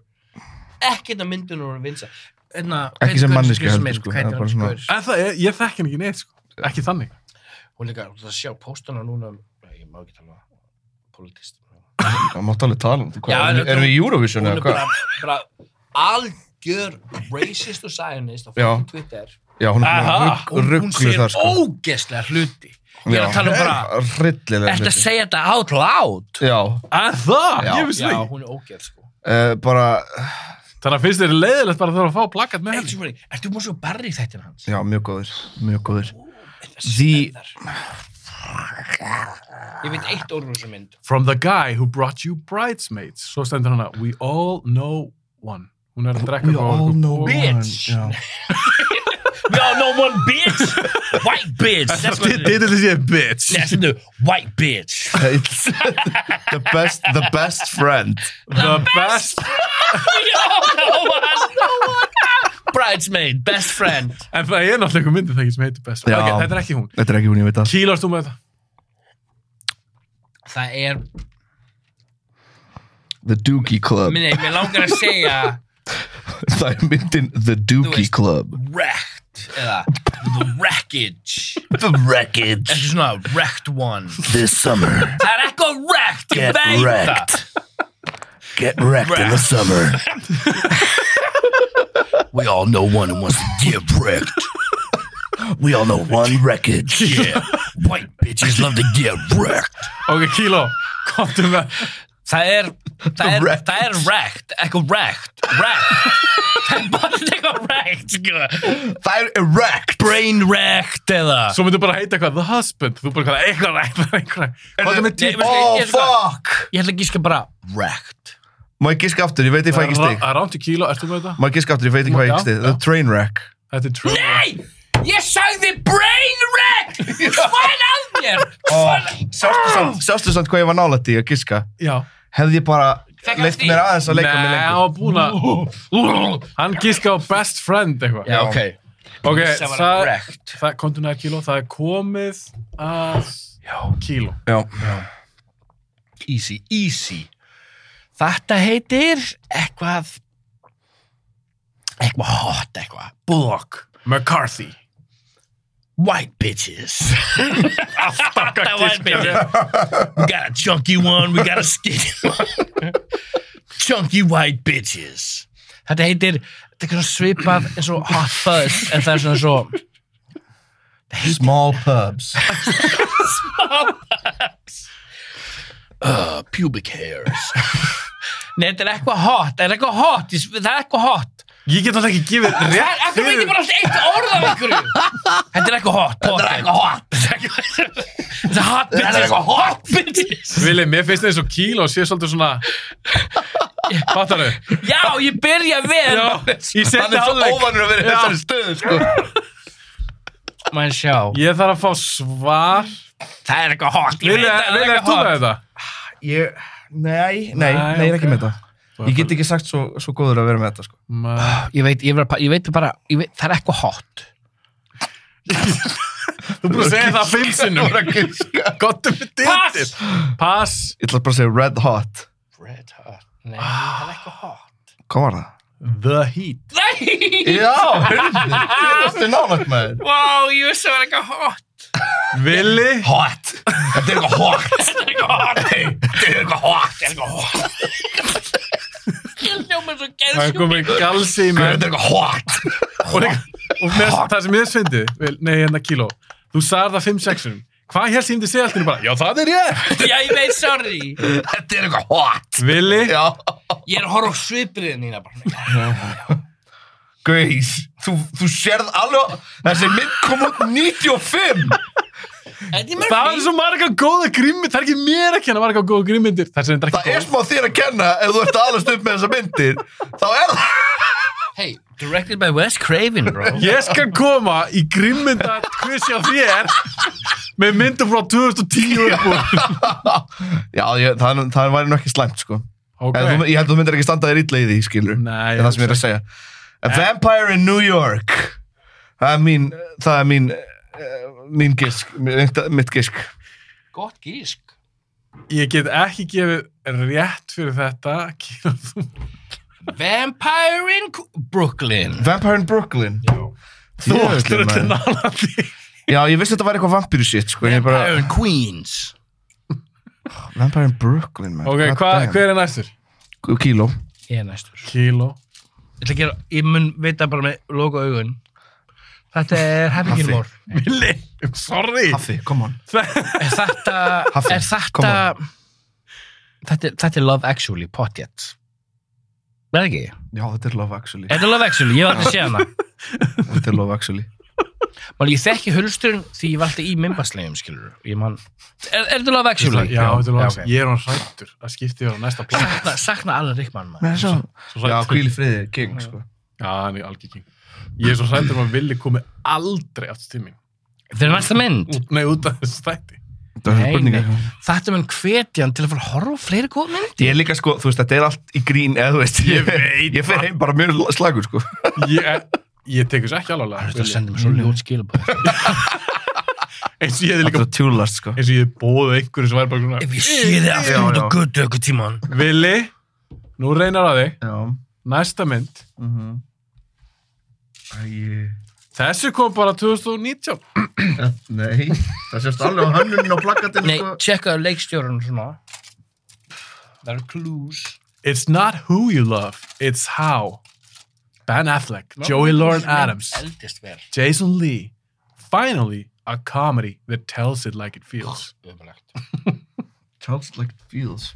Speaker 5: Ekkert að myndunum voru vinsæl. Hérna,
Speaker 9: Einna,
Speaker 6: Ekki sem manneskja heldur,
Speaker 9: mynd,
Speaker 6: sko,
Speaker 9: hvað
Speaker 6: það er
Speaker 9: heitir
Speaker 6: bara
Speaker 9: hann?
Speaker 6: svona-
Speaker 9: Gaur?
Speaker 4: En það, ég, ég þekki hann ekki neitt sko Ekki þannig
Speaker 5: Hún líka, þú ert að sjá póstana núna. um- Nei, Ég má ekki tala politist.
Speaker 6: það máttu alveg tala um þetta.
Speaker 5: Já,
Speaker 6: Hvað,
Speaker 5: en-
Speaker 6: Erum við í Eurovision
Speaker 5: Hún
Speaker 6: eða
Speaker 5: er
Speaker 6: hvað?
Speaker 5: bara, bara algjör racist og sionist á fucking Twitter.
Speaker 6: Já, hún er
Speaker 4: Aha,
Speaker 6: bara
Speaker 5: Hún,
Speaker 6: rugg-
Speaker 5: hún
Speaker 6: ruggluð
Speaker 5: segir
Speaker 6: þar, sko.
Speaker 5: ógeðslega hluti. Ég er að tala um bara,
Speaker 6: Rillilega
Speaker 5: ertu að segja þetta out loud?
Speaker 6: Já,
Speaker 4: En það,
Speaker 6: Já,
Speaker 4: ég vissi
Speaker 5: Já,
Speaker 4: það ekki
Speaker 5: hún er ógeð sko.
Speaker 6: uh, bara,
Speaker 4: Þannig að finnst þér leiðilegt bara að þurfa að fá plaggat með
Speaker 5: Eitt
Speaker 4: henni
Speaker 5: sem fyrir, ertu múið svo barri í þættin hans?
Speaker 6: já, mjög góður, mjög góður.
Speaker 5: Því Ég veit eitt orður úr þessu mynd
Speaker 4: From the guy who brought you bridesmaids Svo stendur hann að We all know one Hún er að drekka
Speaker 6: We
Speaker 4: frá
Speaker 6: all
Speaker 4: okkur.
Speaker 6: know
Speaker 5: Bitch.
Speaker 6: one, já. (laughs)
Speaker 5: We all know one bitch White bitch
Speaker 6: (laughs)
Speaker 5: That's what it is.
Speaker 4: Titillin sé bitch
Speaker 5: Yes, no, White bitch
Speaker 6: It's the best, the best friend.
Speaker 4: The best
Speaker 5: We all know one Bridesmaid, best friend
Speaker 4: En það er náttúrulega einhver myndið það ekki sem heitir best
Speaker 6: Já.
Speaker 4: Ok, þetta er ekki hún
Speaker 6: Þetta er ekki hún ég veit að.
Speaker 4: Kílast þú með þetta?
Speaker 5: Það er,
Speaker 6: The Dookie Club.
Speaker 5: minni, mér langar að segja
Speaker 6: Það er myndin The
Speaker 5: Þú
Speaker 6: Dookie
Speaker 5: veist.
Speaker 6: Club.
Speaker 5: Wrecked Eða The Wreckage
Speaker 6: The Wreckage.
Speaker 5: Þetta er svona Wrecked one
Speaker 6: This summer.
Speaker 5: Það er eitthvað wrecked, ég
Speaker 6: Get
Speaker 5: veit það
Speaker 6: wrecked. Get wrecked in the summer.
Speaker 5: (laughs) We all know one who wants to get wrecked
Speaker 6: We all know one wreckage.
Speaker 5: (laughs) Yeah, white bitches love to get wrecked
Speaker 4: Ok, kíló, komdu með
Speaker 5: Það er, það er,
Speaker 6: Wrecked.
Speaker 5: það er wrecked, eitthvað wrecked, (laughs) wrecked Það er bara eitthvað wrecked, sko
Speaker 6: Það er wrecked.
Speaker 5: Brain wrecked eða
Speaker 4: Svo myndu bara heita eitthvað The Husband Þú bara eitthvað eitthvað eitthvað eitthvað Komdu með
Speaker 5: Nei, veistu,
Speaker 4: tíma
Speaker 6: Oh,
Speaker 5: ég- ég-
Speaker 6: fuck.
Speaker 5: Ég ætla ekki sko bara wrecked
Speaker 6: Má ég giska aftur, ég veit ég fæ ekki stig.
Speaker 4: Það er rámt í kíló, ertu með þetta?
Speaker 6: Má ég giska aftur, ég veit ekki fæ
Speaker 4: Já,
Speaker 6: ekki stig. The
Speaker 4: já.
Speaker 6: train wreck.
Speaker 4: Þetta er true
Speaker 5: Nei, ég sagði brain wrecked Hvað er að mér?
Speaker 6: Oh. Sástu samt, sástu samt hvað ég var nálætt í að giska.
Speaker 4: Já
Speaker 6: Hefði ég bara
Speaker 5: Fekk hann
Speaker 6: leitt
Speaker 5: stig?
Speaker 6: mér aðeins að
Speaker 4: Nei,
Speaker 6: leika mér
Speaker 4: hann
Speaker 6: lengur.
Speaker 4: var búin að Hann gíska á best friend eitthvað
Speaker 5: Já, (laughs) ok
Speaker 4: Ok,
Speaker 5: Það var
Speaker 4: það
Speaker 5: wrecked
Speaker 4: það- Komdu með kíló, það er komið að kíló
Speaker 5: Easy, easy Þetta heitir eitthvað eitthvað hot, eitthvað Bullock
Speaker 4: McCarthy
Speaker 5: White (laughs) bitches
Speaker 4: Alltaf
Speaker 5: That white bitches We got a chunky one, we got a skinny one Chunky white bitches Þetta heitir Þetta er svona svipað eins og hot fuzz en það er svona svo
Speaker 6: Small pubs.
Speaker 5: uh, pubic hairs Nei, þetta er eitthvað hot, það er eitthvað hot, ég s- það er eitthvað hot
Speaker 4: Ég get alltaf ekki gefið
Speaker 5: Það (laughs) er
Speaker 4: rétt
Speaker 5: eitthvað veitir bara alltaf eitt orð af einhverju Þetta er eitthvað hot Þetta er eitthvað hot Þetta er hot bitches Þetta er eitthvað hot bitches
Speaker 4: Vili, mér finnst það eins og kíló sé svolítið svona Fattaru?
Speaker 5: Já, ég byrja vel
Speaker 4: Já, ég
Speaker 6: Hann
Speaker 4: seti
Speaker 6: er svo
Speaker 4: hálfleik
Speaker 6: óvanur að vera í
Speaker 4: Já.
Speaker 6: þessari stöðu, sko.
Speaker 5: Mæn sjá
Speaker 4: Ég þarf að fá svar
Speaker 5: Það er eitthvað hot
Speaker 4: Vili, Vili, er þú með þetta?
Speaker 6: Ég, nei, nei,
Speaker 4: Nei,
Speaker 6: nei, ég er ekki
Speaker 4: ok.
Speaker 6: með þetta. Ég get ekki sagt svo, svo góður að vera með þetta, sko.
Speaker 4: Ma-
Speaker 5: Ég veit, ég, vera, ég veit bara, ég veit, það er eitthvað hot
Speaker 4: Þú búið að segja það fimm sinnum
Speaker 6: að giska.
Speaker 4: Gottum við dittir
Speaker 5: Pass!
Speaker 4: um Pass
Speaker 6: Ég ætla bara að segja red hot.
Speaker 5: Red hot Nei, það er eitthvað hot
Speaker 6: Hvað var það?
Speaker 4: The Heat
Speaker 5: Nei,
Speaker 6: Já, hörðu, þetta er nálægt maður.
Speaker 5: wow, ég vissi að það er eitthvað hot
Speaker 4: Vili
Speaker 6: Hot. Þetta er eitthvað hot.
Speaker 5: Þetta er eitthvað hot Þetta er eitthvað hot Þetta er eitthvað hot Ég hljóma svo
Speaker 4: Það er
Speaker 5: geðsjúk
Speaker 4: komið galsi í mér
Speaker 6: Þetta er eitthvað hot.
Speaker 4: Og líka- og með- það sem ég svindi Nei, hérna kíló Þú sagði það fimm sexunum Hvað helst ég myndi segja allt hérna bara? Já, það er ég
Speaker 5: Já, ég veit, sorry
Speaker 6: Þetta er eitthvað hot.
Speaker 4: Vili
Speaker 6: Já.
Speaker 5: Ég er að horfa á svipriðin hérna bara
Speaker 6: Grace, þú, þú sérð alveg, þessi mynd kom út 95.
Speaker 3: Eddie Murphy
Speaker 4: Það er svo marga góða grímyndir, það er ekki mér ekki hann að marga góða grímyndir. Það sem þetta er
Speaker 6: Það
Speaker 4: ekki
Speaker 6: er smá þér að kenna ef þú ert aðalast upp með þessa myndir þá er það
Speaker 3: Hey, directed by Wes Craven,
Speaker 5: (laughs)
Speaker 3: bro
Speaker 4: góð. Ég skal koma í grímynda kvissja þér með myndum frá 2010 uppbúr.
Speaker 6: Já, ég, það, það væri nú ekki slæmt sko
Speaker 4: Ok,
Speaker 6: okay. þú, Ég held að þú myndir ekki standa þér illa í því, skilur
Speaker 4: Nei,
Speaker 6: Það er það sem ég er að segja A Vampire in New York Það er mín, það er mín eh, mín gisk, mitt mitt gisk
Speaker 3: Gott gísk
Speaker 4: ég get ekki gefið rétt fyrir þetta. Kínan, þú-
Speaker 3: Vampire in Qu- Brooklyn
Speaker 6: Vampire in Brooklyn Þú ætlir
Speaker 4: Þetta er
Speaker 6: maður.
Speaker 4: nálaði.
Speaker 6: Já, ég vissi að þetta væri eitthvað vampíru shit sko. Vampire.
Speaker 3: Vampire
Speaker 6: Bara,
Speaker 3: in Queens
Speaker 6: Vampire in Brooklyn man.
Speaker 4: Ok,
Speaker 6: God
Speaker 4: hva,
Speaker 6: damn.
Speaker 4: hver er næstur?
Speaker 6: Kíló
Speaker 5: Ég er næstur.
Speaker 4: Kíló.
Speaker 5: Ég, ætla að gera, ég mun vita bara með loka augun. Þetta er Happy Gilmore.
Speaker 4: Billy, I'm sorry.
Speaker 6: Haffi, come on
Speaker 5: Er þetta...
Speaker 6: Haffi,
Speaker 5: er
Speaker 6: come
Speaker 5: þetta...
Speaker 6: on.
Speaker 5: Þetta, er- þetta er Love Actually, potjett. Verð ekki?
Speaker 6: Já, þetta er Love (laughs) Actually
Speaker 5: Þetta er Love Actually, ég var alltaf að sé hana.
Speaker 6: Þetta er Love Actually
Speaker 5: Man, ég þekki hulsturinn því ég var alltaf í mimbaslegum, skilur. Ég man... Er, er þetta Love Actually?
Speaker 4: Já, þetta er
Speaker 5: ok.
Speaker 4: nálaði. Ég er hann hrættur að skipti þér á næsta plan.
Speaker 5: Sakna, sakna Alan Rickman, maður.
Speaker 6: Nei, svo
Speaker 4: Svo
Speaker 6: Já,
Speaker 4: hræddur.
Speaker 6: hvíl í friði, king sko.
Speaker 4: (laughs) Já, hann er algjör king. Ég er svo hrættur um að villi komi aldrei aftur til mín.
Speaker 5: Þetta er næsta mynd.
Speaker 4: Út- Nei, út af þessu þætti.
Speaker 6: Það er
Speaker 5: Nei,
Speaker 6: spurning
Speaker 5: nei. Þetta mun hvetja hann til að fara að horfa á fleiri góð mynd.
Speaker 6: Ég er líka sko, þú veist, þetta er allt í grín eða þú veist,
Speaker 4: Ég veit
Speaker 6: (laughs) Ég fer heim bara mjög slagur sko
Speaker 4: Ég, ég tek þessu ekki alvarlega.
Speaker 5: Þetta sendir mér svo ljót skilabæð.
Speaker 4: Eins og ég hefði
Speaker 6: Þetta
Speaker 4: líka,
Speaker 6: er tjúlast sko
Speaker 4: eins og ég hefði bóðið einhverju sem væri bara svona.
Speaker 5: (laughs) Ef ég sé þið
Speaker 6: Já,
Speaker 5: aftur út á
Speaker 6: já.
Speaker 5: götu eitthvað tíman.
Speaker 4: Vili, nú reynar að þig.
Speaker 6: Já
Speaker 4: Næsta mynd.
Speaker 6: Æ,
Speaker 4: Þessi kom bara 2019.
Speaker 6: Nei, það sést alveg á hönnunin á plakatinu sko.
Speaker 5: Nei, tjekkaðu leikstjórun svona. Það eru clues.
Speaker 4: It's not who you love, it's how. Ben Affleck, Joey Lauren Adams,
Speaker 5: Eldist vel.
Speaker 4: Jason Lee. Finally, a comedy that tells it like it feels. (gasps)
Speaker 5: Ömulegt.
Speaker 6: Charles like feels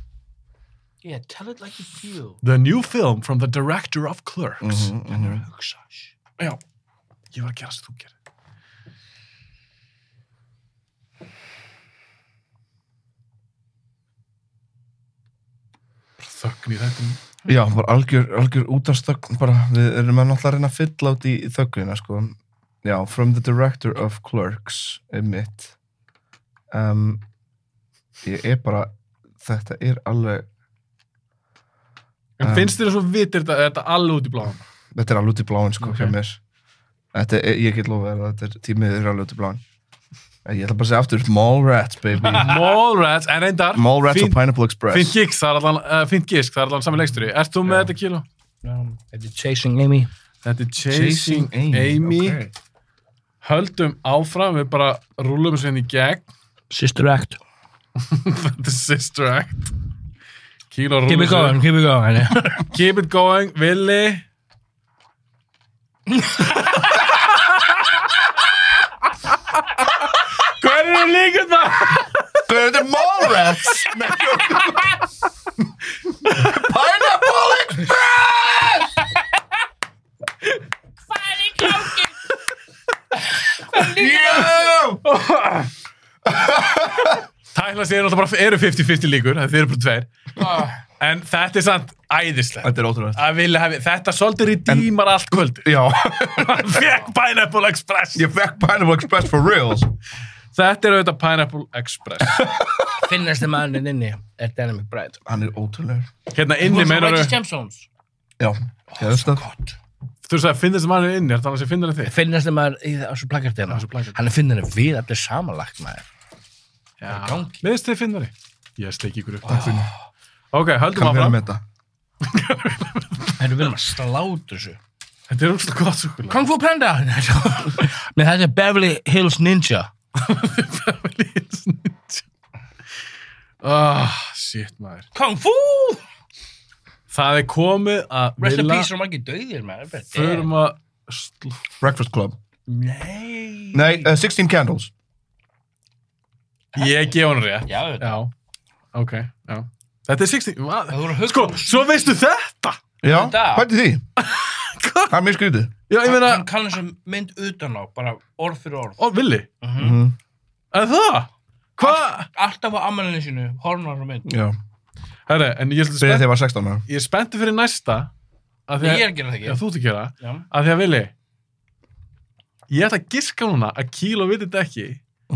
Speaker 5: Yeah, tell it like you feel.
Speaker 4: The new film from the director of Clerks.
Speaker 5: Hugsa. shh.
Speaker 4: Já, ég var að gera sem þú gerir. Bara þögn í þetta.
Speaker 6: Já, bara algjör, algjör útastögn bara, við erum að náttúrulega að reyna að fylla út í þögnina sko Já, from the director of clerks er mitt um, Ég er bara þetta er alveg
Speaker 4: En
Speaker 6: Um.
Speaker 4: finnst þér að svo vitir þetta, þetta alveg út í bláðan?
Speaker 6: Þetta er alveg út í bláin sko
Speaker 4: Ok.
Speaker 6: hjá mér þetta, er- Ég get lofað þér að þetta er tímið er alveg út í bláin Ég ætla bara að segja aftur Mallrats baby
Speaker 4: Mallrats, en reyndar,
Speaker 6: Mallrats og
Speaker 4: fínt
Speaker 6: Pineapple
Speaker 4: fínt
Speaker 6: Express
Speaker 4: gisk, það er allan, uh, fínt gisk, það er allan sami leiksturi. Ert þú með þetta kíló?
Speaker 5: Þetta er Chasing Amy.
Speaker 4: Þetta er Chasing, Amy.
Speaker 6: ok.
Speaker 4: Höldum áfram, við bara rúlum þessu henni í gegn. (laughs)
Speaker 5: Sister Act.
Speaker 4: Þetta er Sister Act. Kíló rúlum
Speaker 5: Keep it going, keep it going. (laughs)
Speaker 4: Keep it going, Willi Hver eru líka það?
Speaker 6: Hvað er þetta er Mallrats? Nei, Pineapple Express Yeah!
Speaker 4: Tækla sér náttúrulega bara eru 50-50 líkur það Þið eru bara tveir En þetta er samt æðislegt
Speaker 6: Þetta er ótrúlega
Speaker 4: Að Willi hafi, Þetta svolítið redeemar allt (laughs) kvöld
Speaker 6: Já,
Speaker 4: Hann fekk Pineapple Express
Speaker 6: ég fekk Pineapple Express for reals
Speaker 4: Þetta er auðvitað Pineapple Express
Speaker 5: Finnasti maðurinn inni er Danny McBride.
Speaker 6: Hann er ótrúlega
Speaker 4: Hérna inni meinar
Speaker 5: Righteous
Speaker 4: þú
Speaker 5: Gemstones.
Speaker 6: Já, það er stöð
Speaker 4: Þú sagði að finnast sem hann er inni Er það hann sem finnir þig?
Speaker 5: Finnasti maður í þessu plakkartina.
Speaker 4: Þessu plakkarti.
Speaker 5: hérna. Hann er finnandi við allir samanlagt maður.
Speaker 4: Já
Speaker 5: gangi.
Speaker 4: Miðist þið finnari? Ég sleiki ykkur upp oh. Ok, höldum
Speaker 6: Kann vera
Speaker 4: áfram
Speaker 6: með þetta
Speaker 5: Þetta er vel maður slátur þessu.
Speaker 4: Þetta er úrslag gott súkulega
Speaker 5: Kung Fu Panda. (laughs) Nei, þetta er Beverly Hills Ninja.
Speaker 4: Beverly Hills Ninja Ah, shit maður
Speaker 5: Kung Fu!
Speaker 4: Það er komið að
Speaker 5: Rest in
Speaker 4: Villa-
Speaker 5: peace og margir döðir maður. Bara,
Speaker 4: Förum að sl-
Speaker 6: Breakfast Club
Speaker 5: damn. Nei.
Speaker 6: Nei, uh, 16 Candles
Speaker 4: Ég gef hann rétt
Speaker 5: Já, þetta.
Speaker 4: Já, ok, já Þetta er 60
Speaker 5: Það
Speaker 4: va-
Speaker 5: voru hugsa.
Speaker 4: Sko, svo veistu þetta
Speaker 6: Já,
Speaker 5: Þetta?
Speaker 6: hvað er því? Það er mjög skrítið
Speaker 4: Já, ég meina
Speaker 5: Hann kann þessu mynd utan á, bara orð fyrir orð.
Speaker 4: Ó, Vili En það? Hvað?
Speaker 3: Alltaf á ammælinu sínu, hornar og mynd.
Speaker 6: Já.
Speaker 4: Herre, en ég er svolítið
Speaker 6: Þegar
Speaker 4: spennt,
Speaker 6: þið var 16 ára.
Speaker 4: ég er spenntið fyrir næsta. af því
Speaker 3: Ég
Speaker 4: að-
Speaker 3: er að gera það
Speaker 4: Já,
Speaker 3: ekki.
Speaker 4: þú ert að gera.
Speaker 3: Já.
Speaker 4: Af því að vilji, ég ætla að giska núna að Kíló viti þetta ekki,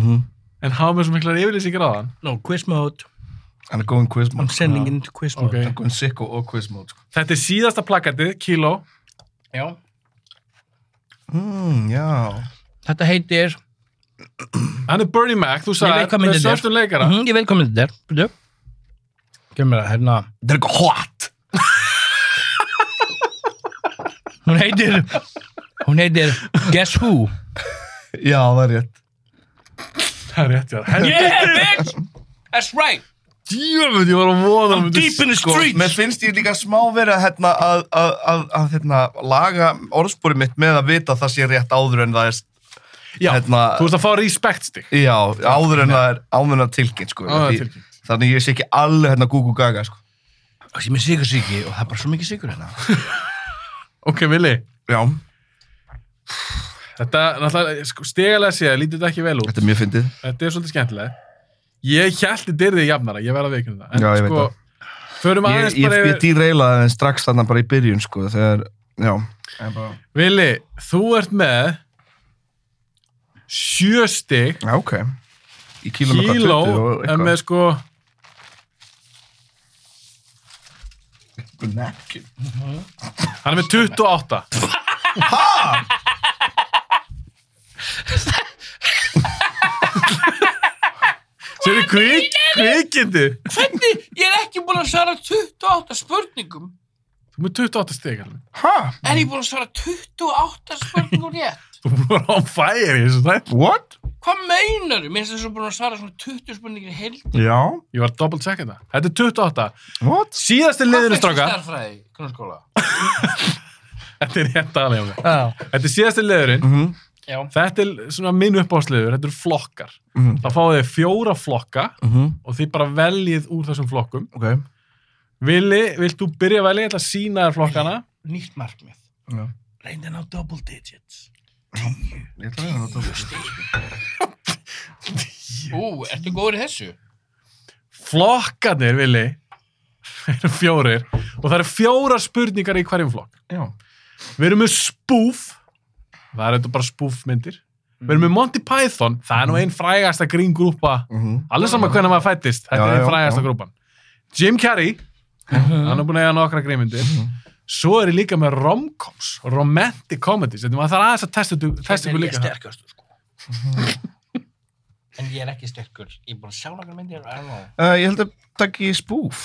Speaker 6: Mhm.
Speaker 4: en hafa mér svo miklar yfirlýsingar á hann.
Speaker 3: No, quiz mode.
Speaker 6: Hann er góðin quiz
Speaker 5: I'm
Speaker 6: mode.
Speaker 5: sending it into quiz mode.
Speaker 4: Ok.
Speaker 6: Hann er góðin sicko og quiz mode. Sko.
Speaker 4: Þetta er síðasta plakatið, Kíló.
Speaker 3: Já.
Speaker 6: Mm, já.
Speaker 5: Þetta heitir,
Speaker 4: Hann er Bernie Mac, þú
Speaker 5: Ég veit
Speaker 4: sagði,
Speaker 5: hvað
Speaker 4: með
Speaker 5: myndin er.
Speaker 4: svörtum leikara.
Speaker 5: Mhm, ég veit hvað myndið er, byrju. Gjör mér það, hérna,
Speaker 6: Þetta er eitthvað hot.
Speaker 5: hún heitir, hún heitir Guess Who.
Speaker 6: Já, það er rétt.
Speaker 4: Það er rétt, já. Herri,
Speaker 3: Yeah, bitch! That's right!
Speaker 4: djöfum, ég var að voða. um að myndi
Speaker 3: Deep in the
Speaker 6: Sko,
Speaker 3: street!
Speaker 6: mér finnst ég líka smá verið að, hérna, að, að, að, að hérna, laga orðspúri mitt með að vita að það sé rétt áður en það er,
Speaker 4: Já,
Speaker 6: hérna,
Speaker 4: þú ert að fá respektstig.
Speaker 6: já, áður en það er áður en tilkynnt, sko.
Speaker 4: Áður en
Speaker 6: Því-
Speaker 4: tilkynnt.
Speaker 6: Þannig ég sé ekki alveg hérna Google Gaga, sko.
Speaker 5: Það sem er sigursíki og það er bara svo mikið sigur hérna.
Speaker 4: Ok, Vili,
Speaker 6: Já,
Speaker 4: þetta náttúrulega, sko, stegalega séð, lítið þetta ekki vel út.
Speaker 6: þetta er mjög fyndið.
Speaker 4: Þetta er svolítið skemmtilega. Ég held þið dyrðið jafnara, ég verð að veikna það. En
Speaker 6: Já, ég veit
Speaker 4: sko, förum
Speaker 6: Ég,
Speaker 4: aðeins
Speaker 6: ég,
Speaker 4: bara
Speaker 6: ég
Speaker 4: yfir...
Speaker 6: dýrreilaði en strax þarna bara í byrjun, sko, þegar, já. En bara-
Speaker 4: Vili, þú ert með sjö stygg,
Speaker 6: Já, ok. Í kíló með hvað,
Speaker 4: kíló,
Speaker 6: 20 og
Speaker 4: en
Speaker 6: eitthvað.
Speaker 4: með sko...
Speaker 6: Nakkin.
Speaker 4: Hann er með 28. Sér er kvik, kvikindi.
Speaker 3: Hvernig? Ég er ekki búin að svara 28 spurningum.
Speaker 4: Þú er með 28 stygg, alveg.
Speaker 6: Ha?
Speaker 3: Er ég búin að svara 28 spurningum rétt?
Speaker 4: Þú er on fire í þessu þætt.
Speaker 6: What?
Speaker 3: Hvað meinar þú? Mér finnst þess að búin að svara svona 20 spurningir heilt.
Speaker 6: Já.
Speaker 4: Ég var að double checka þetta. Þetta er 28.
Speaker 6: What?
Speaker 4: Síðasti liðinu, stráka.
Speaker 3: Starfræði, grunnskóla.
Speaker 4: Þetta er rétt aðlega.
Speaker 3: Já.
Speaker 4: Þetta er síðasti liðurinn.
Speaker 6: Mhm.
Speaker 3: Já.
Speaker 4: Þetta er svona minn uppáðsliður. Þetta eru flokkar.
Speaker 6: Mhm.
Speaker 4: Það fáið þið fjóra flokka
Speaker 6: Mhm.
Speaker 4: og þið bara veljið úr þessum flokkum.
Speaker 6: Ok.
Speaker 4: Vili, vilt þú byrja að velja? Ég ætla að sína þér flokkana.
Speaker 3: Nýtt markmið.
Speaker 6: Já.
Speaker 3: Reynda að ná double digits.
Speaker 6: Ég ætla að reyna þetta. (laughs)
Speaker 3: Ú, ertu góður í þessu?
Speaker 4: Flokkanir, Vili, (laughs) eru fjórir og það eru fjóra spurningar í hverjum flokk.
Speaker 6: Já.
Speaker 4: Við erum með spoof Það eru þetta bara spoofmyndir Við erum með Monty Python Það er nú einn frægasta gríngrúpa
Speaker 6: Mhm.
Speaker 4: Allir saman hvernig maður fættist Þetta
Speaker 6: Já,
Speaker 4: er einn
Speaker 6: já,
Speaker 4: frægasta
Speaker 6: já. Mhm.
Speaker 4: grúpan Jim Carrey Hann er búin að eiga nokkra grínmyndir Svo er ég líka með romcoms Romantic comedies Þetta maður þarf aðeins að testa ykkur- testa ykkur líka þar.
Speaker 3: sterkastur, sko.
Speaker 6: Mhm.
Speaker 3: en ég er ekki sterkur. Ég er búin að sjá nokkar myndir. I don't know.
Speaker 6: Uh, ég held að takk í spoof.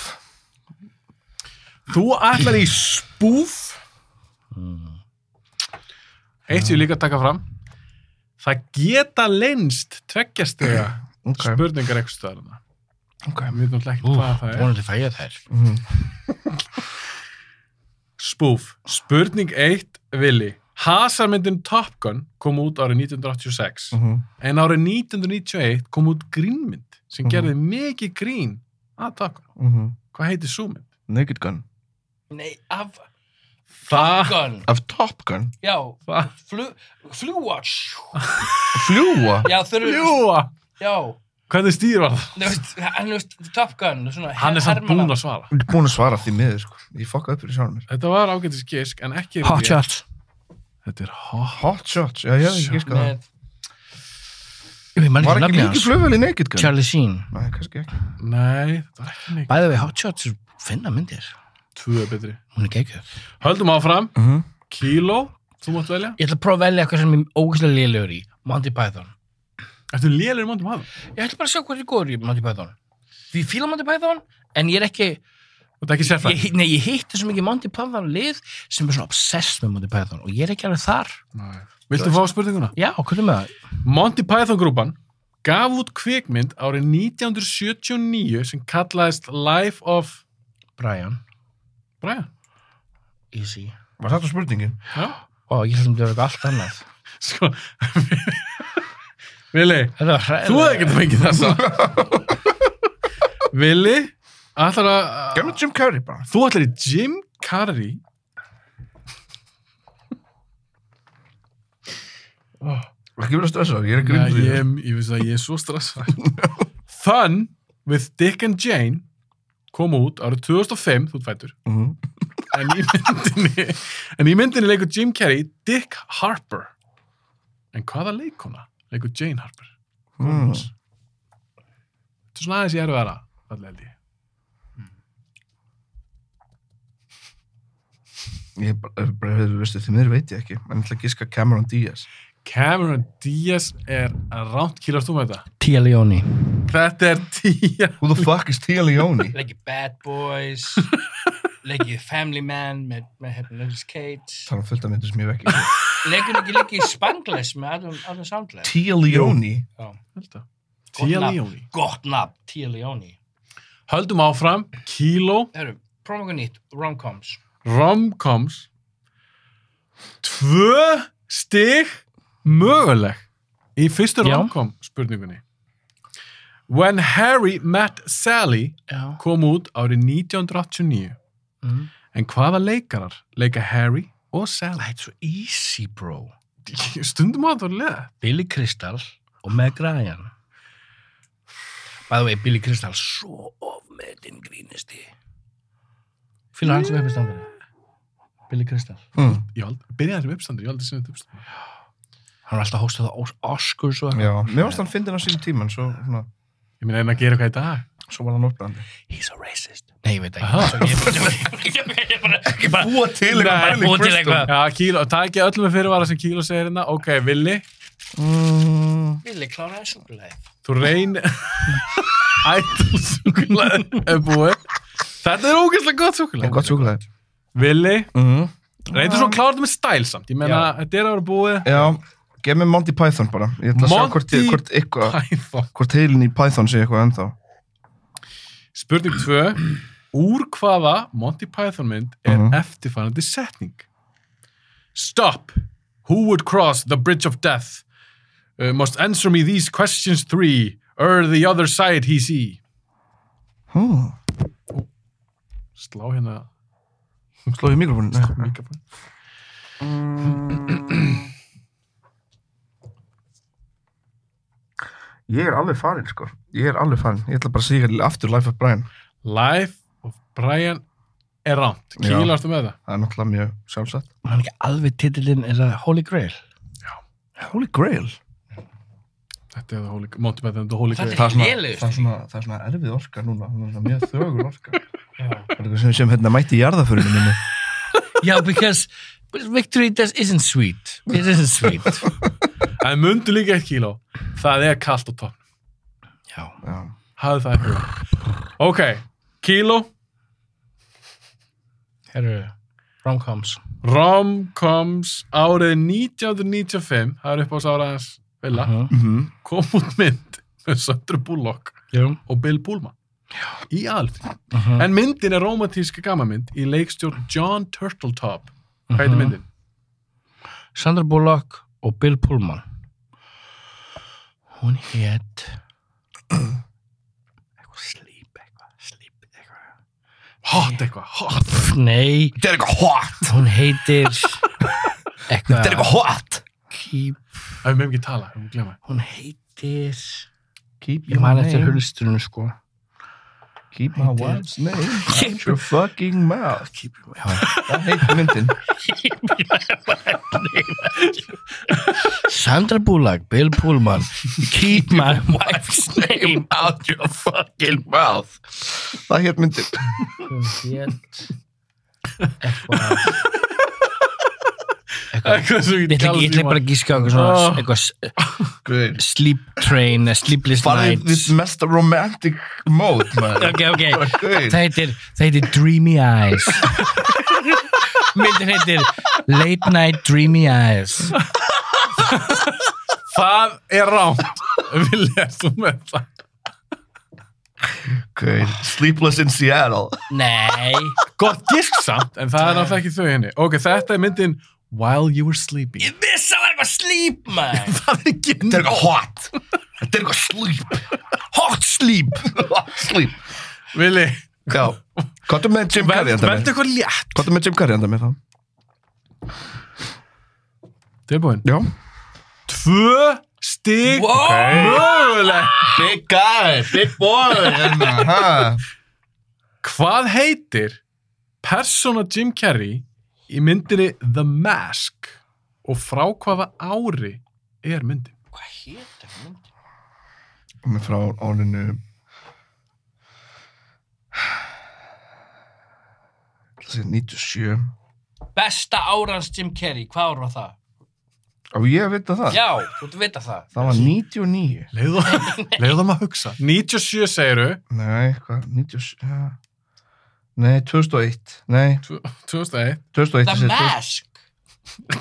Speaker 4: Þú ætlar í spoof Eitt sem ég líka að taka fram Það geta leynst tveggjastega
Speaker 6: Ok.
Speaker 4: spurningar eitthvað stöðarna
Speaker 6: Ok.
Speaker 4: Við veitum alltaf ekki hvað það er.
Speaker 5: Vonandi fæ ég þær.
Speaker 6: Mhm,
Speaker 4: Spoof. Spurning 1, Vili. Hasarmyndin Top Gun kom út árið 1986.
Speaker 6: Mhm.
Speaker 4: En árið 1991 kom út grínmynd sem
Speaker 6: Mm.
Speaker 4: gerði mikið grín að Top Gun.
Speaker 6: Mhm.
Speaker 4: Hvað heitir sú mynd?
Speaker 6: Naked Gun.
Speaker 3: Nei, af
Speaker 4: Það,
Speaker 3: gun.
Speaker 6: Af Top Gun.
Speaker 3: Já,
Speaker 4: það,
Speaker 3: flu, flúvatch.
Speaker 6: Fljúa.
Speaker 3: Já, þau eru...
Speaker 4: ljúa.
Speaker 3: Já,
Speaker 4: Hvernig stýr var það?
Speaker 3: þú veist, hann veist, Top Gun, svona...
Speaker 4: Hann er samt búinn að svara.
Speaker 6: Ég er búin að svara því miður, sko. Ég fokka upp fyrir sjálfur mér.
Speaker 4: Þetta var ágætis gisk, en ekki...
Speaker 5: Hot shots.
Speaker 4: Þetta er hot.
Speaker 6: Hot shots. Já, já, ég giska það.
Speaker 3: Með,
Speaker 5: Ég man
Speaker 6: Sko. Var
Speaker 5: ekki
Speaker 6: ekki
Speaker 5: nafni
Speaker 6: líki
Speaker 5: hans.
Speaker 6: flugvel í Naked Gun?
Speaker 5: Charlie Sheen.
Speaker 6: Nei, kannski ekki.
Speaker 4: Nei, þetta var ekki neitt.
Speaker 5: Bæðið við hot shots er finna myndir.
Speaker 4: Tvö er betri.
Speaker 5: Hún er geggjöð.
Speaker 4: Höldum áfram.
Speaker 6: Mhm.
Speaker 4: Kíló, þú mátt velja.
Speaker 5: Ég ætla að prófa að velja eitthvað sem ég er ógæslega liðlegur í. Monty Python.
Speaker 4: Ertu lélir í móndum hafum?
Speaker 5: Ég ætla bara að sjá hvað er góður í Monty Python. Því ég fíla Monty Python, en ég er ekki...
Speaker 4: Þetta er ekki sérfræðingur.
Speaker 5: Ég, nei, ég hitti svo mikið Monty Python lið sem er svona obsessed með Monty Python og ég er ekki alveg þar.
Speaker 4: Viltu fá spurninguna?
Speaker 5: Já, hvernig með það?
Speaker 4: Monty Python-grúpan gaf út kvikmynd árið 1979 sem kallaðist Life of
Speaker 5: Brian.
Speaker 4: Brian.
Speaker 5: Easy.
Speaker 6: Var þetta spurningin?
Speaker 4: Já,
Speaker 5: Ó, ég held um þetta var eitthvað allt annað.
Speaker 4: sko. (laughs) Vili,
Speaker 5: Þetta var hræðilegt.
Speaker 4: þú hefði ekki fengið þessa. Vili, ætlar að...
Speaker 6: Gemma Jim Carrey bara.
Speaker 4: Þú ætlar í Jim Carrey.
Speaker 6: Ekki verið að stressa, ég er ekki
Speaker 4: Nei,
Speaker 6: grunn
Speaker 4: ég, ég veist að ég er svo stressað. (laughs) Fun with Dick and Jane kom út árið 2005, þú ert fættur. En í myndinni, en í myndinni leikur Jim Carrey Dick Harper. En hvaða leikona leikur Jane Harper? Hmm.
Speaker 6: Mm.
Speaker 4: Þetta er svona aðeins ég er að vera, allir held ég.
Speaker 6: Ég bara- bara, hefur veistu, því mér veit ég ekki. En ég ætla að giska Cameron Diaz.
Speaker 4: Cameron Diaz er ránt kýlast þú með þetta.
Speaker 5: Tia Leoni
Speaker 4: Þetta er Tia.
Speaker 6: Who the fuck is Tia Leoni?
Speaker 3: Leggið Bad
Speaker 5: (laughs)
Speaker 3: Boys, leggið Family Man með, með hefnum Nicolas Cage,
Speaker 6: Það er fullt af myndir sem ég vekki.
Speaker 3: leggið ekki leggið Spangless með Adam, Adam Sandler.
Speaker 6: Tia Leoni?
Speaker 4: Held að.
Speaker 3: Gott
Speaker 4: Tia
Speaker 3: nafn.
Speaker 4: Leoni.
Speaker 3: Gott nafn, Tia Leoni.
Speaker 4: Höldum áfram, Kilo
Speaker 3: Herru, prófum okkur nýtt, rom-coms.
Speaker 4: romcoms tvö stig möguleg í fyrstu
Speaker 5: Já.
Speaker 4: romcom spurningunni When Harry Met Sally
Speaker 5: Já.
Speaker 4: kom út árið 1989
Speaker 5: Mm.
Speaker 4: en hvaða leikarar leika Harry og Sally
Speaker 5: Þetta er svo easy bro
Speaker 4: stundum að það leða
Speaker 5: Billy Crystal og Meg Ryan By the way, Billy Crystal svo ofmetin grínisti Fylgur hann sem hefði standið Billy Crystal
Speaker 6: Mm.
Speaker 4: ég held, byrjaði sem uppstandur, ég held að sem þetta uppstandur
Speaker 5: Hann var alltaf hóstað á Os- Oscars og
Speaker 6: Já, mér varst hann fyndin á sínum tíma, en svo, svona,
Speaker 4: ég meina einn að gera eitthvað í dag
Speaker 6: svo var hann orðbrandi.
Speaker 5: He's a racist Nei, ég veit ekki
Speaker 4: Aha.
Speaker 5: Svo ég- ég- ég- ég bara- ég bara-
Speaker 6: Búa til
Speaker 5: Nei,
Speaker 6: eitthvað
Speaker 5: búa til eitthvað.
Speaker 4: já, Kíló, það ekki öllum við fyrirvara sem Kíló segir hérna ok, Willi,
Speaker 6: Mm,
Speaker 3: Villi kláraði súkulæði.
Speaker 4: þú reyn (laughs) ætlsúkulega er búið þetta er ógeðslega gott súkulega
Speaker 6: en gott sjúkulega.
Speaker 4: Vili,
Speaker 6: Mm.
Speaker 4: reyndu svo að klára þetta með stæl samt Ég meina, þetta er að vera búið
Speaker 6: Já, gef mér Monty Python bara. Ég ætla að sjá hvort,
Speaker 4: Monty
Speaker 6: hvort eitthvað,
Speaker 4: Python.
Speaker 6: hvort heilin í Python sé eitthvað ennþá.
Speaker 4: Spurning 2 Úr hvaða Monty Python mynd er
Speaker 6: Mhm.
Speaker 4: eftirfarandi setning? Stop Who would cross the bridge of death? Uh, must answer me these questions three Or the other side he see
Speaker 6: Hmm.
Speaker 4: Slá hérna
Speaker 6: Sló ég mikrofónu?
Speaker 4: mikrofón
Speaker 6: Mm. (clears throat) Ég er alveg farinn, sko. Ég er alveg farinn. Ég ætla bara að segja aftur Life of Brian.
Speaker 4: Life of Brian er rámt
Speaker 6: Já.
Speaker 4: Kýlarstu með það?
Speaker 6: Það er náttúrulega mjög sjálfsagt.
Speaker 5: Hann er ekki alveg titillinn er það Holy Grail
Speaker 6: Holy Grail.
Speaker 4: Þetta er það Holy Monty Python er The Holy Grail
Speaker 3: Þetta er
Speaker 6: það er
Speaker 3: hliðlust.
Speaker 6: svona, það er svona erfið orka núna, hún er svona mjög þögul orka það er eitthvað sem, sem hérna mætti í jarðaförunum minni
Speaker 5: Já, because victory does, isn't sweet It isn't sweet
Speaker 4: En mundu líka eitt kíló Það er kalt á topp
Speaker 5: Já
Speaker 6: já,
Speaker 4: hafði það ekki ok, kíló,
Speaker 5: Herru, rom-coms
Speaker 4: romcoms árið 1995 það er upp á sáraðans vilja
Speaker 6: Mhm.
Speaker 4: kom út mynd með Sandra Bullock
Speaker 5: Jú
Speaker 4: og Bill Pullman í allt en myndin er romantíska gammamynd í leikstjórn John Turtletop hvað heitir myndin?
Speaker 5: Sandra Bullock og Bill Pullman hún hétt eitthvað sleep eitthvað sleep eitthvað
Speaker 4: hot eitthvað, hot
Speaker 5: nei,
Speaker 6: þetta er eitthvað hot er
Speaker 5: hún heitir eitthvað
Speaker 6: hot
Speaker 5: keep,
Speaker 4: ef við meðum ekki tala, ef við glemma
Speaker 5: hún heitir
Speaker 6: keep
Speaker 5: ég
Speaker 6: your
Speaker 5: man eftir
Speaker 6: name
Speaker 5: hulsturinu sko
Speaker 6: keep my (laughs) wife's name keep your fucking (laughs) mouth er það heitir myndin
Speaker 5: Sandra Bullock, Bill
Speaker 3: (laughs)
Speaker 5: Pullman keep my (laughs) wife's name out your fucking mouth
Speaker 6: það heitir myndin
Speaker 5: hún hétt eitthvað eitthvað
Speaker 4: eitthvað sem
Speaker 5: Ég ætla ekki,
Speaker 3: um
Speaker 5: ég ætla bara að gíska á eitthvað svona
Speaker 4: Ah.
Speaker 5: eitthvað s- sleep train, eh, sleepless
Speaker 6: farið
Speaker 5: nights.
Speaker 6: við mesta romantic mode (laughs) maður.
Speaker 5: Ok,
Speaker 3: (laughs)
Speaker 5: ok.
Speaker 6: Gaur.
Speaker 5: Það heitir, það heitir Dreamy Eyes. Myndin heitir Late Night Dreamy Eyes.
Speaker 4: það er rámt (laughs) vilja þú með það
Speaker 6: Gaur. sleepless in Seattle
Speaker 5: Nei.
Speaker 4: gott gisk samt, en það er náttúrulega ekki þau henni ok, þetta er myndin While You Were Sleeping
Speaker 3: Ég vissi að það var eitthvað sleep, maður.
Speaker 4: (laughs) það er ekki
Speaker 6: þetta er eitthvað hot þetta er eitthvað sleep hot sleep hot sleep
Speaker 4: Vili,
Speaker 6: já hvað er með Jim Carrey enda
Speaker 4: verður
Speaker 6: með
Speaker 4: eitthvað létt
Speaker 6: hvað er með Jim Carrey enda með það
Speaker 4: Tilbúin,
Speaker 6: já
Speaker 4: Tvö stig
Speaker 6: Wow.
Speaker 4: mögulegt.
Speaker 6: Big guy, big boy hérna, ha.
Speaker 4: Hvað heitir persóna Jim Carrey í myndinni The Mask og frá hvaða ári er myndin?
Speaker 6: Hún er frá árinu Það sé 97
Speaker 3: Besta árans Jim Carrey, hvað ár var það?
Speaker 6: Á ég að vita það?
Speaker 3: Já, þú ert að vita það.
Speaker 6: Það var 99
Speaker 4: Leðu (laughs) það maður að hugsa. 97 segiru,
Speaker 6: Nei, hvað, 97 ja. Nei, 2001 Nei,
Speaker 4: 2001.
Speaker 6: 2001
Speaker 3: The
Speaker 6: ég segi 2000.
Speaker 3: Mask.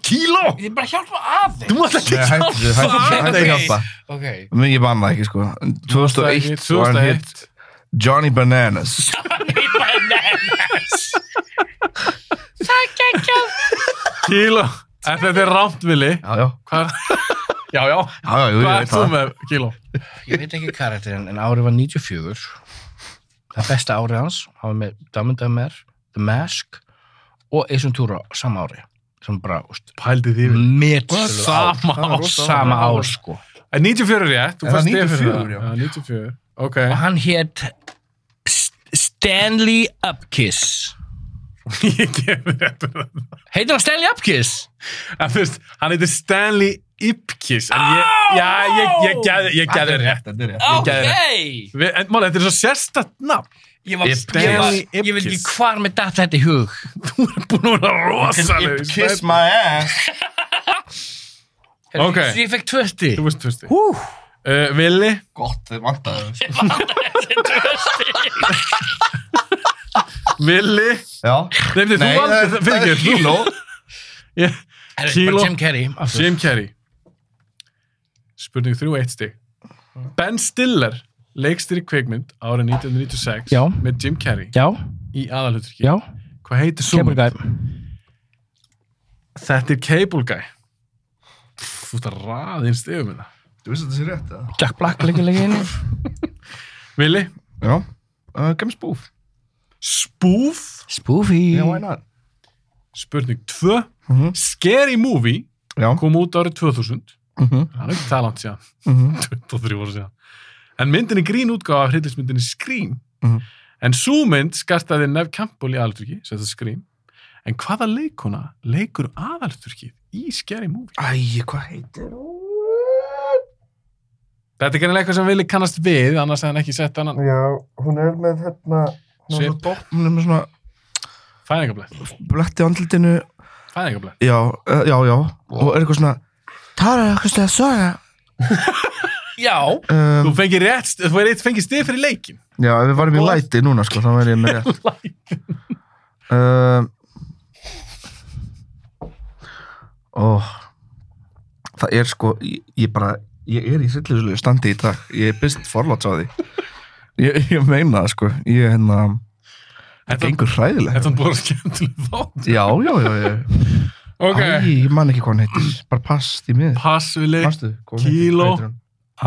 Speaker 3: Kíló! Ég er bara að hjálpa aðeins.
Speaker 4: mátt
Speaker 6: Nei, hættu, hættu, hættu að hjálpa
Speaker 3: Ok.
Speaker 6: Men Ég banna ekki sko 2001 var hann hitt
Speaker 4: 2001.
Speaker 6: Johnny Bananas
Speaker 3: Bananas.
Speaker 4: Kíló. Ef þetta er rámt, Vili.
Speaker 6: Já, já,
Speaker 4: Hvað já, já.
Speaker 6: já, já, jú,
Speaker 4: Hvað
Speaker 6: ég veit
Speaker 4: ert þú
Speaker 6: það
Speaker 4: með, Kíló?
Speaker 5: Ég veit ekki karakterinn, en árið var 94. Það besta árið hans, hann var með Dumb and Dumber, The Mask og Ace Ventura sama ári. Sem bara, úst,
Speaker 4: Pældi því við.
Speaker 5: metsölu ár.
Speaker 4: Sama
Speaker 6: Það er
Speaker 4: ár.
Speaker 6: rosa.
Speaker 5: Sama ár, sko.
Speaker 4: En 94 er rétt. þú
Speaker 6: Er það
Speaker 4: fannst þig
Speaker 6: 94,
Speaker 4: fyrir
Speaker 6: já.
Speaker 4: það. 94, ok.
Speaker 5: Og hann hétt St- Stanley Upkiss.
Speaker 4: Ég gef þér rétt fyrir það.
Speaker 5: Heitir hann Stanley Upkiss?
Speaker 4: En þú veist, hann heitir Stanley Ipkiss. En ég, já, ég, ég, ég, ég gef þér rétt.
Speaker 6: Þetta er
Speaker 4: Ég
Speaker 6: rétt
Speaker 4: gef þér rétt.
Speaker 5: Hey!
Speaker 4: Við- En máli, þetta er svo sérstætt nafn.
Speaker 5: Ég var,
Speaker 4: Ipkiss.
Speaker 5: ég var, ég veit ekki hvar með datt þetta í hug.
Speaker 4: Þú er búin að vera rosaleg.
Speaker 6: Kiss my ass
Speaker 4: Ok.
Speaker 5: Ég fekk tvösti.
Speaker 4: Þú veist, þú veist. Hú. Vili,
Speaker 6: Gott, þeir vantaði
Speaker 4: Vili.
Speaker 6: Já
Speaker 4: Nei, þú
Speaker 6: Nei, það
Speaker 4: valdi,
Speaker 6: er-
Speaker 4: fyrir
Speaker 6: það er
Speaker 4: ekki, þú
Speaker 6: kíló
Speaker 4: Ég- kíló.
Speaker 5: Bara Jim Carrey. aftur.
Speaker 4: Jim Carrey Spurning 3, 1 stig Ben Stiller leikstýri kveikmynd árið 1996
Speaker 5: Já.
Speaker 4: með Jim Carrey
Speaker 5: Já,
Speaker 4: í aðalhuturki
Speaker 5: já,
Speaker 4: Hvað heitir svo?
Speaker 5: kemur
Speaker 4: mynd?
Speaker 5: gæm.
Speaker 4: Þetta er Cable Guy Þú ert að raða þín stigum hérna. með það
Speaker 6: Þú veist að þetta sé rétt, eða?
Speaker 5: Jack Black lengi lengi inni.
Speaker 4: Vili,
Speaker 6: Já uh, Gemmi spúf
Speaker 4: Spoof
Speaker 5: Spoofy.
Speaker 6: Yeah, why not?
Speaker 4: Spurning 2
Speaker 6: Mhm.
Speaker 4: Scary Movie
Speaker 6: Já
Speaker 4: kom út árið 2000
Speaker 6: Mhm.
Speaker 4: Það er ekki talant síðan (laughs)
Speaker 6: Mhm.
Speaker 4: 23 ára síðan En myndin er grín útgáfa af hryllismyndinni Scream
Speaker 6: Mhm.
Speaker 4: En sú mynd skartaði Nef Campbell í aðalturki, sem það Scream En hvaða leikona leikur aðalturki í Scary Movie?
Speaker 6: Æ, hvað heitir hún?
Speaker 4: Þetta er kannilega eitthvað sem Vili kannast við annars hefði hann ekki sett annan
Speaker 6: Já, hún er með hérna Hún er
Speaker 4: Svip.
Speaker 6: með dopp Hún er með svona
Speaker 4: fæðingablett
Speaker 6: bletti á andlitinu
Speaker 4: Fæðingablett
Speaker 6: Já, eh, já, já Og er eitthvað svona Tara, hvað stuð að saga?
Speaker 5: Já.
Speaker 6: Um,
Speaker 4: Þú fengir rétt, st- þú er eitt fengið stið fyrir leikin
Speaker 6: já, ef við varum í læti núna, sko Þá væri ég með rétt um, Ó Það er sko Ég, ég bara Ég er í sillislegu standi í dag Ég er byrst forláts á því Ég, ég meina það, sko Ég hérna Það
Speaker 4: Þetta
Speaker 6: gengur hræðilega
Speaker 4: þetta er bara skemmtileg þátt
Speaker 6: Já, já, já, já.
Speaker 4: Ok,
Speaker 6: Æ, ég man ekki hvað hann heitir. Bara pass því miður.
Speaker 4: pass Vili
Speaker 6: Pastu, hvað
Speaker 4: Kíló.
Speaker 6: heitir hún?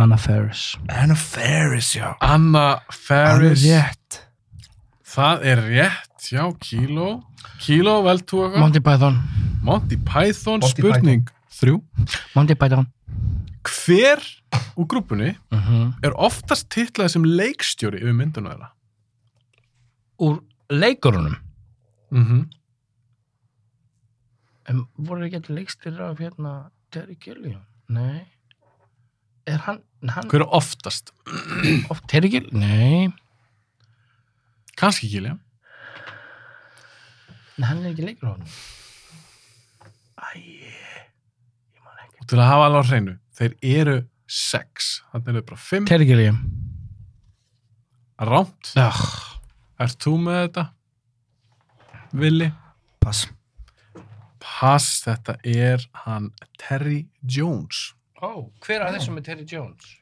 Speaker 5: Anna Faris.
Speaker 6: Anna Faris, já.
Speaker 4: Anna
Speaker 6: Alveg
Speaker 4: Faris
Speaker 6: rétt.
Speaker 5: Mm.
Speaker 4: Það er rétt, já, Kíló Kíló, vel tú eitthvað
Speaker 5: Monty Python.
Speaker 4: Monty Python,
Speaker 6: Monty
Speaker 4: spurning þrjú.
Speaker 5: Monty Python.
Speaker 4: Hver úr grúpunni
Speaker 5: Uh
Speaker 4: er oftast titlað sem leikstjóri yfir myndunum þeirra?
Speaker 5: Úr leikurunum.
Speaker 4: Mm -hmm.
Speaker 6: Mhm.
Speaker 5: En voru ekki allir leikstir af hérna Terry Gilliam? Nei. Er hann, hann
Speaker 4: Hver er oftast?
Speaker 5: oft Terry Gilliam? Nei.
Speaker 4: Kanski Gilliam.
Speaker 5: En hann er ekki leikur á hann.
Speaker 4: Og til að hafa alveg á hreinu, þeir eru sex. Þannig eru bara fimm.
Speaker 5: Terry Gilliam.
Speaker 4: Rámt.
Speaker 5: Já.
Speaker 4: Er þú með þetta? Vili?
Speaker 6: Pass.
Speaker 4: Pass, þetta er hann Terry Jones.
Speaker 5: Ó, hver að þessum er Terry Jones?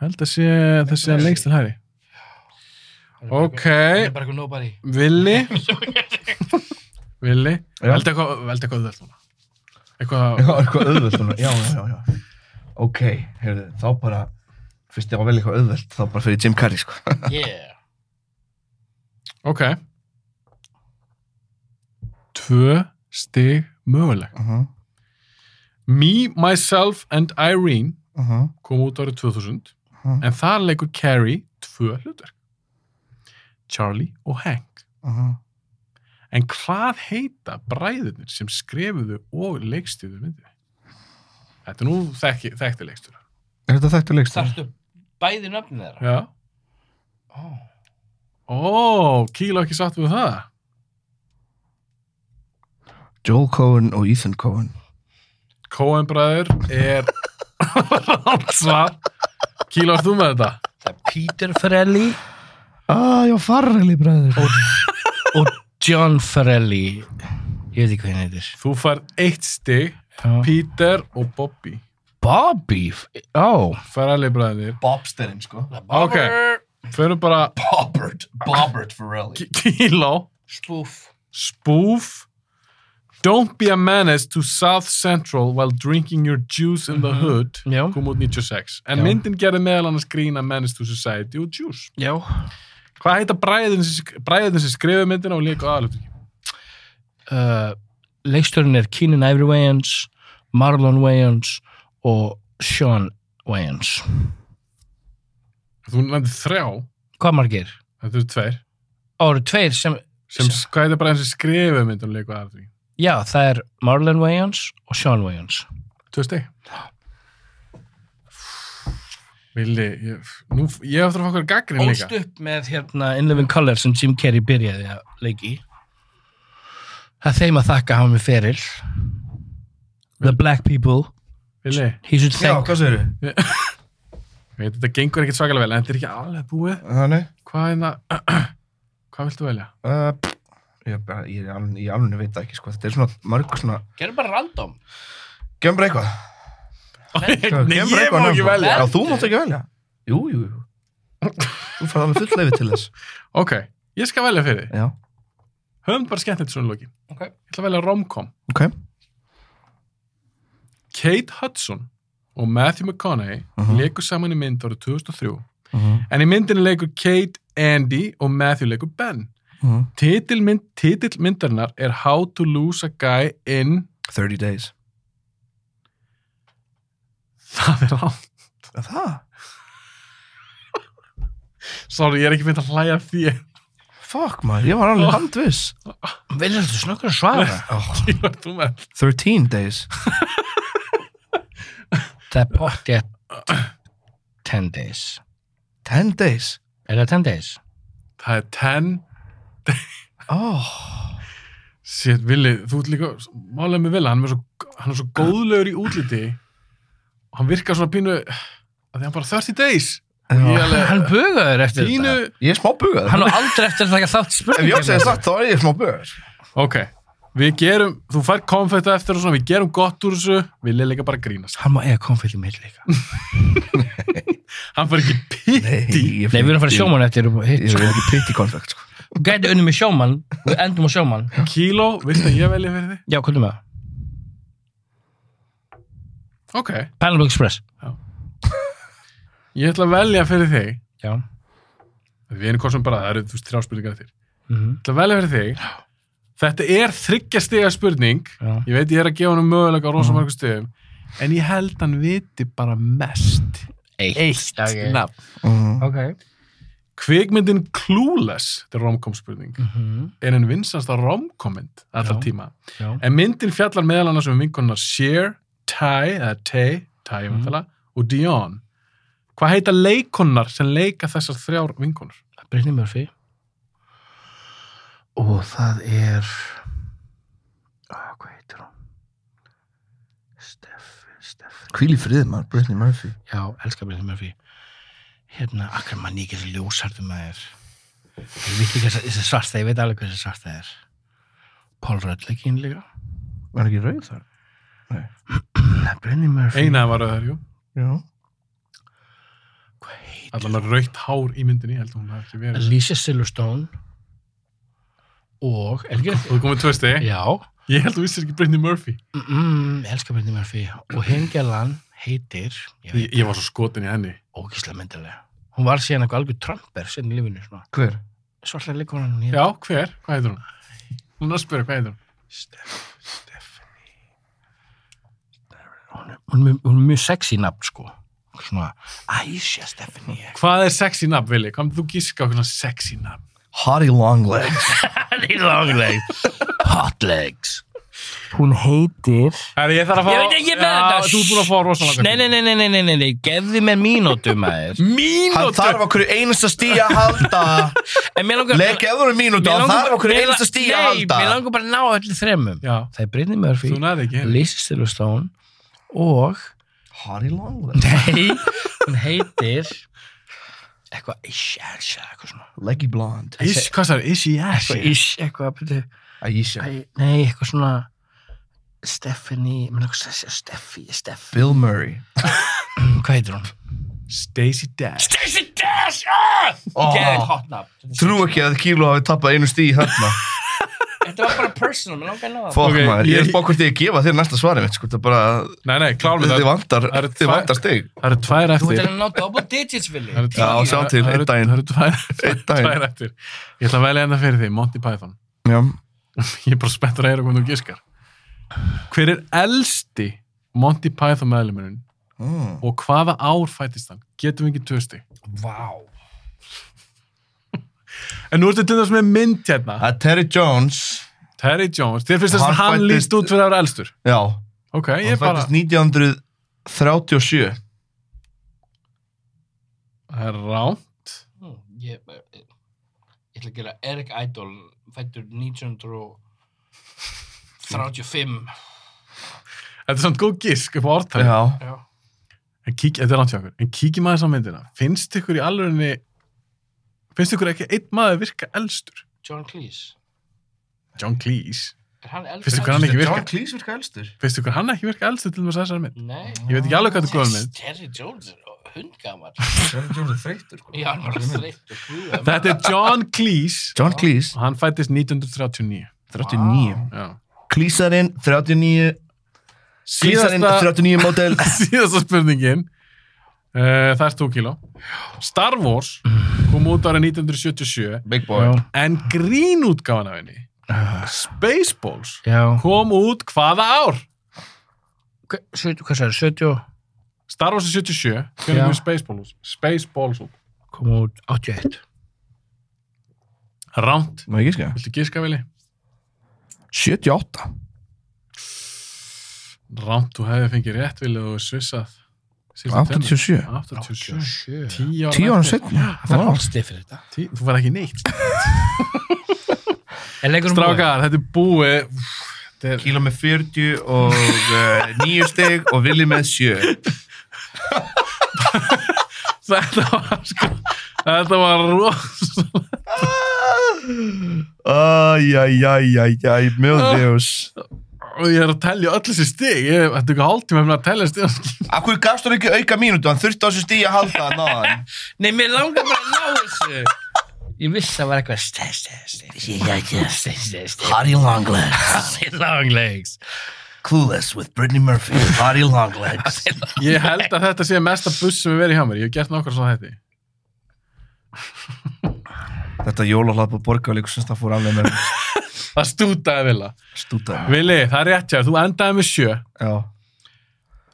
Speaker 4: Held að sé þessi að lengst til hæri. Ok,
Speaker 5: Það er bara eitthvað nobody.
Speaker 4: (laughs) Vili? Vili?
Speaker 6: Já.
Speaker 4: Veldi eitthvað, veldi eitthvað öðvöld núna. Eitthvað
Speaker 6: Já, eitthvað auðvelt svona. Já, já, já, já. Ok, heyrðu, þá bara, fyrst ég á að velja eitthvað auðvelt, þá bara fyrir Jim Carrey, sko.
Speaker 5: Yeah.
Speaker 4: Ok Tvö stig möguleg
Speaker 9: Uh-huh,
Speaker 6: Mhm.
Speaker 4: Me, Myself and Irene
Speaker 9: uh-huh,
Speaker 4: kom út árið 2000 en þar leikur Carrie tvö hlutverk Charlie og Hank
Speaker 9: uh-huh.
Speaker 4: en hvað heita bræðurnir sem skrifuðu og leikstýðu myndinni? Þetta er nú þekki, þekkti leikstýra
Speaker 9: Er þetta þekktu leikstur?
Speaker 5: Þarftu bæði nöfnum þeirra?
Speaker 4: Já Ó, Kíla ekki satt við það
Speaker 10: Joel Cohen og Ethan Cohen
Speaker 4: Coen bræður er rátt svar Kíla, varst þú með þetta?
Speaker 5: Það er Peter Farrelly
Speaker 9: Ah, já, farreli bræður
Speaker 5: og John Farrelly. Ég veit ekki hvað henni heitir.
Speaker 4: Þú fær eitt stig, Peter og Bobby.
Speaker 5: Bobby? Ó.
Speaker 4: Farrelly bræðir.
Speaker 11: Bobsterinn, sko.
Speaker 4: Ok, förum bara
Speaker 11: Bobbert. Bobbert Farrelly.
Speaker 4: k- kíló,
Speaker 5: Spoof.
Speaker 4: spoof. Don't be a menace to South Central while drinking your juice in the hood.
Speaker 5: Já.
Speaker 4: Kom út 96. En myndin gerði meðal annars grína menace to society og juice.
Speaker 5: Já.
Speaker 4: Hvað heita bræðin sem, sk- bræðin sem skrifa myndina og líka aðalutur?
Speaker 5: Uh, Leikstörinn er Keenan Ivory Wayans, Marlon Wayans og Sean Wayans.
Speaker 4: Þú nefndi þrjá,
Speaker 5: Hvað margir?
Speaker 4: þetta eru tveir.
Speaker 5: Ó, eru tveir sem...
Speaker 4: Sem, hvað heita bræðin sem skrifa myndina og líka aðalutur?
Speaker 5: Já, það er Marlon Wayans og Sean Wayans.
Speaker 4: Tvö steg Vili, ég, nú, ég hef þarf að fá okkur gaggrin líka
Speaker 5: Ólst upp með hérna In Living Color sem Jim Carrey byrjaði að leiki í. Það er þeim að þakka hann með feril. The black people,
Speaker 4: Vili,
Speaker 5: he should
Speaker 9: Já,
Speaker 5: thank
Speaker 9: hvað segir þau?
Speaker 4: ég veit þetta gengur ekkert svakalega vel en þetta er ekki alveg búið
Speaker 9: Þannig,
Speaker 4: Hvað er það, (clears throat) hvað viltu velja?
Speaker 9: uh, pff, ég, bara- ég, ég, ég alveg veit það ekki, sko Þetta er svona mörg svona
Speaker 5: Gerðu bara random.
Speaker 9: Gefum bara
Speaker 4: (laughs)
Speaker 9: eitthvað
Speaker 4: Nei,
Speaker 9: Gefum bara
Speaker 4: ég
Speaker 9: eitthvað
Speaker 4: má
Speaker 9: nafn.
Speaker 4: ekki velja
Speaker 9: Já, þú mátt ekki velja Jú, jú, jú Þú færði alveg full leifi til þess
Speaker 6: (laughs)
Speaker 4: Ok, ég skal velja fyrir þig.
Speaker 9: Já,
Speaker 4: Höfum bara skemmt þetta svona lóki
Speaker 5: Ok.
Speaker 4: Ég ætla að velja romcom
Speaker 9: ok
Speaker 4: Kate Hudson og Matthew McConaughey
Speaker 9: Mhm.
Speaker 4: leikur saman í mynd árið 2003
Speaker 6: Uh-huh,
Speaker 9: Mhm.
Speaker 4: en í myndinni leikur Kate, Andy og Matthew leikur Ben
Speaker 6: uh-huh.
Speaker 9: Mhm.
Speaker 4: Titilmynd, titilmyndarinnar er How to Lose a Guy in (laughs)
Speaker 9: 30 days
Speaker 4: Það er á
Speaker 9: Er Það?
Speaker 4: Sorry, ég er ekki mynd að hlæja að því (laughs)
Speaker 9: Fuck maður, ég var alveg
Speaker 6: Oh.
Speaker 9: handviss
Speaker 5: Vilja þetta snökkur að svara?
Speaker 4: Ég var þú með
Speaker 9: 13 days
Speaker 5: það er pottjætt 10 days.
Speaker 9: 10 days
Speaker 5: Er það 10 days?
Speaker 4: Það er (laughs) 10
Speaker 9: oh.
Speaker 4: Shit, Vili, þú ert líka Málega með Vili, hann er svo, hann er svo góðlegur í útliti og hann virkar svona pínu að því hann bara 30 days Ég er alveg-
Speaker 5: Hann bugaður eftir
Speaker 4: Pínu
Speaker 5: þetta.
Speaker 9: Ég er smá bugað
Speaker 5: Hann á aldrei eftir að taka þátt í
Speaker 9: Ef ég segi
Speaker 5: spurningum.
Speaker 9: satt, þá er ég smá bugað
Speaker 4: Ok, við gerum, þú fær konfetta eftir og svona, við gerum gott úr þessu, við leið líka bara að grínast.
Speaker 5: Hann má eiga konfetti mitt líka.
Speaker 4: Hann fær ekki pitti.
Speaker 5: Nei, við erum að fara í sjómann eftir og hitt.
Speaker 9: Ég er ekki pitti konfekt sko.
Speaker 5: Gæti unni með sjómann, við endum á sjómann.
Speaker 4: Kíló, viltu að ég velja fyrir þig?
Speaker 5: Já, hvernig með það?
Speaker 4: Ok,
Speaker 5: Panama Express.
Speaker 4: ég ætla að velja fyrir þig,
Speaker 5: Já.
Speaker 4: við erum kostum bara, það eru þú veist þrjá spurningar eftir.
Speaker 5: Mhm.
Speaker 4: Ég ætla að velja fyrir þig, þetta er þryggjastega spurning,
Speaker 5: Já.
Speaker 4: ég veit ég er að gefa hann mögulega á rosa margum stegum, en ég held hann viti bara mest.
Speaker 5: Eitt.
Speaker 4: okay.
Speaker 5: Ok.
Speaker 4: nafn.
Speaker 9: Mhm.
Speaker 4: Kvikmyndin Clueless, þetta er romkom spurning,
Speaker 5: Mhm.
Speaker 4: er einn vinsansta romkommynd allra
Speaker 5: Já.
Speaker 4: tíma.
Speaker 5: Já.
Speaker 4: En myndin fjallar meðal annars um vinkonuna Cher, Ty, eða Tay, Ty, mm. og Dion. Hvað heita leikonar sem leika þessar þrjár vinkonur?
Speaker 5: Brittany Murphy og það er oh, hvað heitir hún Steff, Steff
Speaker 9: Hvíl í frið maður, Brittany Murphy
Speaker 5: já, elskar Brittany Murphy hérna, akkur mann ég getur ljósartum að er ég veit ekki hvað þessi svarta ég veit alveg hvað þessi svarta er Paul Rudd ekki inn líka
Speaker 9: Var ekki rauð þar?
Speaker 5: Nei, Brittany Murphy
Speaker 4: Einaði var öðar, jú.
Speaker 9: Já
Speaker 5: hvað heitir
Speaker 4: Allan að raukt hár í myndinni, ég held að hún hafði ekki verið.
Speaker 5: Alicia Silverstone og er ekki
Speaker 4: Þú komið tvö stegi.
Speaker 5: já
Speaker 4: Ég held að þú vissir ekki Brittany Murphy.
Speaker 5: Mm, elskar Brittany Murphy og hengjalan heitir ég
Speaker 4: Ég,
Speaker 5: veit,
Speaker 4: ég var svo skotin í henni.
Speaker 5: ógíslega myndilega hún var síðan eitthvað algjör tramper síðan í lífinu svona.
Speaker 9: Hver?
Speaker 5: svartlega leikur hann
Speaker 4: Já, hver? Hvað heitir hún? Hún er að spyrja, hvað heitir hún?
Speaker 5: Steff, Steff hún er mjög- hún er mjög sexy nafn sko svona Aisha Stephanie
Speaker 4: Hvað er sexy nafn, Vili? Hvað myndir þú giska á svona sexy nafn?
Speaker 9: Harry Longlegs
Speaker 5: Honey long legs Hot legs Hún heitir
Speaker 4: Herri, ég þarf að fá...
Speaker 5: Ég veit ekki, ég með
Speaker 4: Já,
Speaker 5: þetta
Speaker 4: Þú er búin að fá rosalega. Mm.
Speaker 5: Nei, nei, nei, nei, nei, nei, nei, nei, gefðu mér mínútu maður
Speaker 9: Hann
Speaker 4: Mínútur!
Speaker 9: þarf okkur einasta stíja
Speaker 4: (laughs)
Speaker 9: að halda
Speaker 5: En mér langar
Speaker 9: Legg eða hún mínútu
Speaker 5: Mér
Speaker 9: Hann
Speaker 5: langar-
Speaker 9: þarf okkur
Speaker 5: mér la-
Speaker 9: einasta stíja að
Speaker 5: Nei, mér
Speaker 9: halda
Speaker 5: langar bara að ná öllu þremum
Speaker 4: Já,
Speaker 5: Það er Brynni Murphy,
Speaker 4: þú næði ekki. henni.
Speaker 5: Lisa Silverstone og
Speaker 9: Harry Longlegs
Speaker 5: Nei, (laughs) hún heitir eitthvað Isha, Isha, eitthvað svona
Speaker 9: Leggy Blonde
Speaker 4: Ish, hvað sagði? Ishi, yes.
Speaker 5: Eitthvað Isha, eitthvað, byrju
Speaker 9: Aisha
Speaker 5: æ, Nei, eitthvað svona Stephanie, mér langar að segja Steffi, Steffi
Speaker 9: Bill Murray
Speaker 5: Hvað heitir hún?
Speaker 4: Stacey Dash.
Speaker 5: Stacey Dash! Ah!
Speaker 9: Ó.
Speaker 5: Geðið hot nafn
Speaker 9: Trú ekki að Kíló hafi tappað einu stíi hérna
Speaker 5: Þetta var bara personal, mér langar að ná það
Speaker 4: (laughs)
Speaker 9: Fokk
Speaker 4: Ok,
Speaker 9: maður, ég
Speaker 4: ég-
Speaker 9: er bókvort ég að gefa þér næsta svari mitt sko, þetta er bara,
Speaker 4: Nei, nei, klárum
Speaker 9: þið
Speaker 4: þetta.
Speaker 9: vantar
Speaker 4: það eru
Speaker 9: þið
Speaker 4: tvær-
Speaker 9: vantar stig
Speaker 4: Það eru tvær
Speaker 5: Þú
Speaker 4: eftir.
Speaker 5: ert að ná double digits, Vili
Speaker 4: Það eru
Speaker 9: Já,
Speaker 4: tvær-
Speaker 9: sjá til,
Speaker 4: það eru-
Speaker 9: einn daginn.
Speaker 4: Það eru tvær, (laughs)
Speaker 9: Einn daginn.
Speaker 4: tvær eftir. Ég ætla að velja enda fyrir því, Monty Python.
Speaker 9: Já,
Speaker 4: (laughs) Ég er bara spenntur að heyra hvernig þú giskar. Hver er elsti Monty Python meðlumurinn
Speaker 9: Mm.
Speaker 4: og hvaða ár fættist hann? Getum við ekki tvösti? Vá! (laughs) En nú ertu til þess með mynd hérna.
Speaker 9: Það er Terry Jones
Speaker 4: Terry Jones, þér finnst þess að
Speaker 9: Hann
Speaker 4: hann
Speaker 9: fæddist-
Speaker 4: líst út fyrir að vera elstur.
Speaker 9: Já,
Speaker 4: Ok, ég
Speaker 9: hann
Speaker 4: er bara...
Speaker 9: fættist 1937
Speaker 4: Það er rám.
Speaker 5: Hmm, Ég, ég, ég ætla að gera Erik Idol fættur 1935
Speaker 4: Þetta er samt góð gísk upp á orðtæði.
Speaker 9: Já,
Speaker 4: En kík, þetta er langt hjá okkur. En kíkjum aðeins á myndina. Finnst ykkur í alvegni... Finnst ykkur ekki einn maður virka elstur?
Speaker 5: John Cleese
Speaker 4: John Cleese.
Speaker 5: er hann eldur
Speaker 4: Finnst ykkur hann ekki virka?
Speaker 9: John Cleese virka elstur
Speaker 4: Finnst ykkur hann ekki virka elstur til þess að þessari mynd?
Speaker 5: Nei,
Speaker 4: Ég veit ekki alveg hvað þetta er góð mynd.
Speaker 5: Terry Jones er hundgamar
Speaker 9: Terry Jones er þreyttur sko.
Speaker 5: Já, hann var þreytt og hlúða
Speaker 4: Þetta er John Cleese
Speaker 9: John Cleese,
Speaker 4: og hann fættist 1939.
Speaker 9: 39
Speaker 4: Já.
Speaker 9: Cleesearinn, 39 Cleesearinn,
Speaker 4: Síðasta-
Speaker 9: 39 mótel
Speaker 4: (laughs) síðasta spurningin uh, það er 2 kíló Star Wars kom út árið 1977
Speaker 9: Big boy
Speaker 4: en grín útgáfan af henni Spaceballs
Speaker 5: Já,
Speaker 4: kom út hvaða ár?
Speaker 5: Hva- sjö- hvað sagði, 70
Speaker 4: Star Wars er 77, hvernig
Speaker 5: Já.
Speaker 4: kom Spaceballs út? Spaceballs út
Speaker 5: kom út 81
Speaker 4: Ránt,
Speaker 9: Má ég gíska?
Speaker 4: viltu giska vili?
Speaker 9: 78
Speaker 4: Ránt, þú hefði fengið rétt vili og svissað síðustu tennur.
Speaker 9: 87
Speaker 4: 87
Speaker 5: Sjö,
Speaker 4: 10 ára,
Speaker 9: 10 ára
Speaker 4: eftir.
Speaker 9: setna
Speaker 5: það er allstið fyrir þetta
Speaker 4: Tí- þú fær ekki neitt
Speaker 5: Er leikurinn búinn?
Speaker 4: strákar, þetta er búið Úff, þetta er
Speaker 9: Kíla með 40 og uh, 9 stig og Vili með 7
Speaker 4: þetta var sko þetta var rosa
Speaker 9: Æjæjæjæjæj, meu Deus
Speaker 4: og ég er að telja öll þessi stig ég ætti ekki hálftíma með að telja stig
Speaker 9: Akkur gafst hún ekki auka mínútu, hann þurfti á þessu stíi að halda hann áðan
Speaker 5: Nei, mér langar bara að ná þessu Ég vissi að það var eitthvað stef, stef, stef Ég ekki að stef, stef, stef
Speaker 9: Harry Longlegs
Speaker 5: Harry Longlegs
Speaker 9: Clueless with Brittany Murphy Harry Longlegs
Speaker 4: ég held að þetta sé mesta buss sem við verið hjá mér ég hef gert nokkar svona þetta
Speaker 9: Þetta jólahlað på borgarleikusins, það fór alveg með
Speaker 4: það stútaði Villa
Speaker 9: stútaði
Speaker 4: Vili, það er rétt hjá, þér, þú endaði með sjö
Speaker 9: Já,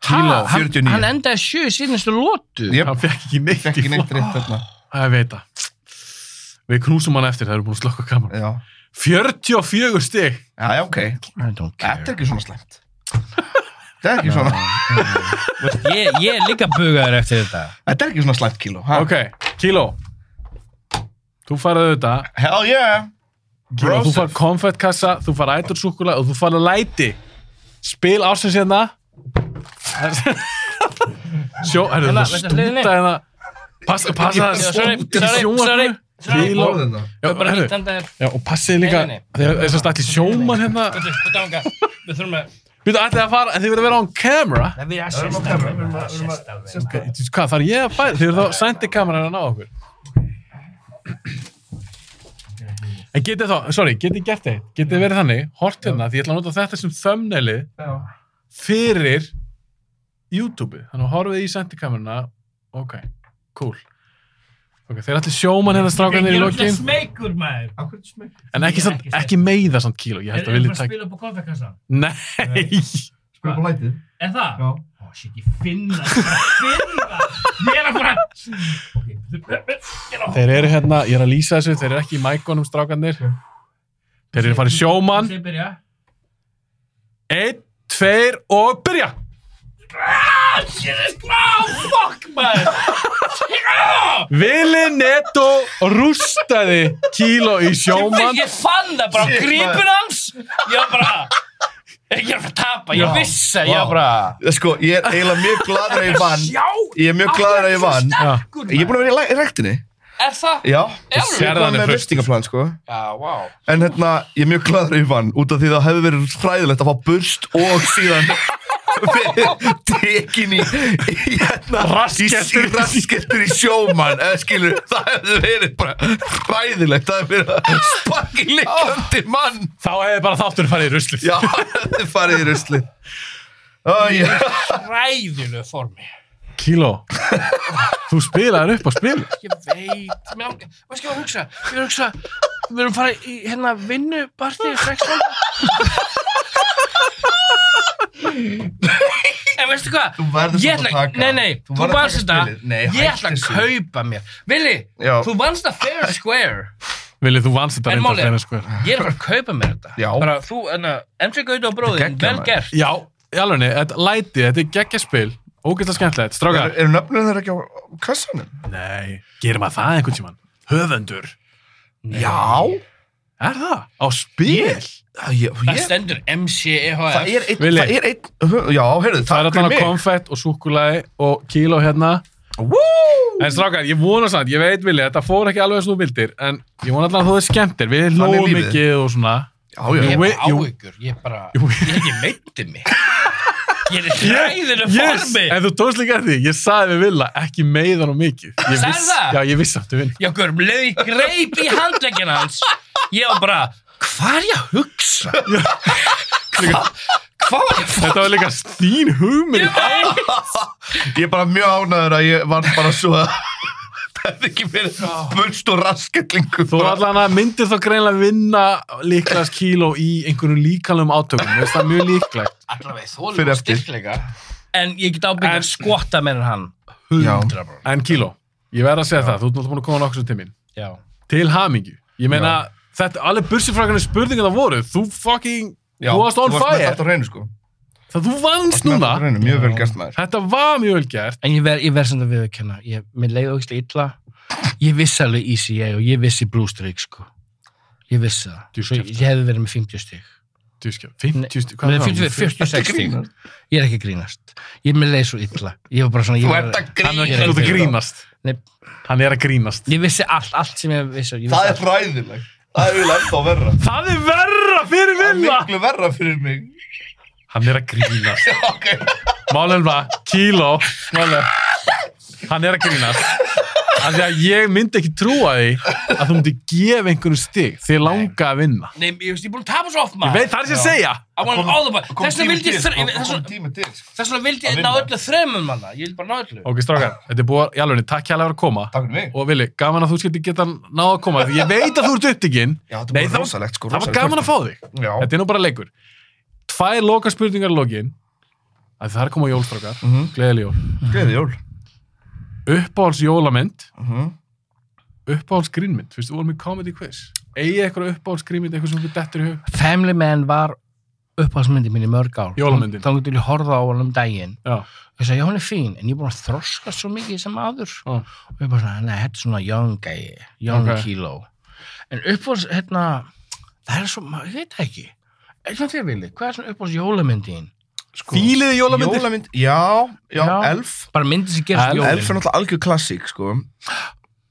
Speaker 4: kíló,
Speaker 9: hann- 49.
Speaker 5: Hann endaði sjö í síðnustu lótu
Speaker 9: Jep.
Speaker 4: hann fekk ekki neitt
Speaker 9: fekk
Speaker 4: í
Speaker 9: ég neitt rétt þarna
Speaker 4: flokk það veit það við knúsum hann eftir, það eru búin að slokka kameran
Speaker 9: Já,
Speaker 4: 44 stig
Speaker 9: já, já, ok
Speaker 5: I don't
Speaker 9: Þetta er ekki svona slæmt Þetta er ekki svona,
Speaker 5: Ég, ég er líka bugaður eftir þetta
Speaker 9: þetta er ekki svona slæmt kíló ha?
Speaker 4: ok, kíló þú farið auðvitað
Speaker 9: Hell yeah
Speaker 4: kíló, þú farið konfettkassa, þú farið ætursúkula og þú farið læti spil ásins hérna (laughs) sjó, herru,
Speaker 5: Hérna,
Speaker 4: það
Speaker 5: veistu
Speaker 4: stúta
Speaker 5: hliðinni?
Speaker 4: hérna passa, passa það
Speaker 5: Já, sorry,
Speaker 4: stúta í
Speaker 5: sorry,
Speaker 4: sjónvarpinu
Speaker 5: sorry,
Speaker 4: Kíló.
Speaker 9: Orðina.
Speaker 4: Já,
Speaker 5: Það er bara
Speaker 4: herru,
Speaker 5: hitt enda þér
Speaker 4: já, og passið líka
Speaker 5: Nei, nei,
Speaker 4: þegar þess að stætti sjóman hérna
Speaker 5: Þetta er ánga Við þurfum að
Speaker 4: við þú ætlið að fara, en þið verður að vera on camera
Speaker 5: Það við erum að sérsta Við erum að sérsta
Speaker 4: Ok, hvað þarf ég að færa? Þið verður þá sendi kameran að ná okkur en getið þá, sorry, getið gert þið getið verið þannig, hort hérna því ég ætla að nota þetta sem thumbnaili fyrir YouTube þannig að horfið í sendi kamerana ok, cool ok, þeir allir sjóman hérna strákanir í
Speaker 5: Ég er
Speaker 4: lokin
Speaker 5: smeykur maður
Speaker 4: en ekki, samt, ekki meiða samt kíló, ég held að
Speaker 5: Erum við
Speaker 4: vilja
Speaker 5: að
Speaker 4: takk
Speaker 5: spila upp á konfekassan?
Speaker 4: nei,
Speaker 9: Spil på lætið
Speaker 5: Er það?
Speaker 12: Já.
Speaker 5: Ó, shit, ég finn það, ég er að finna það. Ég er að fara... Ok, ég er að...
Speaker 4: Þeir eru hérna, ég er að lýsa þessu, þeir eru ekki í mækonum strákanir. Þeir eru að fara í sjómann.
Speaker 5: Þeir byrja.
Speaker 4: Einn, tveir og byrja!
Speaker 5: Ah, shit, ah, fuck, maður.
Speaker 4: (laughs) Vili Neto rústaði kíló í sjómann.
Speaker 5: Ég fann það bara á grípun hans. Ég var bara... Ég er að fara að tapa, ég vissi það, ég var bara...
Speaker 9: Sko, ég er eiginlega mjög gladur að ég vann.
Speaker 5: Já!
Speaker 9: Ég er mjög gladur að ég vann.
Speaker 5: Stakkur,
Speaker 9: Ég er búin að vera í læ- í rektinni.
Speaker 5: Er það?
Speaker 9: Já.
Speaker 5: Ég
Speaker 9: Ég er
Speaker 4: Sérðu hann er
Speaker 9: komið með
Speaker 4: hraust.
Speaker 9: vistingaflan, sko.
Speaker 5: Já, wow.
Speaker 9: En hérna, ég er mjög gladur að ég vann út af því það hefði verið hræðilegt að fá burst og síðan (laughs) verið tekin í í hérna
Speaker 4: Rassskellur.
Speaker 9: í- í rassskellur í sjómann eða skilur, það hefði verið bara hræðilegt, það hefði verið að spakki likandi mann
Speaker 4: Þá hefði bara þáttur farið í ruslið.
Speaker 9: Já, þið farið í ruslið oh, yeah.
Speaker 5: Ræðilegu formi.
Speaker 4: Kíló, þú spilaði hann upp á spil.
Speaker 5: Ég veit. Mér langar... Veistu hvað ég var að hugsa? Ég var að hugsa... Við erum farið í hérna vinnuparti í sexlanda. En veistu hvað?
Speaker 9: Þú verður
Speaker 5: Ég
Speaker 9: samt
Speaker 5: ætla,
Speaker 9: að taka.
Speaker 5: nei, nei,
Speaker 9: Þú
Speaker 5: þú
Speaker 9: verður að
Speaker 5: vannst
Speaker 9: taka
Speaker 5: þetta
Speaker 9: spilið. Nei,
Speaker 5: Ég ætla
Speaker 9: hættu
Speaker 5: að
Speaker 9: þessu.
Speaker 5: kaupa mér Vili,
Speaker 9: Já.
Speaker 5: þú vannst þetta fair and square
Speaker 4: Vili, þú vannst þetta
Speaker 5: En
Speaker 4: reyndar
Speaker 5: málið er,
Speaker 4: fyrir henni sko.
Speaker 5: ég er að fara að kaupa mér þetta
Speaker 9: Já.
Speaker 5: Bara þú, hérna, enna, MC Gauta og bróðin,
Speaker 9: Þetta er
Speaker 5: vel
Speaker 9: geggjað,
Speaker 5: gert
Speaker 4: Já, í alvegni, þetta læti, þetta er geggjaspil. Ógæslega skemmtilegt. Strákar,
Speaker 9: Eru nöfnum þeirra ekki á kassanum?
Speaker 4: Nei, gerir maður það einhvern tímann? Höfundur?
Speaker 9: Já
Speaker 4: Er það? Á spil?
Speaker 9: Það ég,
Speaker 5: Það
Speaker 9: ég,
Speaker 5: stendur E MC
Speaker 9: það
Speaker 5: EHF
Speaker 9: er einn
Speaker 4: Vili.
Speaker 9: Það er einn Já, heyrðu,
Speaker 4: Það er
Speaker 9: takk
Speaker 4: alltaf
Speaker 9: fyrir mig
Speaker 4: konfett og súkulagi og kíló hérna.
Speaker 9: Woo!
Speaker 4: En strákar, ég vona samt, ég veit vilja, þetta fór ekki alveg eins og þú vildir, en ég vona alltaf að þú þið skemmtir, við
Speaker 9: Þannig er
Speaker 4: hlóðum
Speaker 9: lífið.
Speaker 4: mikið og svona.
Speaker 9: Já, já,
Speaker 5: Ég
Speaker 9: já
Speaker 5: er
Speaker 4: Jú,
Speaker 5: bara
Speaker 4: jú.
Speaker 5: áhyggjur, ég er bara Ég hef ekki meittið mig Ég er í ræðinu formi
Speaker 4: en þú tókst líka eftir því, ég saði við vilja, ekki meiðan og mikið. Ég
Speaker 5: Sagði
Speaker 4: viss-
Speaker 5: það?
Speaker 4: Já, ég vissi samt við vinn.
Speaker 5: Já, guður, um leið ég greip í handleggin hans Ég var bara, hvað er ég að hugsa? Hva- Hvað var ég að
Speaker 4: Þetta var líka þín hugmynd.
Speaker 5: fara?
Speaker 9: Ég er bara mjög ánæður að ég vann bara svo að Það hefði ekki verið Burst og rasketlingu
Speaker 4: Þú allan að myndir þá greinlega vinna líklegast kíló í einhverjum líkalum átökum, Mér finnst það er mjög líklegt.
Speaker 5: Allavega þólum
Speaker 9: Fyrir
Speaker 5: og
Speaker 9: eftir.
Speaker 5: styrkleika En ég get ábyggjað
Speaker 4: En-
Speaker 5: að skotta meira en hann
Speaker 9: Já.
Speaker 5: 100%
Speaker 4: En kíló, ég verð að segja það, þú ert náttúrulega búin að koma nokkuð sem til mín.
Speaker 5: Já.
Speaker 4: Til hamingju. Ég meina, þetta, alveg bursið frá hvernig spurningar það voru, þú fucking,
Speaker 9: Já,
Speaker 4: þú varst on
Speaker 9: Þú varst með allt
Speaker 4: fire.
Speaker 9: á reynu, sko
Speaker 4: Það þú vannst
Speaker 9: Með
Speaker 4: núna.
Speaker 9: allt á reynu, Mjög vel gert maður
Speaker 4: Þetta var mjög vel gert.
Speaker 5: En ég verð ver sem það viðurkenna, ég, mér leið ógislega illa. Ég vissi alveg ECA og ég vissi Bruce Drake, sko. Ég vissi það.
Speaker 4: Djú,
Speaker 5: Svo ég
Speaker 4: kjafta.
Speaker 5: hefði verið með 50 stík.
Speaker 4: Tjúskja,
Speaker 5: Nei,
Speaker 4: 50, sti- hvað
Speaker 5: Með
Speaker 4: er það?
Speaker 5: 50, 46 stík.
Speaker 9: grínast?
Speaker 5: Ég er ekki að grínast. Ég mér leið svo illa. Ég var bara svona...
Speaker 9: Þú ert að
Speaker 4: Hann er
Speaker 9: grína
Speaker 4: ekki út að grínast.
Speaker 5: Nei.
Speaker 4: Hann er að grínast.
Speaker 5: Ég vissi allt, allt sem ég vissi. Ég vissi
Speaker 9: Það er
Speaker 5: allt.
Speaker 9: hræðileg Það er eiginlega ennþá verra
Speaker 4: Það er verra fyrir
Speaker 9: Það er
Speaker 4: vilja.
Speaker 9: miklu verra fyrir mig
Speaker 4: Hann er að (laughs) grínast.
Speaker 9: Ok
Speaker 4: Málum var, kíló málum. Hann er að grínast Af því að ég myndi ekki trúa því að þú myndi gefa einhverju stig þið langa að vinna
Speaker 5: Nei, ég veist, ég er búin að tapa svo oft,
Speaker 4: Ég
Speaker 5: maður.
Speaker 4: veit það er sem að segja
Speaker 5: I want all the money.
Speaker 9: Kom
Speaker 5: Þess vegna
Speaker 9: tími
Speaker 5: vildi ég...
Speaker 9: til,
Speaker 5: þre-
Speaker 9: sko,
Speaker 5: ég- þess
Speaker 9: kom
Speaker 5: vegna-
Speaker 9: tími til, sko.
Speaker 5: Þess vegna vildi
Speaker 9: Að
Speaker 5: ég ná
Speaker 9: vinna.
Speaker 5: öllu þremur, manna. Ég vildi bara ná öllu.
Speaker 4: Ok, strákar, þetta er búið í alveg takk hérlega fyrir að koma
Speaker 9: Takk fyrir mig.
Speaker 4: Og Vili, gaman að þú skilti geta náða að koma Því ég veit að þú ert upptíkin
Speaker 9: Já, þetta er
Speaker 4: Nei,
Speaker 9: bara
Speaker 4: það-
Speaker 9: rosalegt, sko,
Speaker 4: Það var
Speaker 9: rosalegt
Speaker 4: gaman að fá þig
Speaker 9: Já.
Speaker 4: Þetta er nú bara leikur Tvær loka spurningar í lokin að Það er að koma jólstrákar, mm -hmm. gleðileg jól
Speaker 9: Gleði jól
Speaker 4: uppáhalds jólamynd uppáhalds grínmynd fyrst, þú vorum í comedy quiz eigið eitthvað uppáhalds grínmynd, eitthvað sem þú dettur í hug
Speaker 5: Family Man var uppáhaldsmyndi mín í mörg ár.
Speaker 4: Jólamyndin.
Speaker 5: Þá getur ég horfa á hann um daginn.
Speaker 4: já,
Speaker 5: Ég sagði, já, hún er fín, en ég er búin að þroska svo mikið sem aður.
Speaker 4: Já.
Speaker 5: Og ég er bara svona, nei, þetta er svona young gæi, young
Speaker 4: Ok.
Speaker 5: kilo. En uppáhalds, hérna, það er svo, maður, ég veit það ekki. Eitthvað þér vilji, hvað er svona uppáhalds jólamyndin?
Speaker 9: sko.
Speaker 4: fíliði jólamyndir
Speaker 9: Jólamynd, já, já,
Speaker 5: Já.
Speaker 9: Elf
Speaker 5: Bara myndi sem gerast
Speaker 4: Elf-
Speaker 5: jólinn.
Speaker 9: Elf er náttúrulega algjör klassík, sko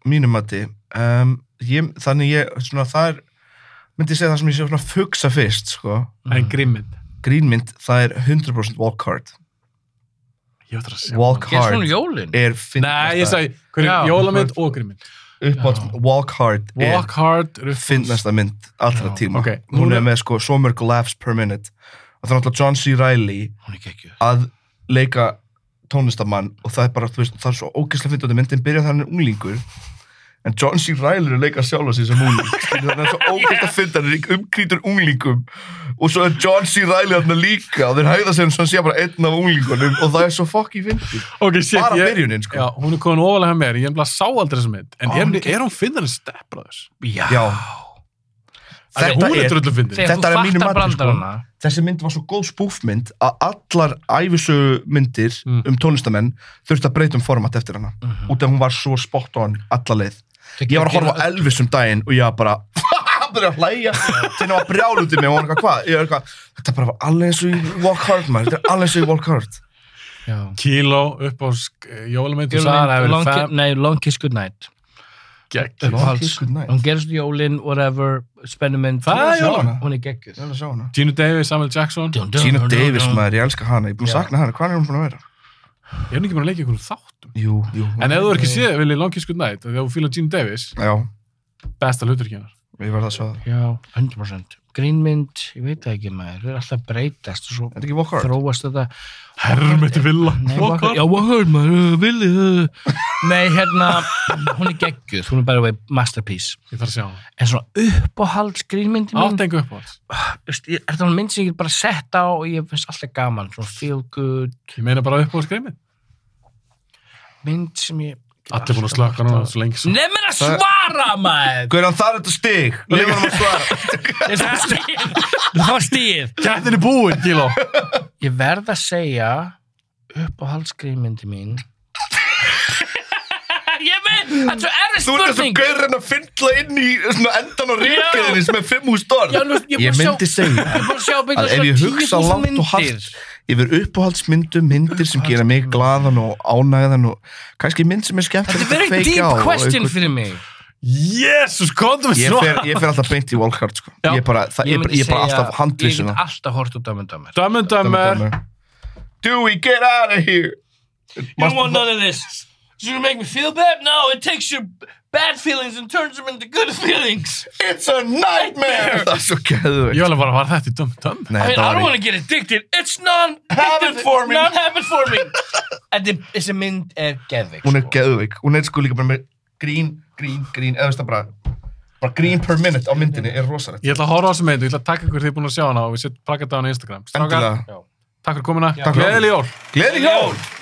Speaker 9: mínum mati um, ég, þannig ég, svona, það er myndi ég segja það sem ég sé svona fugsa fyrst, sko
Speaker 4: en grínmynd,
Speaker 9: grínmynd, það er 100% walk hard
Speaker 4: ég ætla að segja
Speaker 9: walk
Speaker 5: Gerast
Speaker 9: hard
Speaker 5: svona jólinn.
Speaker 9: er finn
Speaker 4: nei, ég sagði, hverju
Speaker 5: Já.
Speaker 4: jólamynd og grínmynd
Speaker 9: uppátt, walk hard
Speaker 4: walk hard,
Speaker 9: er finnasta mynd allra tíma
Speaker 4: ok.
Speaker 9: hún
Speaker 4: Núna-
Speaker 9: er með sko, so mörg laughs per minute og það er náttúrulega John C. Reilly
Speaker 5: Hún er geggjuð.
Speaker 9: að leika tónlistamann og það er bara, þú veist, það er svo ógeðslega fyndandi myndin byrja þannig unglingur en John C. Reilly leikar sjálfa sig sem úling skilur þannig að það er svo ógæst að finna hann er umkrítur unglingum og svo er John C. Reilly hann líka og þeir hæða sig um svo hann sé bara einn af unglingunum og það er svo fokki fyndið
Speaker 4: okay, shit,
Speaker 9: bara
Speaker 4: ég-
Speaker 9: byrjunin sko
Speaker 4: Já, hún er komin ofalega hjá mér, ég er bara sá aldrei þessum mynd En
Speaker 9: Ó,
Speaker 4: er,
Speaker 9: hún
Speaker 4: hún,
Speaker 9: er gegn-
Speaker 4: er hún finnarinn steppbræðus?
Speaker 5: Já.
Speaker 9: Já.
Speaker 4: Þetta
Speaker 9: Þetta
Speaker 4: hún er,
Speaker 9: er-
Speaker 4: er drullu finnir
Speaker 5: Þegar
Speaker 9: Þetta
Speaker 5: þú
Speaker 9: er að mínu
Speaker 5: fattar
Speaker 9: mati, sko.
Speaker 5: brandarana
Speaker 9: þessi mynd var svo góð spúfmynd að allar æfisögmyndir
Speaker 4: Mm.
Speaker 9: um tónlistamenn þurfti að breyta um format eftir hana út af hún var svo spot on alla leið ég var að horfa á Elvis um daginn og ég var bara (laughs) byrja að hlæja til hann var brjál út í mig og hún var eitthvað hvað Ég var eitthvað, þetta bara var alveg eins og í Walk Hard maður þetta er alveg eins og í Walk Hard
Speaker 4: Kíló upp á jólamynd og sagði að það hefur
Speaker 5: um Long-
Speaker 4: verið
Speaker 5: Nei, Long Kiss Goodnight
Speaker 4: gegn
Speaker 9: Long Kiss Goodnight.
Speaker 5: Hún gerist jólin, whatever, spennum mynd
Speaker 4: Það er jólin.
Speaker 5: Hún er geggjöð
Speaker 9: Ég vil að sjá hana.
Speaker 4: Gino Davis, Samuel Jackson Er
Speaker 9: Gina Davis maður, ég elska hana, ég er búin að
Speaker 5: Já.
Speaker 9: sakna hana, hvað er hún búin að vera?
Speaker 4: hún ekki bara að leika ykkur þáttum?
Speaker 9: Jú, jú.
Speaker 4: En ef þú er ekki séð, vil ég langið skuð nætt Þegar þú fílar Gino Davis,
Speaker 9: Já,
Speaker 4: besta hlutur ekki hennar
Speaker 9: ég verða að sjá það.
Speaker 5: Já, 100% Grínmynd, ég veit það ekki maður Það er alltaf að breytast og svo
Speaker 9: Er þetta ekki Walk Hard?
Speaker 5: þróast þetta
Speaker 4: Hermeti Villa
Speaker 5: Nei,
Speaker 4: Walk
Speaker 5: Walker-
Speaker 4: Hard.
Speaker 5: Já, Walker, maður, Willi Nei, hérna, hún er geggjöð Hún er bara vei masterpiece
Speaker 4: Ég þarf að sjá hann
Speaker 5: En svona uppáhalds grínmyndi mín
Speaker 4: Áttengu upp á hans
Speaker 5: veist, ég- Er það hún mynd sem ég get bara sett á og ég finnst alltaf gaman, svona feel good
Speaker 4: Ég meina bara upp á skreimið
Speaker 5: mynd sem ég get
Speaker 4: Allir búin að
Speaker 5: alltaf-
Speaker 4: slöka núna svo lengi svo
Speaker 5: Nefnir að svara maður
Speaker 9: Guðjón, það er þetta stig. Leifum hann að svara.
Speaker 5: Það var stíð Það var stíð
Speaker 4: Kættin er búin, Kíló
Speaker 9: (laughs)
Speaker 5: Ég verð að segja upp á halsgrímyndi mín (laughs) Ég veit, það er svo erfið
Speaker 9: Þú ert þessu
Speaker 5: spurning
Speaker 9: gaurinn að fyndla inn í svona endan á ríkjæðinni sem er 5.000 dorm.
Speaker 5: Já, nú, Ég er
Speaker 9: Ég
Speaker 5: búin að
Speaker 9: myndi
Speaker 5: sjá-
Speaker 9: segja
Speaker 5: ég er búin að sjá byrja
Speaker 9: að ef ég hugsa langt og hart yfir uppáhaldsmyndum, myndir sem gera mig glaðan og ánægðan og kannski mynd sem er skemmt
Speaker 5: Þetta er very deep question fyrir mig
Speaker 4: Jésus, komdu með
Speaker 9: Ég
Speaker 4: svo
Speaker 9: fer, ég fer alltaf beint í Walkhart sko.
Speaker 4: Já.
Speaker 9: ég, bara, það, ég,
Speaker 5: myndi
Speaker 9: bara- ég bara
Speaker 5: segja-
Speaker 9: alltaf handvissin
Speaker 5: Ég get alltaf hort út af myndamer
Speaker 4: Dömmendömmer
Speaker 9: Do we get out of here
Speaker 5: You want none of this. It's gonna make me feel bad? No, it takes your bad feelings and turns them into good (laughs) feelings.
Speaker 9: It's a nightmare Það er svo gæðvegt
Speaker 4: Ég var alveg bara var þetta í dömmendömmer
Speaker 5: I
Speaker 9: Nei,
Speaker 5: mean,
Speaker 9: þetta
Speaker 5: I don't
Speaker 9: var
Speaker 5: want
Speaker 9: í
Speaker 5: to get addicted. It's non habit
Speaker 9: for me.
Speaker 5: Non habit for
Speaker 9: (laughs)
Speaker 5: me. En þið- þessi mynd er geðvik.
Speaker 9: Hún er gæðveik, hún er sko líka bara með grín, grín, grín eða veist það bara bara grín per minute á myndinni er rosalegt
Speaker 4: Ég ætla að horfa á þessu mynd og ég ætla að taka ykkur því búin að sjá hana og við setjum plakkaði á hana á Instagram Strákar,
Speaker 9: Endilega.
Speaker 4: takk fyrir komuna,
Speaker 9: Takk.
Speaker 4: gleðileg jól
Speaker 9: Gleði hjól